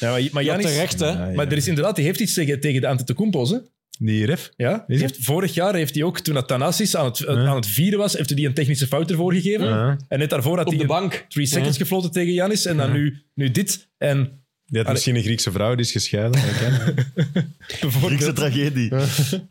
A: Ja, maar, maar
D: Ja,
A: Janis-
D: terecht, hè.
B: Ja, ja.
A: Maar er is inderdaad, die heeft iets tegen, tegen de Antetokounmpo's. Hè?
B: die ref.
A: Ja? Die heeft, vorig jaar heeft hij ook, toen Athanasis aan het, aan het vieren was, heeft hij die een technische fout ervoor gegeven.
B: Ja.
A: En net daarvoor had
D: Op
A: hij
D: de
A: een
D: bank.
A: three seconds gefloten tegen Janis. En dan nu, nu dit. En
B: Die had misschien een Griekse vrouw, die is gescheiden. dat kan.
C: Griekse
A: bijvoorbeeld...
C: tragedie.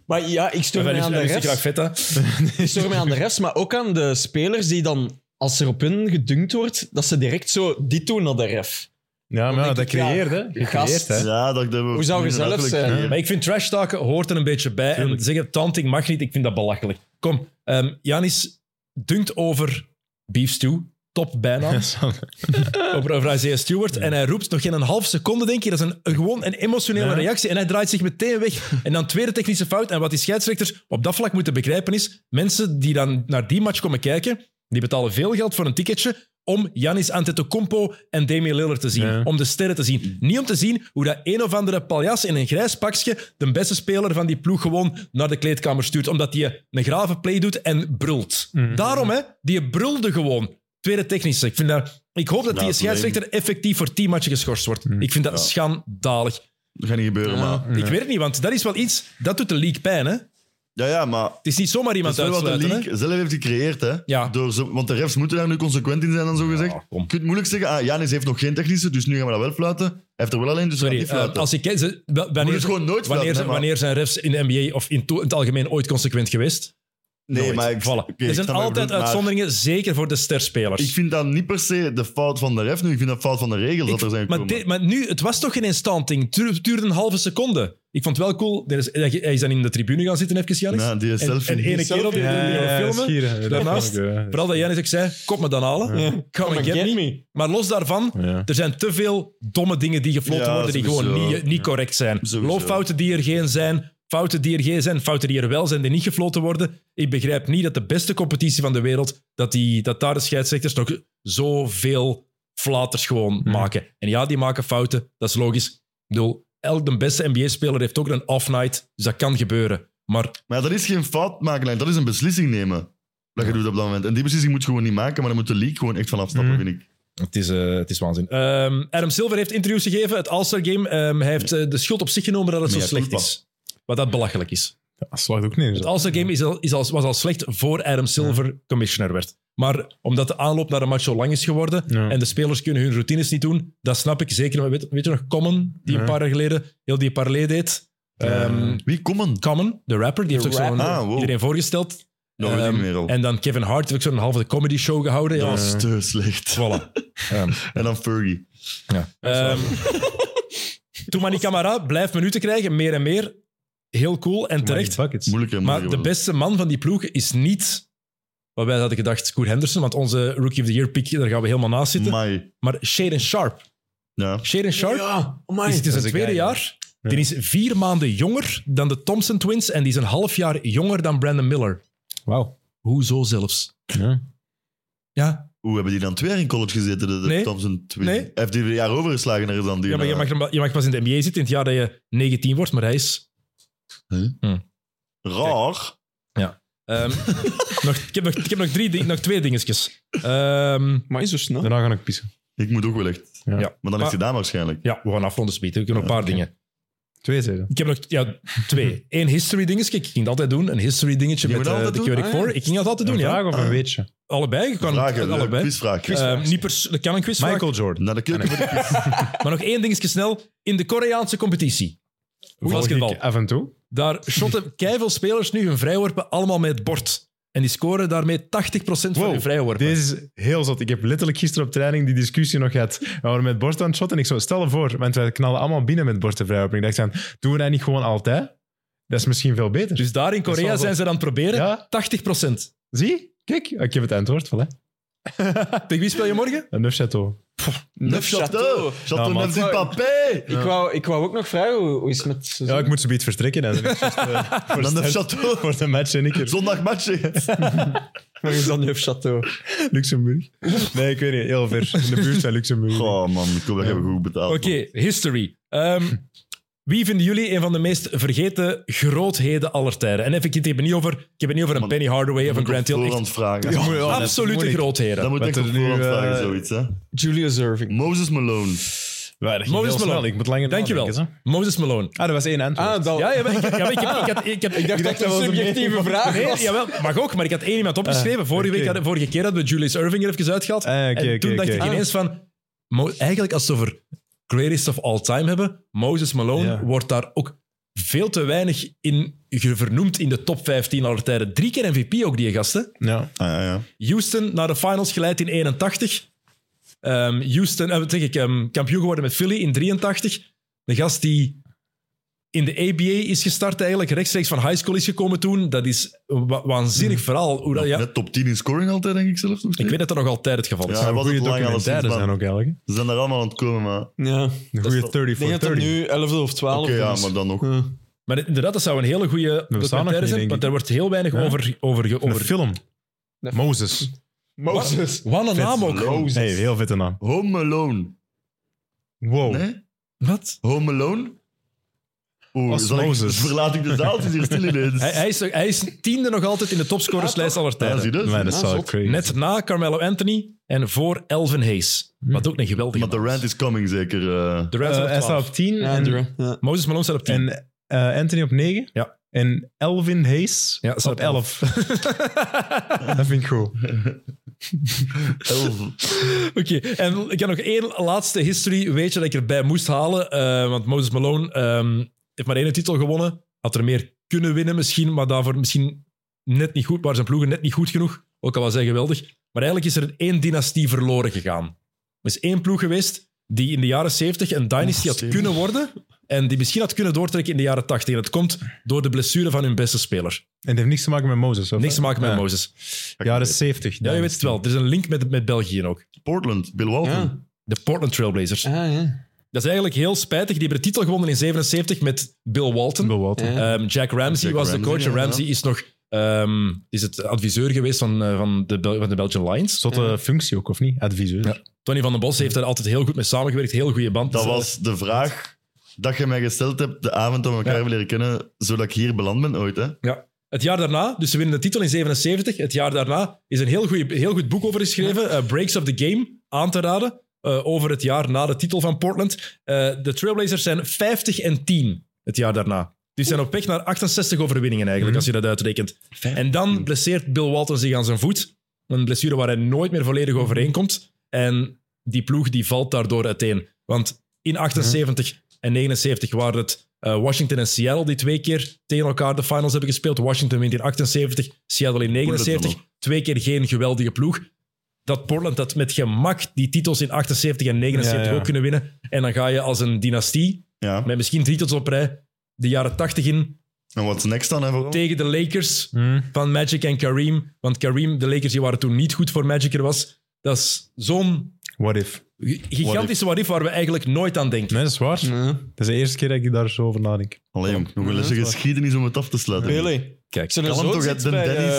D: Maar ja, ik stoor
A: En
D: mij
A: is-
D: aan de
A: en is die graag
D: refs.
A: Vetta.
D: Ik stoor mij aan de refs, maar ook aan de spelers die dan, als er op hun gedunkt wordt, dat ze direct zo dit doen naar de ref.
B: Ja, maar ja,
D: denk
B: dat
D: ik, ja,
B: creëert, hè. Je
D: gast.
B: creëert, hè.
C: Ja, dat, dat
D: Hoe zou je zelf zijn?
A: Maar ik vind trash talken hoort er een beetje bij. En zeggen, tanting mag niet, ik vind dat belachelijk. Kom, ehm Janis dunkt over Beef Stew. Top bijnaam.
B: Ja, zo.
A: over, over Isaiah Stewart. En hij roept nog geen een half seconde, denk je. Dat is een, een- gewoon een emotionele
B: Ja.
A: reactie. En hij draait zich meteen weg. En dan tweede technische fout. En wat die scheidsrechters op dat vlak moeten begrijpen is... Mensen die dan naar die match komen kijken, die betalen veel geld voor een ticketje om Janis Antetokounmpo en Damian Lillard te zien.
B: Ja.
A: Om de sterren te zien. Niet om te zien hoe dat een of andere paljas in een grijs pakje de beste speler van die ploeg gewoon naar de kleedkamer stuurt. Omdat hij een grave play doet en brult.
B: Mm.
A: Daarom, hè. Die brulde gewoon. Tweede technische. Ik, vind dat, ik hoop dat
C: Ja,
A: die
C: het leven.
A: scheidsrechter effectief voor tien matchen geschorst wordt.
B: Mm.
A: Ik vind dat schandalig.
C: Dat gaat niet gebeuren, maar...
A: Ik weet het niet, want dat is wel iets... Dat doet de league pijn, hè. Het
C: Ja, ja, maar...
A: is niet zomaar
C: Dat
A: iemand
C: is wel wat de
A: uitsluiten, hè.
C: league zelf heeft gecreëerd, hè.
A: Ja.
C: Door zo, want de refs moeten daar nu consequent in zijn, dan zo gezegd.
A: Ja,
C: Je
A: kom.
C: kunt moeilijk zeggen, ah, Janis heeft nog geen technische, dus nu gaan we dat wel fluiten. Hij heeft er wel alleen, dus we gaan
A: Sorry,
C: niet
A: eh,
C: fluiten.
A: als ik... kijk, ze- wa- wanneer,
C: het gewoon nooit
A: wanneer,
C: fluiten, hè, maar-
A: wanneer zijn refs in de NBA of in, to- in het algemeen ooit consequent geweest?
C: nee,
A: Nooit.
C: maar ik,
A: Voilà.
C: oké, ik
A: er zijn
C: snap wat je
A: altijd
C: bedoelt, maar
A: uitzonderingen, zeker voor de sterspelers.
C: Ik vind dat niet per se de fout van de ref nu, ik vind dat fout van de regels dat er zijn
A: maar,
C: gekomen.
A: dit- maar nu, het was toch geen instanting. Het duurde- het duurde een halve seconde. Ik vond het wel cool. Er is, hij is dan in de tribune gaan zitten, even, Janis.
C: Ja, die
A: en,
C: selfie.
A: en ene kerel die, die, die
B: Ja, ja,
A: filmen.
B: schieren. Dat
A: Daarnaast,
B: vond ik, ja.
A: Dus, vooral dat Janis ook zei, eh, kom me dan halen. Come and get me. Maar los daarvan,
B: Ja.
A: er zijn te veel domme dingen die gefloten
C: Ja,
A: worden die gewoon
C: sowieso.
A: niet, niet correct zijn.
C: Sowieso.
A: Loopfouten die er geen zijn, fouten die er geen zijn, fouten die er wel zijn die niet gefloten worden. Ik begrijp niet dat de beste competitie van de wereld, dat, die, dat daar de scheidsrechters nog zoveel flaters gewoon maken. En ja, die maken fouten, dat is logisch. Ik bedoel, elk de beste NBA-speler heeft ook een off-night, dus dat kan gebeuren. Maar
C: Maar dat is geen fout maken, Lijn. dat is een beslissing nemen. Dat je doet op dat moment. En die beslissing moet je gewoon niet maken, maar dan moet de league gewoon echt van afstappen,
A: Mhm.
C: vind ik.
A: Het is, eh, het is waanzin. Ehm, Adam Silver heeft interviews gegeven, het All-Star Game. Ehm, hij heeft eh, de schuld op zich genomen dat het
C: Maar
A: zo
C: ja,
A: slecht
C: culpa.
A: is. Wat dat belachelijk is.
B: Dat slaat ook neer.
A: Het
B: zo.
A: All-Star Game is al, is al, was al slecht voor Adam Silver commissioner werd. Maar omdat de aanloop naar de match zo lang is geworden
B: Ja.
A: en de spelers kunnen hun routines niet doen, dat snap ik zeker. Maar weet, weet je nog Common, die
B: Ja.
A: een paar jaar geleden heel die parley deed? Ehm,
C: Wie komen?
A: Common, de rapper, die heeft ook zo'n
D: rapper.
C: Ah, wow.
A: iedereen voorgesteld.
C: Nog een
A: Ehm,
C: ding meer al.
A: En dan Kevin Hart heeft ook zo'n halve comedy show gehouden. Ja,
C: Dat was te slecht.
A: voilà. Ehm,
C: En dan Fergie.
A: Ehm Toemani Camara blijft minuten krijgen, meer en meer. Heel cool en terecht.
B: Maar die buckets.
C: Moeilijker en
A: Maar
C: moeilijker
A: de
C: worden.
A: beste man van die ploeg is niet, wat wij hadden gedacht, Scoot Henderson, want onze Rookie of the Year pick, daar gaan we helemaal naast zitten.
C: Mai.
A: Maar Shaden Sharp.
C: Ja.
A: Shaden Sharp
D: Ja,
A: is,
D: amai.
A: het is
B: dat
A: zijn
B: is een
A: tweede
B: guy,
A: jaar. Die is vier maanden jonger dan de Thompson Twins en die is een half jaar jonger dan Brandon Miller.
B: Wauw.
A: Hoezo zelfs?
B: Ja.
A: Ja,
C: Hoe hebben die dan twee jaar in college gezeten? De, de
A: Nee.
C: Thompson twee.
A: Nee.
C: Hij Heeft die een jaar overgeslagen er dan die?
A: ja maar je mag,
C: naar-
A: er maar- je mag pas in de NBA zitten in het jaar dat je 19 wordt, maar hij is
C: eh, Raar.
A: Ehm, nog, ik, heb nog, ik heb nog, drie, ding- nog twee dingetjes. Ehm,
D: Maar zo snel.
B: Daarna ga ik pissen.
C: Ik moet ook wel echt.
B: Ja.
A: Ja.
C: Maar dan
A: Maar-
C: is hij daar waarschijnlijk.
A: ja, we gaan afronden, Speed. Ik heb nog een paar dingen.
B: Twee zeiden.
A: Ik heb nog ja, twee. Eén history dingetje. Ik ging dat altijd doen. Een history dingetje
C: Je
A: met
C: moet
A: eh,
C: altijd
A: de
C: doen?
A: Quebec
D: Ah, ja.
A: voor. Ik ging dat altijd doen,
B: een
A: ja. Ah.
B: vraag of een weetje?
A: Allebei. Je kan
C: Vragen, leuk.
A: allebei.
C: Quizvraag.
A: Ehm, niet pers- dat kan een quizvraag.
B: Michael Jordan.
C: Naar de keuken. voor de-
A: Maar nog één dingetje snel. In de Koreaanse competitie. Basketbal.
B: Volg ik af en toe.
A: Daar shotten keiveel spelers nu hun vrijworpen allemaal met het bord. En die scoren daarmee 80% van hun vrijworpen.
B: Deze is heel zot. Ik heb letterlijk gisteren op training die discussie nog gehad. We waren met borst aan het shotten. Ik zo, stel je voor, want wij knallen allemaal binnen met borsten vrijoping. Ik dacht, dan, doen we dat niet gewoon altijd? Dat is misschien veel beter.
A: Dus daar in
B: Dat
A: Korea
B: zal wel-
A: zijn ze aan het proberen.
B: Ja.
A: 80%.
B: Zie? Kijk, Oh, ik heb het antwoord. Voilà.
A: Tegen wie speel je morgen?
B: Een Neufchâteau.
C: Neuf
D: Nou,
C: Chateau. Chateau
B: Ja, man.
C: Neuf du Papé.
D: Ik wou, ik wou ook nog vragen, hoe, hoe is het met...
B: Ja, ik moet ze beetje vertrekken. Dan ben ik juist, eh, voor,
C: Dan Neuf
B: start-
C: Chateau.
B: voor de match en ik er.
C: Zondag matchen.
D: Waar is dan Neufchâteau?
B: Luxemburg. Nee, ik weet niet. Heel ver. In de buurt van Luxemburg.
C: Goh man, ik hoop dat je goed betaald.
A: Oké, history. Ehm, wie vinden jullie een van de meest vergeten grootheden aller tijden? En even, ik heb het niet over, ik heb het niet over een Penny Hardaway of een Grant Hill. Echt
C: Voorhand vragen.
B: Ja, ja, dat is
A: absolute
B: moeilijk.
A: grootheren.
C: Dat moet
B: Want
C: echt op
B: er nu,
C: voorhand
B: eh,
C: vragen, zoiets. Hè?
D: Julius Irving.
C: Moses Malone.
B: Ja, dat ging
A: Moses
B: heel snel.
A: Malone.
B: Ik moet langer
A: Dankjewel.
B: nadenken, zo.
A: Moses Malone.
B: Ah, dat was één antwoord.
D: Ah, dat,
A: Ja, ja, maar ik, ja, maar ik, heb- ik, had- ik, heb- ik dacht
D: dat was een subjectieve vraag.
A: Nee,
D: was.
A: jawel, mag ook, maar ik had één iemand opgeschreven. Vorige,
B: Ah, oké.
A: week, hadden- vorige keer hadden we Julius Irving er even uitgehaald.
B: Ah, oké,
A: en
B: oké,
A: toen dacht
B: oké.
A: ik ineens van... Mo- eigenlijk, als ze over greatest of all time hebben, Moses Malone
B: Ja.
A: wordt daar ook veel te weinig in ge- vernoemd in de top 15 aller tijden. Drie keer MVP ook, die gasten.
B: Ja.
C: Ah, ja, ja.
A: Houston naar de finals geleid in 81. Ehm, Houston, eh, wat zeg ik, ehm, kampioen geworden met Philly in 83. De gast die in de ABA is gestart eigenlijk, rechtstreeks van high school is gekomen toen. Dat is een wa- waanzinnig verhaal. Hoe dat, ja,
C: Nou, Net top 10 in scoring altijd, denk ik zelf. nog
A: ik
C: steeds.
A: weet dat dat nog altijd het geval is.
C: Ja,
B: Zou
C: was
B: een goede
C: het lang
B: documentaire
C: alleszins,
B: zijn
C: maar-
B: ook eigenlijk.
C: Ze zijn daar allemaal aan het komen, maar... Oké,
D: ja.
B: Een
C: is
B: goede
C: wel-
B: 30
D: Ik denk
B: for
D: dat het
B: 30.
D: nu 11 of 12
C: ja,
D: is.
C: maar dan nog.
D: Ja.
A: Maar inderdaad, dat zou een hele goede
B: nog
A: documentaire
B: niet,
A: zijn,
B: denk
A: want
B: ik.
A: daar wordt heel weinig
B: Ja.
A: over... over, ge-
B: Een
A: over
B: film.
D: Nee.
B: Moses.
D: Moses.
A: Wat een naam ook.
C: Moses.
B: Hey, heel vette naam.
C: Home Alone.
B: Wow.
C: Nee?
A: Wat?
C: Home Alone? Oeh,
B: Als
C: zal ik-
B: Moses.
C: verlaat ik de zaal? Het is hier stil ineens.
A: Hij, hij, is, hij is tiende nog altijd in de topscorerslijst aller
C: Ja, zie
A: tijden.
C: je dat?
B: Nee, dat
D: Ah,
B: is wel
D: zot.
B: crazy. Hmm.
A: Net na Carmelo Anthony en voor Elvin Hayes. Wat ook een geweldige
C: Maar de
A: man is.
C: rant is coming, zeker. eh.
A: De
B: Eh,
A: Reds
B: hij staat op 10
D: Ja,
B: en,
D: Andrew, ja.
A: Moses Malone staat op 10.
B: en eh, Anthony op 9.
A: Ja.
B: En Elvin Hayes
A: Ja, staat
B: op
A: op
B: 11. dat vind ik goed.
C: Elf.
A: Oké, en ik heb nog één laatste history weetje dat ik erbij moest halen. eh, want Moses Malone ehm, heeft maar één titel gewonnen. Had er meer kunnen winnen misschien, maar daarvoor misschien net niet goed. Waren zijn ploegen net niet goed genoeg, ook al was hij geweldig. Maar eigenlijk is er één dynastie verloren gegaan. Er is één ploeg geweest die in de jaren 70 een dynasty had
C: zeven.
A: kunnen worden. En die misschien had kunnen doortrekken in de jaren 80. En dat komt door de blessure van hun beste speler.
B: En het heeft niks te maken met Moses. Of?
A: Niks te maken met
B: Ja.
A: Moses.
B: Jaren 70.
A: Ja, je weet het wel. Er is een link met, met België ook.
C: Portland, Bill Walton.
D: Ja.
A: De Portland Trailblazers.
D: Ah, ja.
A: Dat is eigenlijk heel spijtig. Die hebben de titel gewonnen in 77 met Bill Walton.
B: Bill Walton.
D: Ja.
A: Ehm, Jack Ramsey
C: Jack
A: was de
C: Ramsey,
A: coach. En
C: ja,
A: Ramsey is nog ehm, is het adviseur geweest van, eh, van, de, Bel- van de Belgian Lions.
B: Zotte functie ook, of niet? Adviseur.
A: Ja. Tony van den Bos heeft daar altijd heel goed mee samengewerkt. Heel goede band.
C: Dat
A: Dus, eh,
C: was de vraag dat je mij gesteld hebt de avond dat we elkaar
A: Ja.
C: hebben leren kennen, zodat ik hier beland ben ooit. Hè?
A: ja. Het jaar daarna, dus ze winnen de titel in 77. Het jaar daarna is een heel, goeie, heel goed boek over geschreven. eh, Breaks of the Game, aan te raden. eh, over het jaar na de titel van Portland. Eh, de Trailblazers zijn 50 en 10 het jaar daarna. Die zijn op weg naar 68 overwinningen eigenlijk, als je dat uitrekent. En dan blesseert Bill Walton zich aan zijn voet. Een blessure waar hij nooit meer volledig overheen komt. En die ploeg die valt daardoor uiteen. Want in 78 en 79 waren het eh, Washington en Seattle die twee keer tegen elkaar de finals hebben gespeeld. Washington wint in 78, Seattle in
C: dat
A: 79.
C: nog.
A: Twee keer geen geweldige ploeg. Dat Portland dat met gemak die titels in 78 en 79
B: Ja, ja.
A: ook kunnen winnen. En dan ga je als een dynastie,
C: Ja.
A: met misschien drie titels op rij, de jaren 80 in
C: En wat is next dan? Hè, vooral?
A: tegen de Lakers
B: Hmm.
A: van Magic en Kareem. Want Kareem, de Lakers die waren toen niet goed voor Magic er was. Dat is zo'n
B: What if?
A: gi- gigantische what if waar we eigenlijk nooit aan denken.
B: Nee, dat is waar. Dat is de eerste keer dat ik daar zo over nadenk.
C: Allee, jong, nog wel eens een
D: Ja.
C: geschiedenis om het af te sluiten.
D: Really?
A: Kijk,
D: Zijn er
C: Kalm
D: zoon
C: toch,
D: zit
C: hè,
D: bij...
C: Dennis?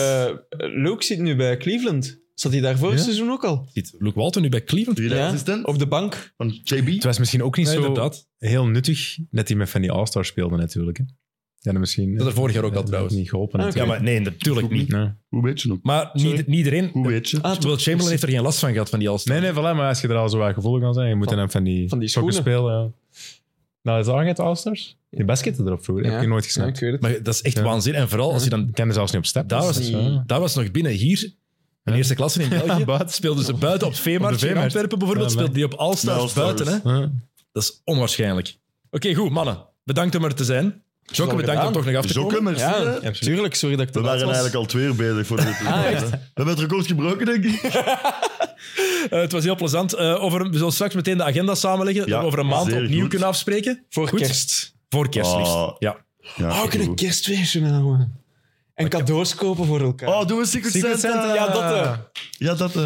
D: eh, Luke zit nu bij Cleveland. Zat hij daar vorig
B: Ja.
D: seizoen ook al?
A: zit Luke Walton nu bij Cleveland?
C: Zie je dat, assistent?
D: Op de bank.
C: Van
B: Het
C: JB?
B: was misschien ook niet
A: Nee,
B: zo
A: inderdaad.
B: heel nuttig dat hij met van die All-Stars speelde, natuurlijk. Hè. Ja, dat misschien.
A: Dat er vorig jaar ook al
B: dat
A: trouwens.
B: niet geholpen.
D: Ah,
A: Ja,
B: natuurlijk.
A: maar nee, natuurlijk niet.
B: Nee.
C: Hoe weet je nog?
A: Maar
D: Sorry?
A: niet, niet iedereen.
C: Hoe weet je?
D: Ah,
A: Terwijl Chamberlain heeft er geen last van gehad van die alles.
B: nee, nee, voilà, maar als je er al zo wat gevoelig aan zijn, je moet
D: Van-
B: dan van die,
D: van die
B: sokken
D: schoenen.
B: spelen. Ja. Nou, is dat het All-Stars? Die basketten erop vroeger,
D: Ja.
B: heb ik nooit
D: Ja,
B: gesnapt.
D: ik weet het.
A: Maar dat is echt
B: Ja.
A: waanzin. En vooral als je dan.
B: Ik ken er zelfs niet op step.
A: Daar was,
B: Dus,
D: niet-
B: ja.
A: daar was nog binnen. Hier, in
B: Ja.
A: eerste klasse in België,
B: buiten.
A: speelden ze buiten op
B: Op
A: Veemarkt.
B: de
A: In
B: Veemarkt.
A: Antwerpen bijvoorbeeld
B: Ja,
A: speelden die op
C: Ja,
A: Allstars
C: All-Stars.
A: buiten. Hè?
B: Ja.
A: Dat is onwaarschijnlijk. Oké, goed, mannen. Bedankt om er te zijn. Jokke,
D: wel
A: bedankt om
D: gedaan.
A: toch nog af te
C: Jokke,
A: komen.
C: merci.
D: Ja.
C: hè.
B: Absoluut.
D: Tuurlijk, sorry dat ik
C: We
D: te
C: waren
D: laat was.
C: eigenlijk al twee uur bezig voor dit.
D: Ah, echt?
C: We hebben het record gebroken, denk ik.
A: Eh, het was heel plezant. Eh, over, we zullen straks meteen de agenda samenleggen.
C: Ja,
A: dat we over een maand
C: zeer
A: opnieuw
C: goed.
A: kunnen afspreken.
D: Voor
A: Goed?
D: kerst.
A: Voor kerst liefst.
C: Ah.
A: Ja.
C: Ja,
D: Oh, ik kan een kerstfeestje houden. En cadeaus kopen voor elkaar.
C: Oh, doen we Secret,
B: Secret Santa.
C: Santa.
D: ja, dat... Dus eh,
C: Ja, dat.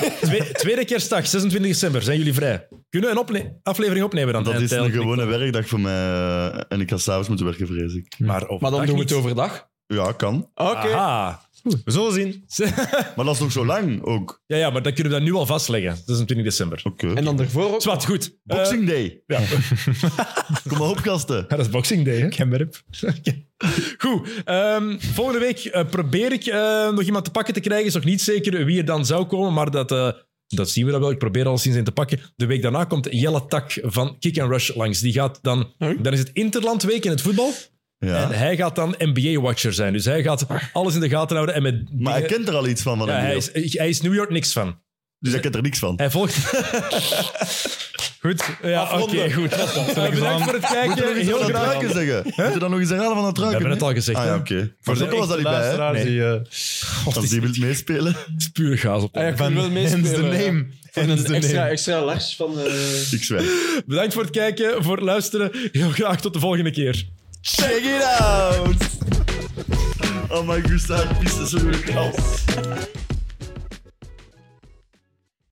C: eh.
A: Twee- tweede kerstdag, 26 december, zijn jullie vrij. Kunnen we een ople- aflevering opnemen dan?
C: dat
A: Eh,
C: is een
A: tijdelijk.
C: gewone werkdag voor mij. eh, En ik ga s'avonds moeten werken, vrees ik.
A: Maar,
D: maar dan doen we het
A: over.
D: overdag. Ah,
C: Ja, kan.
D: Oké.
A: Aha.
B: We zullen zien.
C: Maar dat is nog zo lang ook.
A: Ja, ja, maar dan kunnen we dat nu al vastleggen. 26 december.
C: Oké.
D: En dan daarvoor ook.
A: Zwat, goed. Eh,
C: Boxing Day.
A: ja.
C: Kom maar op, gasten.
A: Ja, dat is Boxing Day, hè?
B: Kenmerp.
A: Goed. ehm, volgende week eh, probeer ik eh, nog iemand te pakken te krijgen. Is nog niet zeker wie er dan zou komen, maar dat eh, dat zien we dat wel. Ik probeer al sinds in te pakken. De week daarna komt Jelle Tak van Kick and Rush langs. Die gaat dan...
D: Huh?
A: Dan is het Interlandweek in het voetbal.
C: Ja.
A: En hij gaat dan NBA-watcher zijn. Dus hij gaat alles in de gaten houden. En met dingen-
C: Maar hij kent er al iets van, van
A: Ja,
C: NBA.
A: hij, is, hij is New York niks van.
C: dus hij kent er niks van.
A: Hij volgt...
B: Goed.
A: Ja, oké,
D: Afronden.
A: goed. Bedankt voor het
C: Moeten we
A: kijken.
C: nog iets
A: Heel
C: van dat
A: graag.
C: ruiken zeggen? Moeten we dan nog iets herhalen van dat ruiken?
A: hebben het
C: nee?
A: al gezegd,
C: Ah
A: hè?
C: ja, oké. Voor
B: de
C: Zeppel was dat niet bij, hè?
B: luisteraars die, eh,
C: Als die wilt meespelen.
A: Het is puur gaas op.
D: Ah, ja, ik wil
B: van-
D: wel meespelen.
B: hence the name.
D: En
B: Hence
D: een
B: the
D: extra,
B: name.
D: extra lars van... eh,
C: Ik zwijg.
A: Bedankt voor het kijken, voor het luisteren. Heel graag tot de volgende keer.
C: Check it out! Oh my god, ik piste zo goed.